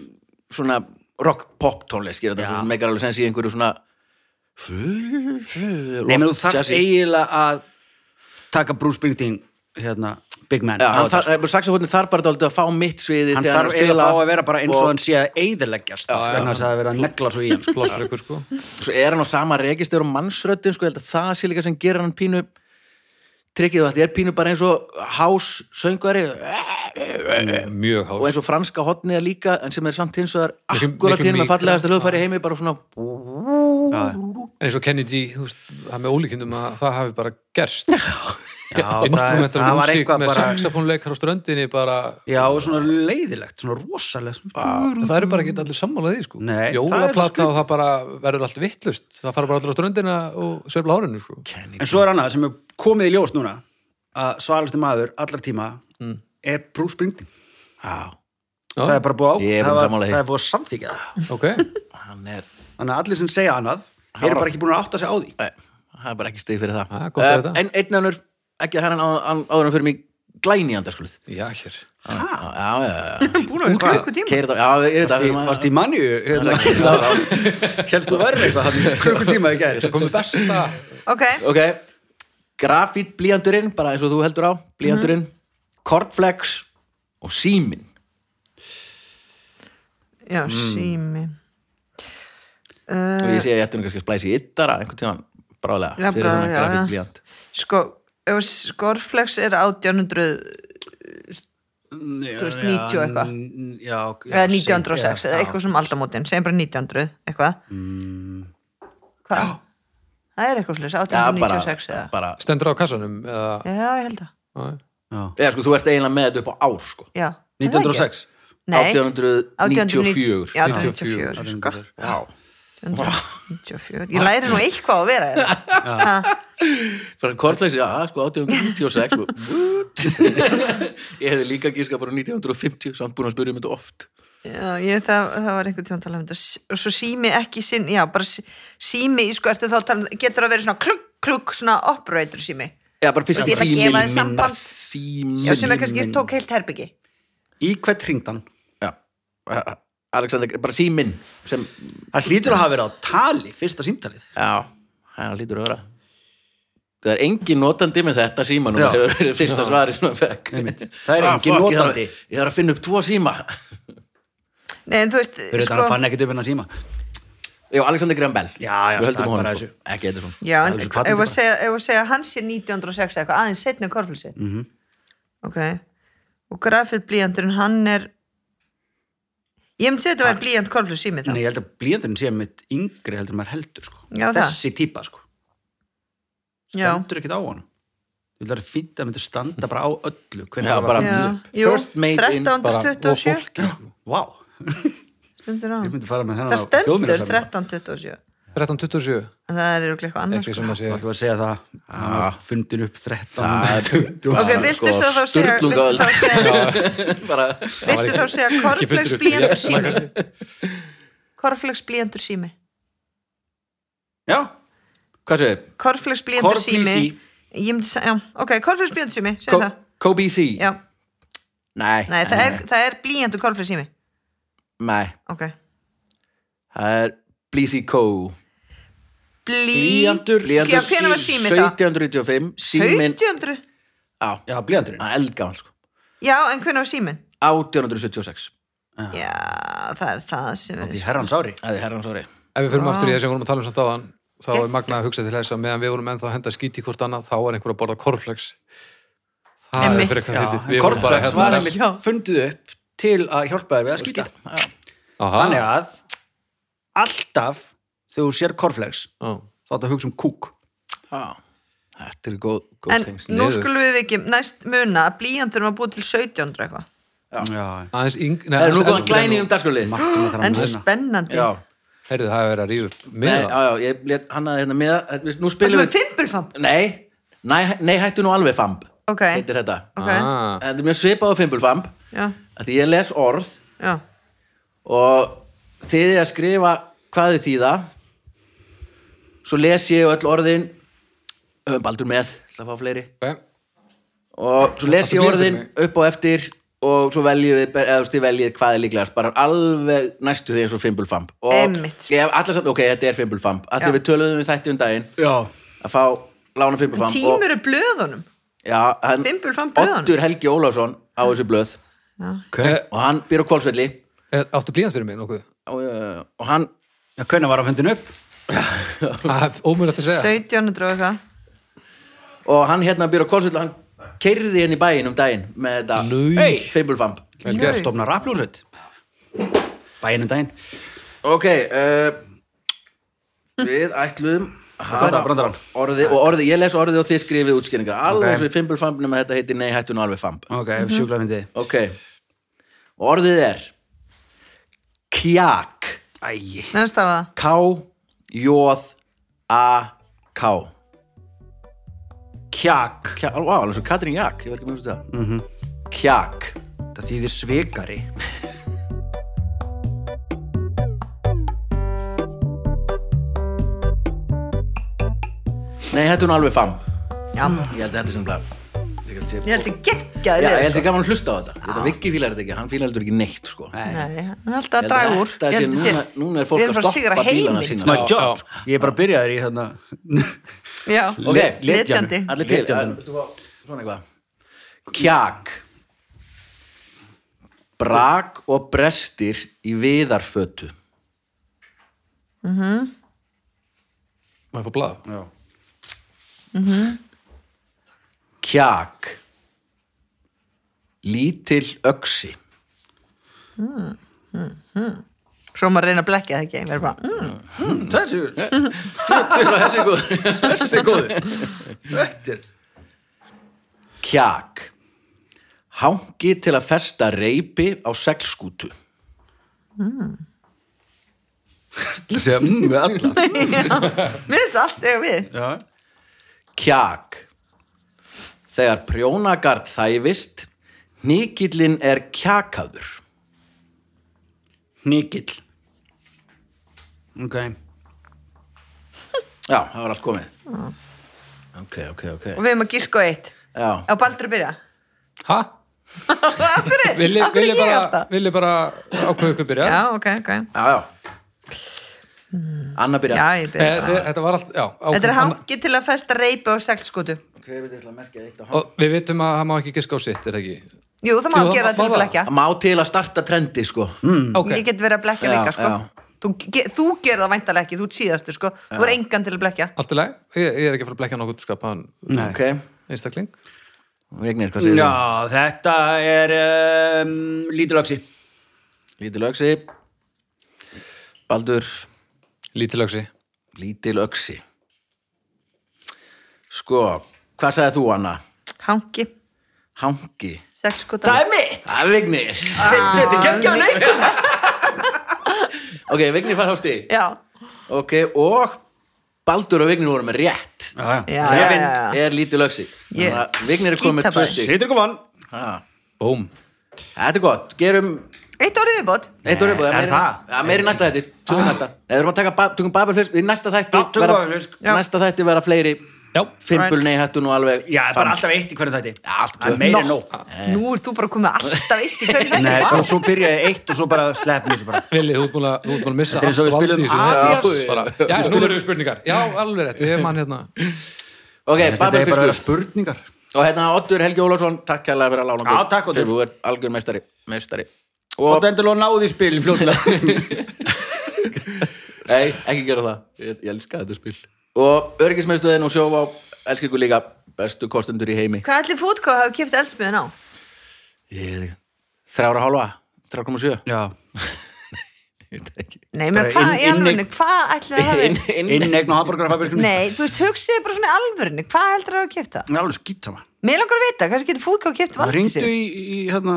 [SPEAKER 1] svona rock pop tónlist skilur þetta
[SPEAKER 4] Já.
[SPEAKER 1] svo sem meikar alveg sens í einhverju svona
[SPEAKER 4] Nei, menn
[SPEAKER 1] Nefnir
[SPEAKER 4] þú þarft eiginlega að taka Bruce Springsteen hérna, Big Man
[SPEAKER 1] Já,
[SPEAKER 4] á
[SPEAKER 1] hann
[SPEAKER 4] þetta,
[SPEAKER 1] þarf, sko. saxofónin þarf bara dálítið að fá mitt sviði
[SPEAKER 4] hann
[SPEAKER 1] þegar er
[SPEAKER 4] þarf
[SPEAKER 1] að
[SPEAKER 4] eiginlega
[SPEAKER 1] spila
[SPEAKER 4] að fá að vera bara eins og
[SPEAKER 1] og-
[SPEAKER 4] hann sé að eiðileggjast vegna þess að það er verið að negla svo í hann sko.
[SPEAKER 2] pláss fyrir ykkur sko
[SPEAKER 1] svo er hann á sama registur og mannsröddin sko, ég held að það sé líka sem gerir hann pínu trikkið og þetta er pínu bara eins og hás söngvari og
[SPEAKER 2] mjög hás
[SPEAKER 1] eins og franska hotnið líka en sem er samt hins vegar
[SPEAKER 2] Miklu-
[SPEAKER 1] akkurat
[SPEAKER 2] miklu
[SPEAKER 1] hinn með
[SPEAKER 2] mýkra.
[SPEAKER 1] fallegasta hljóðfæri í heimi bara svona
[SPEAKER 4] já,
[SPEAKER 2] en eins og Kenny G, þú veist, það er með ólíkindum að það hafi bara gerst
[SPEAKER 4] já, það,
[SPEAKER 2] instrumental
[SPEAKER 4] það var
[SPEAKER 2] músík
[SPEAKER 4] eitthvað
[SPEAKER 2] með
[SPEAKER 4] bara
[SPEAKER 2] saxofónleikar á ströndinni bara,
[SPEAKER 4] já, og svona leiðilegt, svona rosalega
[SPEAKER 2] það eru bara ekki allir sammála því sko
[SPEAKER 4] Nei, það er svo
[SPEAKER 2] jólaplata
[SPEAKER 4] skrítið.
[SPEAKER 2] og það bara verður allt vittlust það fara bara allir á ströndina og sveifla hárinu sko
[SPEAKER 4] en svo er annað sem er komið í ljós núna að svalastu maður allar tíma er Bruce Springsteen
[SPEAKER 1] Mm. Já,
[SPEAKER 4] það er bara búið á,
[SPEAKER 1] Ég er búin
[SPEAKER 4] það, var,
[SPEAKER 1] sammála því.
[SPEAKER 4] það er búið að samþykja það
[SPEAKER 2] ok,
[SPEAKER 1] hann er
[SPEAKER 4] þannig að allir sem segja annað eru bara ekki búin að átta sig á því
[SPEAKER 1] nei, það er bara ekki stig fyrir það
[SPEAKER 2] Ha, gott að
[SPEAKER 1] Eh,
[SPEAKER 2] þetta.
[SPEAKER 1] en einn annur, ekki að hann á- á- áður en fyrir mig glæni andarskulið
[SPEAKER 2] já hér
[SPEAKER 1] Já, já, já, já.
[SPEAKER 3] búin að vera
[SPEAKER 4] Hvað?
[SPEAKER 3] klukkutíma
[SPEAKER 1] Keyrið á- já, ég veit að
[SPEAKER 4] Í- Varst í manju hérna, helst þú verður eitthvað hann klukkutíma í gæri
[SPEAKER 2] það komið besta
[SPEAKER 3] ok,
[SPEAKER 1] ok, grafít blíjandurinn bara eins og þú heldur á, blíjandurinn
[SPEAKER 3] Mhm.
[SPEAKER 1] mm kornflex og símin
[SPEAKER 3] já,
[SPEAKER 1] Mm.
[SPEAKER 3] sími Uh,
[SPEAKER 1] og ég sé að ég ætti nú kannski að splæsi í yttara einhvern tímann bráðlega
[SPEAKER 3] Eh. Já,
[SPEAKER 1] fyrir
[SPEAKER 3] bara,
[SPEAKER 1] þennan
[SPEAKER 3] já,
[SPEAKER 1] grafít
[SPEAKER 3] já.
[SPEAKER 1] blíjand
[SPEAKER 3] sko, ef skorflex er 1800 90
[SPEAKER 4] 2090
[SPEAKER 3] og eitthvað.
[SPEAKER 4] já, ok, já,
[SPEAKER 3] eða 1906
[SPEAKER 4] seint,
[SPEAKER 3] eða
[SPEAKER 4] já.
[SPEAKER 3] eitthvað sem aldamótin, segjum bara 1900 eitthvað hvað? það er eitthvað slags,
[SPEAKER 1] Mm. já, bara,
[SPEAKER 3] 1896 eða
[SPEAKER 1] bara
[SPEAKER 2] stendur á kassanum eða,
[SPEAKER 3] já, ég held að,
[SPEAKER 2] já.
[SPEAKER 1] eða sko, þú ert eiginlega með þetta upp á ár sko
[SPEAKER 3] já Er það ekki?
[SPEAKER 4] 1906
[SPEAKER 3] nei,
[SPEAKER 1] 1894
[SPEAKER 3] já,
[SPEAKER 2] 94.
[SPEAKER 3] 1894 sko.
[SPEAKER 1] já,
[SPEAKER 3] 1894. ég læri nú eitthvað að vera hérna.
[SPEAKER 1] fyrir kornflex, já, sko 1896 og- ég hefði líka gíska bara 1950 samt búin að spyrja um þetta oft
[SPEAKER 3] já, ég, það, það var einhvern tíma að tala um þetta S- og svo sími ekki sinn, já, bara sí- sími sko, ertu þá að tala, um- getur að vera svona klukk, klukk, svona operator sími
[SPEAKER 1] já, bara fyrst
[SPEAKER 3] Þú veist, ég ætla að gefa þér samband.
[SPEAKER 1] símin
[SPEAKER 3] já, sem er kannski tók heilt herbyggi
[SPEAKER 4] í hvert hringdan
[SPEAKER 1] já, Alexander, bara símin sem,
[SPEAKER 4] það hlýtur að hafa verið á tali fyrsta
[SPEAKER 3] Sko-
[SPEAKER 4] símtalið
[SPEAKER 1] já, það lítur að vera það er engin notandi með þetta síma nú,
[SPEAKER 4] Já.
[SPEAKER 1] það hefur verið fyrsta svari sem hann fekk
[SPEAKER 4] Það er
[SPEAKER 1] Ah,
[SPEAKER 4] engin
[SPEAKER 1] fuck, ég þarf-
[SPEAKER 4] notandi.
[SPEAKER 1] ég þarf að finna upp tvo síma
[SPEAKER 3] nei, en þú veist, sko-
[SPEAKER 4] fyrir þetta hann fann ekkert upp hennar síma
[SPEAKER 1] já, Alexander Graham Bell
[SPEAKER 4] Já, já,
[SPEAKER 1] við höldum
[SPEAKER 4] stakk
[SPEAKER 1] honum
[SPEAKER 4] bara
[SPEAKER 1] sko.
[SPEAKER 4] þessu.
[SPEAKER 1] ekki Edison
[SPEAKER 3] Já,
[SPEAKER 4] Það
[SPEAKER 3] en
[SPEAKER 4] er svo
[SPEAKER 3] ef
[SPEAKER 4] kallið
[SPEAKER 3] að
[SPEAKER 4] bara.
[SPEAKER 3] segja, ef að segja að hans sé 1906 eða eitthvað, aðeins setna en korflösi -hmm.
[SPEAKER 4] Mhm.
[SPEAKER 3] ok og grafið blíjandurinn, hann er ég myndi segja þetta væri blíjand korflösi sími þá
[SPEAKER 4] Nei, ég held að blíjandurinn sé mitt yngri heldur en maður heldur sko.
[SPEAKER 3] Já, það.
[SPEAKER 4] þessi típa sko.
[SPEAKER 3] Já.
[SPEAKER 4] stendur ekkert á hann þú ætlar að fýnda að myndi standa bara á öllu hvernig
[SPEAKER 1] Já,
[SPEAKER 4] það
[SPEAKER 1] bara-
[SPEAKER 4] var
[SPEAKER 3] Já, jú,
[SPEAKER 1] First made in
[SPEAKER 2] bara, og
[SPEAKER 3] 1327
[SPEAKER 2] fólki sko.
[SPEAKER 4] vá,
[SPEAKER 3] stendur á.
[SPEAKER 4] ég myndi fara með
[SPEAKER 3] það
[SPEAKER 4] þennan á
[SPEAKER 3] stendur
[SPEAKER 4] þjóðminjasafnið.
[SPEAKER 3] 1327
[SPEAKER 2] 1327,
[SPEAKER 3] en það er örugglega eitthvað sko. annars
[SPEAKER 2] ekki sem að
[SPEAKER 4] Ég
[SPEAKER 2] segja
[SPEAKER 4] ætla að segja það, hann var fundin upp 13
[SPEAKER 1] Það
[SPEAKER 3] ok,
[SPEAKER 1] er
[SPEAKER 3] viltu
[SPEAKER 1] sko
[SPEAKER 3] svo þá segja viltu
[SPEAKER 1] sturlungaöld.
[SPEAKER 3] þá segja,
[SPEAKER 1] bara,
[SPEAKER 2] var
[SPEAKER 3] viltu
[SPEAKER 2] ekki-
[SPEAKER 3] þá segja
[SPEAKER 2] ekki fundur
[SPEAKER 3] korflöks
[SPEAKER 2] upp í
[SPEAKER 3] blíjandur
[SPEAKER 2] rétt,
[SPEAKER 3] sími korflöks blíjandur sími
[SPEAKER 4] já,
[SPEAKER 1] Hvað segir?
[SPEAKER 3] Korflex blíjandur
[SPEAKER 4] Corflex
[SPEAKER 3] sími
[SPEAKER 4] sí.
[SPEAKER 3] Ég myndi sa- já, Ok, korflex blíjandur sími, segðu
[SPEAKER 1] Ko-
[SPEAKER 3] það
[SPEAKER 1] KBC?
[SPEAKER 3] Já,
[SPEAKER 1] Nei,
[SPEAKER 3] nei, það er, það er blíjandur korflex sími
[SPEAKER 1] nei,
[SPEAKER 3] Ok
[SPEAKER 1] það er Blísi Kó
[SPEAKER 3] Blíjandur Já, hvenær var sími það?
[SPEAKER 1] 1795 Símin,
[SPEAKER 3] 1700
[SPEAKER 1] á,
[SPEAKER 4] já, blíðandurinn
[SPEAKER 1] eldgáðan sko
[SPEAKER 3] Já, en hvenær var símin?
[SPEAKER 1] 1876
[SPEAKER 3] Já, það er það sem
[SPEAKER 4] því
[SPEAKER 3] við
[SPEAKER 4] herrans ári
[SPEAKER 1] Það er herrans ári
[SPEAKER 2] Ef við förum aftur í það sem við vorum að tala um samt áðan þá er magnað að hugsa til þess að meðan við vorum ennþá að henda skíti hvort annað þá er einhver að borða korflex Það er
[SPEAKER 3] Einmitt.
[SPEAKER 2] fyrir eitthvað
[SPEAKER 4] Já,
[SPEAKER 2] fyndið
[SPEAKER 4] en
[SPEAKER 2] Við vorum bara
[SPEAKER 4] kornflakes
[SPEAKER 2] hérna
[SPEAKER 4] var
[SPEAKER 3] hérna-
[SPEAKER 4] einmitt
[SPEAKER 3] Já.
[SPEAKER 4] fundið upp til að hjálpa þér við að skýta Þannig
[SPEAKER 2] Aha,
[SPEAKER 4] að alltaf þegar þú sér korflex
[SPEAKER 2] já.
[SPEAKER 4] þá þetta hugsa um kúk
[SPEAKER 1] Já. Þetta er góð, góð
[SPEAKER 3] En
[SPEAKER 1] tengsl
[SPEAKER 3] nú sko-
[SPEAKER 2] niður.
[SPEAKER 3] skulum við ekki næst muna að blíjandur var búið til 1700 eitthvað
[SPEAKER 4] Já,
[SPEAKER 2] Aðeins yng... Nei,
[SPEAKER 1] Það er nú
[SPEAKER 2] aðeins
[SPEAKER 1] góðan
[SPEAKER 2] eldri
[SPEAKER 1] glæni
[SPEAKER 2] en-
[SPEAKER 1] um dagskrálið
[SPEAKER 4] margt sem það þarf
[SPEAKER 3] En
[SPEAKER 4] að muna
[SPEAKER 3] spennandi
[SPEAKER 1] Já,
[SPEAKER 2] Heyrðu, það er verið að rífa upp
[SPEAKER 1] nei,
[SPEAKER 2] með
[SPEAKER 1] já, já, ég let hann að hérna miða þetta- Nú
[SPEAKER 3] Það
[SPEAKER 1] spilum
[SPEAKER 3] sem er
[SPEAKER 1] við
[SPEAKER 3] fimpulfamp
[SPEAKER 1] Nei, nei, nei hættu nú alveg famb
[SPEAKER 3] Ok.
[SPEAKER 1] Heitir þetta
[SPEAKER 3] Ok.
[SPEAKER 2] Ah.
[SPEAKER 1] Þetta er mjög svipað á fimbulfamb
[SPEAKER 3] Já,
[SPEAKER 1] Því ég les orð
[SPEAKER 3] já,
[SPEAKER 1] og þið er að skrifa hvað þið þýða svo les ég öll orðin höfum baldur með ætla að fá fleiri
[SPEAKER 2] Ok.
[SPEAKER 1] og svo les
[SPEAKER 2] Áttu
[SPEAKER 1] ég
[SPEAKER 2] blýant
[SPEAKER 1] orðin
[SPEAKER 2] fyrir
[SPEAKER 1] upp og eftir og svo veljið við, eða þú veist, þið veljið hvað er líklegast bara alveg næstu því eins og fimbulfamb og
[SPEAKER 3] Einmitt. sko.
[SPEAKER 1] ég hef allar satt, ok, þetta er fimbulfamb að
[SPEAKER 3] Já.
[SPEAKER 1] því við töluðum við þætti um daginn
[SPEAKER 4] Já,
[SPEAKER 1] að fá lána fimbulfamb og,
[SPEAKER 3] tímur er blöðunum
[SPEAKER 1] já, hann,
[SPEAKER 3] Fimbulfamb blöðunum.
[SPEAKER 1] Oddur Helgi Ólafsson á þessu blöð
[SPEAKER 3] Já,
[SPEAKER 4] hven,
[SPEAKER 1] og hann býr á Kolsvelli
[SPEAKER 2] Eh, Áttu blíðan fyrir mig nokkuð?
[SPEAKER 1] og, eh, og hann
[SPEAKER 4] já, hvenær var að fundin upp?
[SPEAKER 2] Ómurlegt að segja
[SPEAKER 3] 1700 og eitthvað
[SPEAKER 1] og hann hérna býr á Kolsvöld hann keirði henni í bæinn um daginn með þetta
[SPEAKER 2] Nau.
[SPEAKER 1] hey. fimbulfamb
[SPEAKER 2] Vel gert.
[SPEAKER 4] Stofna rappljóset Bæinu um daginn
[SPEAKER 1] ok uh, við ætluðum að hafa
[SPEAKER 4] Brandarann, brandarann.
[SPEAKER 1] orði og orði, ég les orði og þið skrifið útskýringar alveg
[SPEAKER 4] Ok.
[SPEAKER 1] eins og í fimbulfamb nema þetta heitir nei hættu nú alveg famb
[SPEAKER 4] Ok, sjúkla fyndið
[SPEAKER 1] ok, og orðið er kjak
[SPEAKER 4] Æi,
[SPEAKER 3] Næst af það
[SPEAKER 1] k, jóð a, k
[SPEAKER 4] kjak
[SPEAKER 1] kjak, á, alveg svo Katrín Jak ég var ekki með þessu þetta mm kjak
[SPEAKER 4] Það þýðir svikari
[SPEAKER 1] nei hættu nú alveg famb
[SPEAKER 3] Já,
[SPEAKER 1] ég held að þetta sem blað ég held að
[SPEAKER 3] ég held að geggja
[SPEAKER 1] Hmm. Já, ég held
[SPEAKER 3] þér
[SPEAKER 1] ekki gaman að hlusta á þetta Þetta Viggi fílar þetta ekki, hann fílar heldur ekki neitt sko.
[SPEAKER 3] Nei, hann
[SPEAKER 1] Ég
[SPEAKER 3] er alltaf að
[SPEAKER 1] held að
[SPEAKER 3] draga úr
[SPEAKER 1] þetta
[SPEAKER 3] Ég
[SPEAKER 1] sé-
[SPEAKER 3] held að sé-
[SPEAKER 1] núna- núna er fólk
[SPEAKER 3] Við erum
[SPEAKER 1] að
[SPEAKER 3] bara sigra
[SPEAKER 1] stoppa bílana
[SPEAKER 3] heiminn,
[SPEAKER 1] sína.
[SPEAKER 4] My
[SPEAKER 2] Já,
[SPEAKER 4] job,
[SPEAKER 2] já.
[SPEAKER 4] sko. ég er bara að byrja þér í hérna
[SPEAKER 3] Já,
[SPEAKER 1] Ok,
[SPEAKER 4] letjanu.
[SPEAKER 3] letjandi
[SPEAKER 1] Allir til
[SPEAKER 4] Letjandi.
[SPEAKER 1] að- viltu fá Svona eitthvað Kjak Brak og brestir í viðarfötu
[SPEAKER 2] Maður fór blað
[SPEAKER 4] Já.
[SPEAKER 1] Kjak Lítil öksi
[SPEAKER 3] Svo maður reyna að blekja það ekki Ég verður bara, mm,
[SPEAKER 4] Þessi,
[SPEAKER 1] Þessi er góð
[SPEAKER 4] þessi er góður Þetta er
[SPEAKER 1] Kjak Hangi til að festa reypi á seglskútu
[SPEAKER 4] Það sé að mm, við alla
[SPEAKER 3] mér finnst allt eiga við
[SPEAKER 4] Já,
[SPEAKER 1] Kjak Þegar prjónagard þæfist Nýkillinn er kjakaður
[SPEAKER 4] hnikill Ok
[SPEAKER 1] Já, það var allt komið Ok, ok, ok
[SPEAKER 3] Og við erum að gíska á eitt
[SPEAKER 1] Já,
[SPEAKER 3] Á Baldur að byrja
[SPEAKER 2] Hæ?
[SPEAKER 3] Akkur er,
[SPEAKER 2] Vilji
[SPEAKER 3] akkur er
[SPEAKER 2] vilji
[SPEAKER 3] ég
[SPEAKER 2] bara,
[SPEAKER 3] alltaf
[SPEAKER 2] vilji bara ákveðu ykkur byrja
[SPEAKER 3] Já, ok, ok
[SPEAKER 1] já, já Anna byrja
[SPEAKER 3] Já,
[SPEAKER 2] Eh,
[SPEAKER 3] ég byrja
[SPEAKER 2] Þetta þetta var allt, já
[SPEAKER 3] Þetta er
[SPEAKER 2] ákveðum-
[SPEAKER 3] hangi til að festa reipi og seglskotu
[SPEAKER 1] Ok, við ætla að merkja eitt á hann
[SPEAKER 2] Og Við vitum að hann má ekki giska á sitt, er það ekki?
[SPEAKER 3] Jú, það má
[SPEAKER 2] Jú,
[SPEAKER 3] gera
[SPEAKER 2] það
[SPEAKER 3] það til
[SPEAKER 2] má
[SPEAKER 3] að blekja
[SPEAKER 1] Það má til að starta trendi, sko mm.
[SPEAKER 2] Ok,
[SPEAKER 3] Ég get verið að blekja
[SPEAKER 1] Já,
[SPEAKER 3] líka, sko
[SPEAKER 1] já.
[SPEAKER 3] Þú, ge- þú gerir það væntalega ekki, þú ert síðastur, sko Þú er engan til að blekja
[SPEAKER 2] allt í lagi. Ég, ég er ekki að fara að blekja nokkuð skapaðan
[SPEAKER 3] Mm.
[SPEAKER 4] Nei
[SPEAKER 1] Ok,
[SPEAKER 2] einstakling.
[SPEAKER 1] Vignir, hvað segir þú?
[SPEAKER 4] Já, þetta er um, lítilöksi
[SPEAKER 1] Lítil öksi Baldur,
[SPEAKER 2] Lítilöksi.
[SPEAKER 1] lítil öksi Sko, hvað sagði þú, Anna?
[SPEAKER 3] Hangi,
[SPEAKER 1] Hangi
[SPEAKER 3] seglskota
[SPEAKER 4] Það er mitt
[SPEAKER 1] Það er Vignir
[SPEAKER 4] Þetta er geggjaður leikur
[SPEAKER 1] Ok, Vignir fær hásti
[SPEAKER 3] Já,
[SPEAKER 1] Ok, og Baldur og Vignir voru með rétt
[SPEAKER 3] já, já, já,
[SPEAKER 4] Hrefinn.
[SPEAKER 3] já.
[SPEAKER 1] er lítið lögsi
[SPEAKER 3] Ég-
[SPEAKER 1] Vignir er komið með
[SPEAKER 3] skítabæ.
[SPEAKER 1] tvö stig
[SPEAKER 4] Situr ykkur vann
[SPEAKER 1] Ha,
[SPEAKER 2] Bóm.
[SPEAKER 1] Þetta er gott, gerum
[SPEAKER 3] Eitt orðið viðbót
[SPEAKER 1] Eitt orðið búið,
[SPEAKER 4] Er
[SPEAKER 1] meiri,
[SPEAKER 4] það?
[SPEAKER 1] næst- ja, meiri næsta þætti Tökum ah. næsta Nei, við erum að taka, ba- tökum Babelflisk Í næsta þætti
[SPEAKER 4] Já, tökum
[SPEAKER 1] verða-
[SPEAKER 4] Babelfisk.
[SPEAKER 3] Já.
[SPEAKER 1] Næsta þætti vera fleiri
[SPEAKER 2] Já,
[SPEAKER 1] Fimbul, nei, hættu nú alveg
[SPEAKER 4] Já,
[SPEAKER 1] fram.
[SPEAKER 4] bara alltaf eitt í hvernig þætti
[SPEAKER 1] Já, alltaf
[SPEAKER 4] Það
[SPEAKER 1] tvö.
[SPEAKER 4] er meira en
[SPEAKER 1] Nó.
[SPEAKER 4] nóg
[SPEAKER 3] Nú ert þú bara komið alltaf eitt í hverju
[SPEAKER 4] Nei,
[SPEAKER 3] þetta
[SPEAKER 4] bara svo byrjaði eitt og svo bara slepp mér svo bara
[SPEAKER 2] Vili, þú ert búin að, þú ert búin að missa
[SPEAKER 4] Þetta er eins og við
[SPEAKER 2] vald í
[SPEAKER 4] spilum
[SPEAKER 2] þessu.
[SPEAKER 4] Alias.
[SPEAKER 2] Já, bara, já, nú verður við spurningar Já, alveg rétt, ég er mann hérna
[SPEAKER 1] Ok,
[SPEAKER 4] Þetta er bara að vera
[SPEAKER 1] Babelfliskur
[SPEAKER 4] spurningar
[SPEAKER 1] Og hérna, Oddur Helgi Ólafsson Takk kærlega fyrir að lána
[SPEAKER 4] Já, takk, Oddur.
[SPEAKER 1] Þegar þú er algjör meistari Meistari
[SPEAKER 4] Og
[SPEAKER 1] Og,
[SPEAKER 4] þetta endur náði í spil fljóðlega
[SPEAKER 1] nei, ekki gera það Ég, ég elska þetta spil Og örgismeistöðin og sjóvá Elskir ykkur líka Bestu kostendur í heimi
[SPEAKER 3] Hvað allir fútkóð hafa kipt eldsmiðan á?
[SPEAKER 1] Ég- Þrjára og hálfa 3,7
[SPEAKER 4] Já,
[SPEAKER 1] Ég veit ekki.
[SPEAKER 3] Nei, menn
[SPEAKER 4] Bara
[SPEAKER 3] hvað
[SPEAKER 4] inn-
[SPEAKER 3] í alvörinu,
[SPEAKER 4] inneign-
[SPEAKER 3] hvað ætlir það hafi?
[SPEAKER 1] Inn- inn-
[SPEAKER 4] inn eign og hamburgarfabrikunum
[SPEAKER 3] Nei, þú veist, hugsiði bara svona í alvörinu, hvað heldur það að kipta?
[SPEAKER 4] Það er alveg skýt sama
[SPEAKER 3] Mér langar að vita, kannski getur fútkóð kipt valdið
[SPEAKER 4] Ringdu
[SPEAKER 3] sér.
[SPEAKER 4] í, í hérna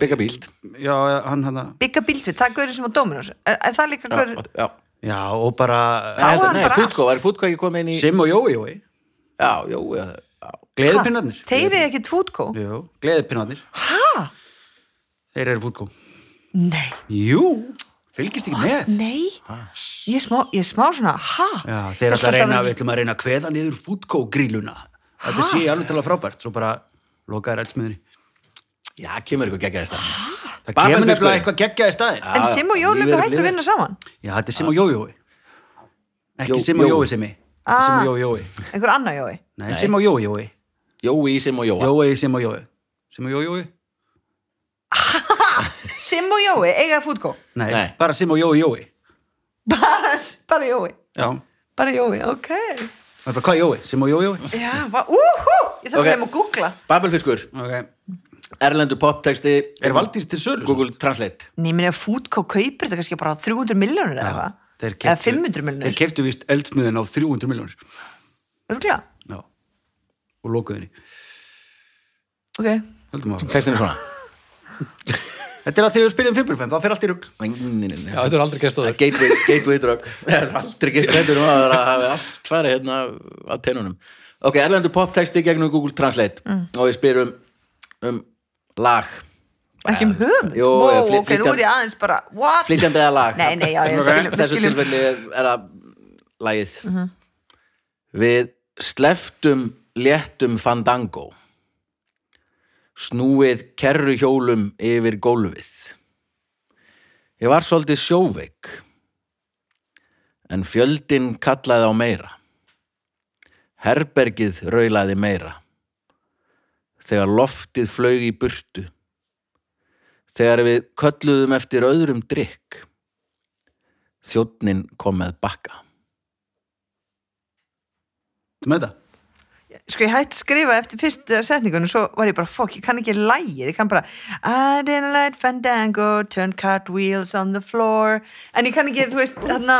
[SPEAKER 1] Bygga bílt
[SPEAKER 4] Já, hann hérna
[SPEAKER 3] Bygga bíltvið, það er gaurið sem á Dominos. Er, er það líka gaurið?
[SPEAKER 1] Já, já
[SPEAKER 4] Já, og bara
[SPEAKER 3] Á
[SPEAKER 1] Nei,
[SPEAKER 3] hann
[SPEAKER 1] nei,
[SPEAKER 3] bara
[SPEAKER 1] Fútko,
[SPEAKER 3] allt.
[SPEAKER 1] er Fútko ekki komið inn í
[SPEAKER 4] Sim og Jói Jói
[SPEAKER 1] Já, jú, já, já
[SPEAKER 4] Gleðipinnarnir
[SPEAKER 3] Þeir eru ekkert fútkó?
[SPEAKER 4] Jú, gleðipinnarnir
[SPEAKER 3] Hæ?
[SPEAKER 4] Þeir eru fútgó
[SPEAKER 3] Nei,
[SPEAKER 4] Jú, fylgist ekki með
[SPEAKER 3] nei. Ég er smá, ég er smá svona, hæ?
[SPEAKER 4] Já, þeir ætla að reyna, við ætlum að reyna að kveða niður fútkógrýluna. Þetta sé alveg til að frábært, svo bara lokaðir eldsmiðinni.
[SPEAKER 1] Já, kemur ykkur geggjaðist Já,
[SPEAKER 4] Það
[SPEAKER 1] Babel
[SPEAKER 4] kemur nefnilega
[SPEAKER 1] fiskurinn.
[SPEAKER 4] eitthvað geggjaði staðin.
[SPEAKER 3] En Sim og Jón
[SPEAKER 1] Lífið
[SPEAKER 3] líka
[SPEAKER 1] er
[SPEAKER 3] hættur að
[SPEAKER 1] lífið.
[SPEAKER 3] vinna saman.
[SPEAKER 4] Já, þetta er Sim og Jójói. Ekki
[SPEAKER 1] Jó-
[SPEAKER 4] Sim og
[SPEAKER 1] Jói.
[SPEAKER 4] Ah. Jói Simi. Þetta er Sim
[SPEAKER 3] Ah.
[SPEAKER 4] og Jójói.
[SPEAKER 3] Einhver annar Jói.
[SPEAKER 4] Nei, Sim og Jójói.
[SPEAKER 1] Jói, Sim og Jóa
[SPEAKER 4] Jói, Sim og Jói. Sim og Jójói?
[SPEAKER 3] Sim og Jói, eiga fútkó.
[SPEAKER 4] Nei,
[SPEAKER 1] Nei.
[SPEAKER 4] bara Sim og Jói Jói.
[SPEAKER 3] Bara, bara Jói.
[SPEAKER 4] Já,
[SPEAKER 3] Bara Jói, ok.
[SPEAKER 4] það er bara hvað Jói? Sim og Jójói?
[SPEAKER 3] Já, va- úhú, ég þarf
[SPEAKER 1] Ok.
[SPEAKER 3] að nefna að googla.
[SPEAKER 1] Babelfiskur,
[SPEAKER 4] Ok.
[SPEAKER 1] erlendu poptexti
[SPEAKER 4] Er Valdís til sölu?
[SPEAKER 1] Google Translate
[SPEAKER 3] Nei, minna fútkó kaupir þetta kannski bara 300 miljónir eða
[SPEAKER 4] Já,
[SPEAKER 3] eitthvað.
[SPEAKER 4] þeir
[SPEAKER 3] Eða
[SPEAKER 4] keyptu-
[SPEAKER 3] 500
[SPEAKER 4] Þeir
[SPEAKER 3] miljónir.
[SPEAKER 4] keftu vist eldsmiðin á 300 miljónir.
[SPEAKER 3] Örgulega,
[SPEAKER 4] Já, og lokuðinni.
[SPEAKER 3] ok.
[SPEAKER 4] Höldum að
[SPEAKER 1] Textin er svona
[SPEAKER 4] Þetta er að þegar við spyrjum 5.5, það fer allt í rugg.
[SPEAKER 2] Já, þetta er aldrei gæst á
[SPEAKER 1] Það er
[SPEAKER 2] þér
[SPEAKER 1] Gateway, gateway drug Það er Aldrei gist þetta um að það hafi allt farið hérna á teinunum Ok, erlendu poptexti gegnum Google Translate og ég spyr um, um lag
[SPEAKER 3] ekki um hugmynd
[SPEAKER 1] Jú,
[SPEAKER 3] wow,
[SPEAKER 1] já, flyt-
[SPEAKER 3] ok, nú er ég aðeins bara what?
[SPEAKER 1] flytjandi eða lag
[SPEAKER 3] Nei, nei, já, já,
[SPEAKER 1] Ok.
[SPEAKER 3] skiljum- við
[SPEAKER 1] þessu
[SPEAKER 3] skiljum.
[SPEAKER 1] tilfelli er, er að lagið
[SPEAKER 3] Mhm.
[SPEAKER 1] við sleftum léttum fandango snúið kerruhjólum yfir gólfið ég var svolítið sjóveik en fjöldin kallaði á meira herbergið raulaði meira þegar loftið flaug í burtu þegar við kölluðum eftir öðrum drikk þjóttnin kom með bakka
[SPEAKER 4] Þú með þetta?
[SPEAKER 3] sko ég hætti að skrifa eftir fyrst setningun og svo var ég bara fokk, ég kann ekki lægið ég kann bara I didn't let Fandango turn cartwheels on the floor en ég kann ekki, þú veist, þarna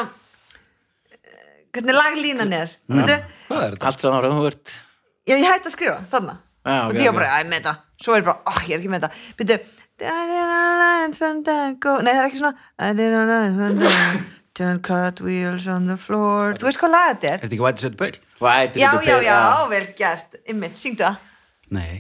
[SPEAKER 3] eh, hvernig laglínan er veitu,
[SPEAKER 2] Hvað er þetta?
[SPEAKER 1] allt sem ára þú ert
[SPEAKER 3] já, ég hætti að skrifa, þarna
[SPEAKER 1] Já, ok,
[SPEAKER 3] og því ég
[SPEAKER 1] ok.
[SPEAKER 3] var bara, að ég með þetta svo er ég bara, oh, ég er ekki með þetta veitu, I didn't let Fandango nei, það er ekki svona I didn't let Fandango turn cartwheels on the floor þú veist hvað lag þetta er
[SPEAKER 4] Er þetta ekki vætið setja bæl?
[SPEAKER 1] Vætur
[SPEAKER 3] já,
[SPEAKER 1] ykkur
[SPEAKER 3] já,
[SPEAKER 1] peð-
[SPEAKER 3] já, vel gert einmitt, syngdu það
[SPEAKER 4] Nei.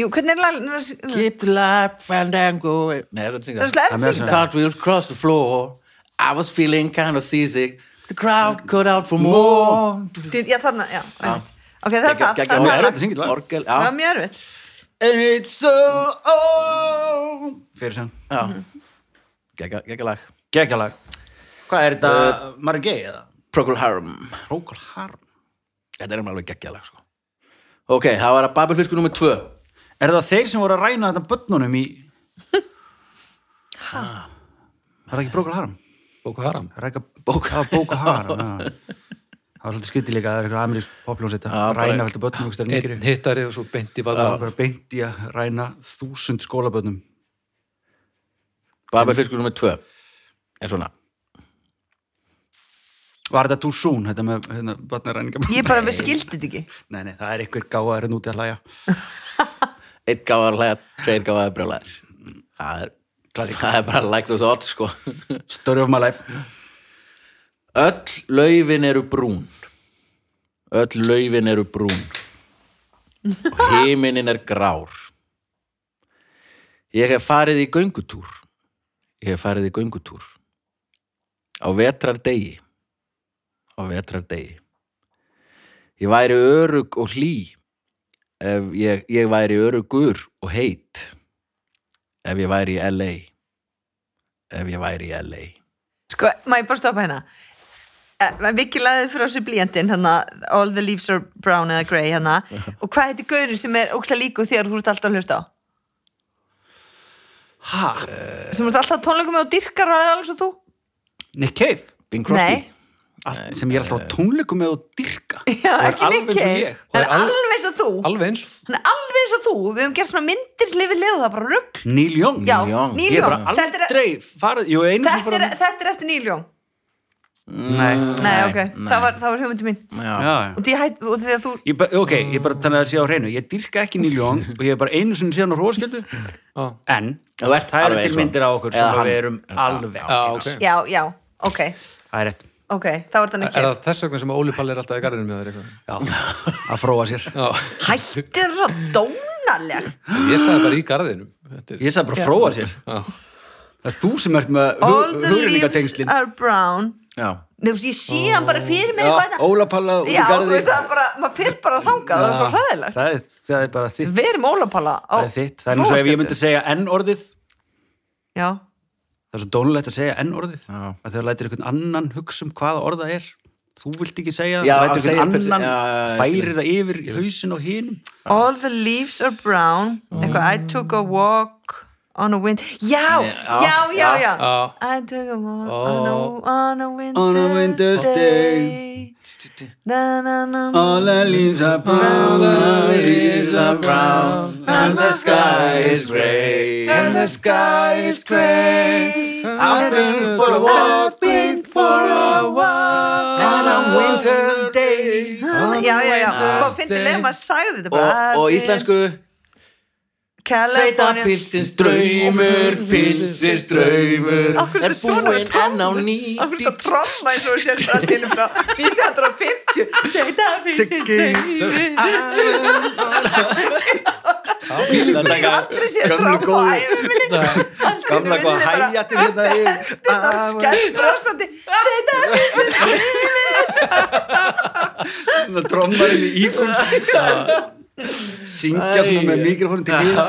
[SPEAKER 3] Jú, hvernig er lag...
[SPEAKER 1] Keep the light fandango Nei, er
[SPEAKER 3] Það er svo
[SPEAKER 1] þetta
[SPEAKER 3] erfitt að
[SPEAKER 4] Það er
[SPEAKER 1] syngja
[SPEAKER 3] syngja
[SPEAKER 1] Cartwheels cross the floor I was feeling kind of seasick The crowd cut out for more
[SPEAKER 3] Dí- Já, þarna, já, einmitt Ok, það er
[SPEAKER 1] Geggjað-
[SPEAKER 3] það,
[SPEAKER 1] geggjað
[SPEAKER 3] það
[SPEAKER 1] orgel.
[SPEAKER 3] er
[SPEAKER 4] orgel.
[SPEAKER 3] það
[SPEAKER 4] þetta syngið lag.
[SPEAKER 1] Orgel,
[SPEAKER 3] Það
[SPEAKER 1] já,
[SPEAKER 3] var mjög erfitt
[SPEAKER 4] And it's so old Fyrir sem
[SPEAKER 1] já Gekka, gekka lag
[SPEAKER 4] Gekkalag Hvað er þetta? Uh, Margei eða?
[SPEAKER 1] Procol Harum
[SPEAKER 4] Procol Harum
[SPEAKER 1] Þetta er alveg gekka lag, sko Ok, það var að Babelfisku nummer 2
[SPEAKER 4] Er það þeir sem voru að ræna þetta börnunum í Var það ekki Ah, Procol Harum?
[SPEAKER 2] Boko Haram
[SPEAKER 4] Ræka Boko Harum Boko Harum já. Það var svolítið skytið líka Það er eitthvað amerísk popljónsett
[SPEAKER 1] Já,
[SPEAKER 4] að
[SPEAKER 1] bara-
[SPEAKER 4] ræna velta börnum Það er
[SPEAKER 2] Einn
[SPEAKER 4] mikið
[SPEAKER 2] hittari og svo beint í bada
[SPEAKER 4] Það var bara beint í að ræna þúsund skólabönnum
[SPEAKER 1] Babelfisku nummer 2 Er svona
[SPEAKER 4] Var þetta too soon, þetta með hérna, börnaræninga
[SPEAKER 3] Ég bara, við skildið þetta ekki
[SPEAKER 4] Nei, nei, það er einhver gáðar en úti að hlæja
[SPEAKER 1] Eitt gáðar hlæða, tveir gáðar brjólaðir Það er Það er bara like those odds, sko
[SPEAKER 4] Story of my life
[SPEAKER 1] Öll laufin eru brún Öll laufin eru brún og heiminin er grár Ég hef farið í göngutúr Ég hef farið í göngutúr. Á vetrardegi. Á vetrardegi. Ég væri örug og hlý. Ef ég, ég væri örugur og heit. Ef ég væri í LA. Ef ég væri í LA.
[SPEAKER 3] Sko, má ég bara stoppa hérna Eh, Viki laðið frá sér blíjandinn hana, All the leaves are brown eða grey hana. og hvað heitir gaurinn sem er ókslega líku þegar þú ert alltaf að hlusta á
[SPEAKER 4] Ha?
[SPEAKER 3] sem ert alltaf á tónleikum með og dyrkar og er alveg svo þú
[SPEAKER 4] Nick Cave?
[SPEAKER 1] Bing Crosby.
[SPEAKER 3] Nei.
[SPEAKER 4] Allt, sem ég er alltaf á tónleikum með og dyrka
[SPEAKER 3] Já,
[SPEAKER 4] Og er
[SPEAKER 3] ekki
[SPEAKER 4] alveg eins og
[SPEAKER 3] Nicky.
[SPEAKER 4] ég.
[SPEAKER 2] Og er
[SPEAKER 3] Hann er
[SPEAKER 2] al-
[SPEAKER 3] alveg eins og þú
[SPEAKER 2] alveg eins
[SPEAKER 3] Hann er alveg eins og þú Við höfum gert svona myndir hlifið lið og það er bara rugg
[SPEAKER 4] Neil Young
[SPEAKER 3] Já,
[SPEAKER 1] Neil Young.
[SPEAKER 3] Neil
[SPEAKER 4] Ég er
[SPEAKER 3] Young
[SPEAKER 4] bara
[SPEAKER 3] Þetta er-
[SPEAKER 4] aldrei farið Jú, einu sem
[SPEAKER 3] þetta
[SPEAKER 4] farið
[SPEAKER 3] er- þetta er eftir Neil Young
[SPEAKER 4] Nei
[SPEAKER 3] Nei,
[SPEAKER 1] Nei,
[SPEAKER 3] ok,
[SPEAKER 1] nei.
[SPEAKER 3] það var, það var hugmyndi mín
[SPEAKER 1] Já.
[SPEAKER 4] Já, já
[SPEAKER 3] Og því hætt, og því að þú
[SPEAKER 4] Ég bara, ok, ég bara þannig að sé á hreinu ég dyrka ekki Neil Young og ég er bara einu sinni síðan á hróskjöldu
[SPEAKER 2] Já.
[SPEAKER 4] en
[SPEAKER 1] Þú ert
[SPEAKER 4] það eru
[SPEAKER 1] alveg
[SPEAKER 4] til
[SPEAKER 1] eins og
[SPEAKER 4] myndir á okkur sem
[SPEAKER 1] Eða
[SPEAKER 4] að
[SPEAKER 1] hann.
[SPEAKER 4] við erum alveg
[SPEAKER 2] Já,
[SPEAKER 4] eins.
[SPEAKER 2] ok.
[SPEAKER 3] Já, já, ok,
[SPEAKER 4] það er rétt
[SPEAKER 3] ok, þá er þetta
[SPEAKER 2] Er
[SPEAKER 3] ekki
[SPEAKER 2] það þess vegna sem að Óli Palli er alltaf í garðinu með þér eitthvað?
[SPEAKER 4] já. að fróa sér
[SPEAKER 2] Já,
[SPEAKER 3] Hætti það svo dónaleg
[SPEAKER 2] ég sagði bara í garðinum. Þetta er,
[SPEAKER 4] ég sagði bara fróa sér
[SPEAKER 2] Já.
[SPEAKER 4] það er þú sem ert með
[SPEAKER 3] All the leaves
[SPEAKER 4] hugringatengslin
[SPEAKER 3] are brown
[SPEAKER 1] Já.
[SPEAKER 3] Nei, þú veist, ég sé hann bara fyrir mér eitthvað þetta-
[SPEAKER 4] ólapalla út í
[SPEAKER 3] Já, þú
[SPEAKER 4] garði.
[SPEAKER 3] veist, það er bara, maður fyrir bara þangað Það er svo hræðilegt
[SPEAKER 4] það er, það er bara þitt
[SPEAKER 3] Við erum ólapalla á
[SPEAKER 4] það er þitt, það er eins og ef ég myndi
[SPEAKER 3] Róskjöldu.
[SPEAKER 4] segja enn orðið það
[SPEAKER 3] Já,
[SPEAKER 4] er svo dónulegt að segja enn orðið
[SPEAKER 1] Já.
[SPEAKER 4] að þegar þú lætir einhvern annan hugsa um hvaða orða er þú vilt ekki segja
[SPEAKER 1] Já,
[SPEAKER 4] það,
[SPEAKER 1] að
[SPEAKER 4] lætir
[SPEAKER 1] segja
[SPEAKER 4] einhvern
[SPEAKER 1] persi-
[SPEAKER 4] annan
[SPEAKER 1] já, já, já, ég
[SPEAKER 4] færir það yfir í hausin og hinum
[SPEAKER 3] all the leaves are brown Eitthvað, I took a walk on a wind Já,
[SPEAKER 1] Já,
[SPEAKER 3] já, já, já
[SPEAKER 2] já.
[SPEAKER 3] I took a walk on a,
[SPEAKER 2] Ó.
[SPEAKER 3] on a
[SPEAKER 4] On a
[SPEAKER 3] winter's
[SPEAKER 4] winter's
[SPEAKER 3] day
[SPEAKER 4] day.
[SPEAKER 3] Na, na, na, na
[SPEAKER 4] All the leaves are brown,
[SPEAKER 2] the leaves are brown,
[SPEAKER 3] and the sky is
[SPEAKER 1] grey
[SPEAKER 2] And the sky is grey. I've been for a walk, been for a walk.
[SPEAKER 1] And on winter's
[SPEAKER 4] day
[SPEAKER 3] Já, já, já, hvað finnst þið leið
[SPEAKER 2] Day.
[SPEAKER 3] maður sagði þetta
[SPEAKER 1] Og,
[SPEAKER 3] bara
[SPEAKER 1] og íslensku Sveita
[SPEAKER 3] California
[SPEAKER 1] pilsins draumur Pilsins draumur
[SPEAKER 3] Af hverju ertu svona með
[SPEAKER 1] búinn enn á ný
[SPEAKER 3] Af hverju þetta tromma eins og við sér allt innum frá 1950 Sveita pilsins
[SPEAKER 4] Þetta er
[SPEAKER 3] Aldrei sér
[SPEAKER 4] Gömlu
[SPEAKER 3] tromma á
[SPEAKER 4] góðu.
[SPEAKER 3] æfuminni
[SPEAKER 4] gamla hvað hægjati hérna yfir
[SPEAKER 3] Þetta var skell brosandi Sveita pilsins
[SPEAKER 4] Það trommarinn í íkuns Syngja svona með mikrofónum til hliðar.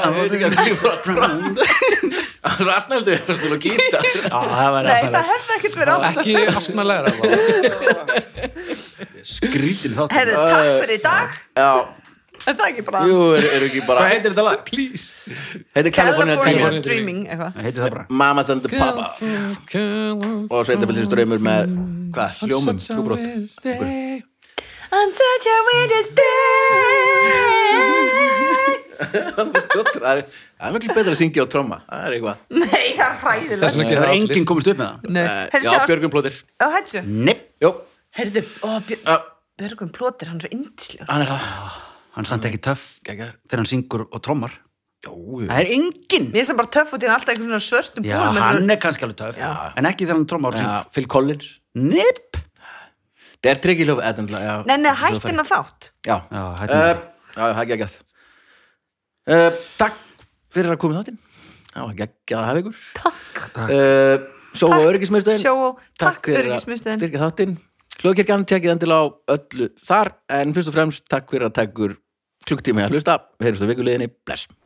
[SPEAKER 1] Rasnældu er svona gítar
[SPEAKER 4] Já, það var
[SPEAKER 3] Nei,
[SPEAKER 4] alltaf
[SPEAKER 3] það
[SPEAKER 4] rétt.
[SPEAKER 3] hefði ekkert verið ástæð
[SPEAKER 2] Ekki astnalega bara.
[SPEAKER 4] skrítin þátt
[SPEAKER 3] Herðu, takk fyrir í dag
[SPEAKER 1] Já,
[SPEAKER 3] Er það ekki bara
[SPEAKER 1] Eh, jú, er, er ekki bara
[SPEAKER 4] Hvað heitir þetta lag?
[SPEAKER 2] Please.
[SPEAKER 1] Heitir California Dreaming
[SPEAKER 3] California Dreaming eitthvað
[SPEAKER 4] Það heitir það bara
[SPEAKER 1] Mamas and the Papa Og Sveita pilsins draumur með Hvað, hljómum, hljóbrot
[SPEAKER 3] On such a winter's day
[SPEAKER 1] Það er- það er miklu betra að syngja á tromma Það er eitthvað
[SPEAKER 3] Nei, það er
[SPEAKER 2] Þess
[SPEAKER 3] hræðilegt
[SPEAKER 2] vegna
[SPEAKER 4] Það
[SPEAKER 2] gerir
[SPEAKER 4] er
[SPEAKER 2] allir.
[SPEAKER 4] enginn komist upp með það
[SPEAKER 3] Nei.
[SPEAKER 1] Eh,
[SPEAKER 3] Herðu,
[SPEAKER 1] Já,
[SPEAKER 3] sjáumst-
[SPEAKER 1] Björgum plóðir
[SPEAKER 3] Ó, hættu
[SPEAKER 4] Nei,
[SPEAKER 1] Jú,
[SPEAKER 3] Herðu, ó, Björ-
[SPEAKER 1] já,
[SPEAKER 3] Björgvin Plóter, hann er svo indislega
[SPEAKER 1] hann er það
[SPEAKER 4] hann er samt ekki töff
[SPEAKER 1] Gægar
[SPEAKER 4] þegar hann syngur og trommar
[SPEAKER 1] Jú,
[SPEAKER 4] Það er enginn
[SPEAKER 3] Mér finnst hann bara töff og því hann er alltaf einhvern svona svörtum
[SPEAKER 4] Já,
[SPEAKER 3] búl
[SPEAKER 4] hann er kannski alveg töff
[SPEAKER 1] Já.
[SPEAKER 4] En ekki þegar hann trommar og
[SPEAKER 1] Já,
[SPEAKER 4] syngur
[SPEAKER 1] Phil Collins
[SPEAKER 4] Nipp
[SPEAKER 1] Der Triggy Love Edendla, já.
[SPEAKER 3] Nei, nei, hættin að þátt
[SPEAKER 1] Já,
[SPEAKER 4] Já, hættum
[SPEAKER 1] Eh,
[SPEAKER 4] það.
[SPEAKER 1] já, það er geggjað uh, Takk fyrir að koma í þáttinn Já, geggjað að hafa ykkur
[SPEAKER 3] Takk,
[SPEAKER 1] uh, Sjó og öryggismiðstöðin
[SPEAKER 3] sjó og takk
[SPEAKER 1] fyrir að
[SPEAKER 3] öryggismiðstöðin
[SPEAKER 1] styrkja þáttinn Hljóðkirkjan tekið endilega á öllu þar en fyrst og fremst takk fyrir að takkur klukktími að hlusta, við heyrumst á vikuleginni, bless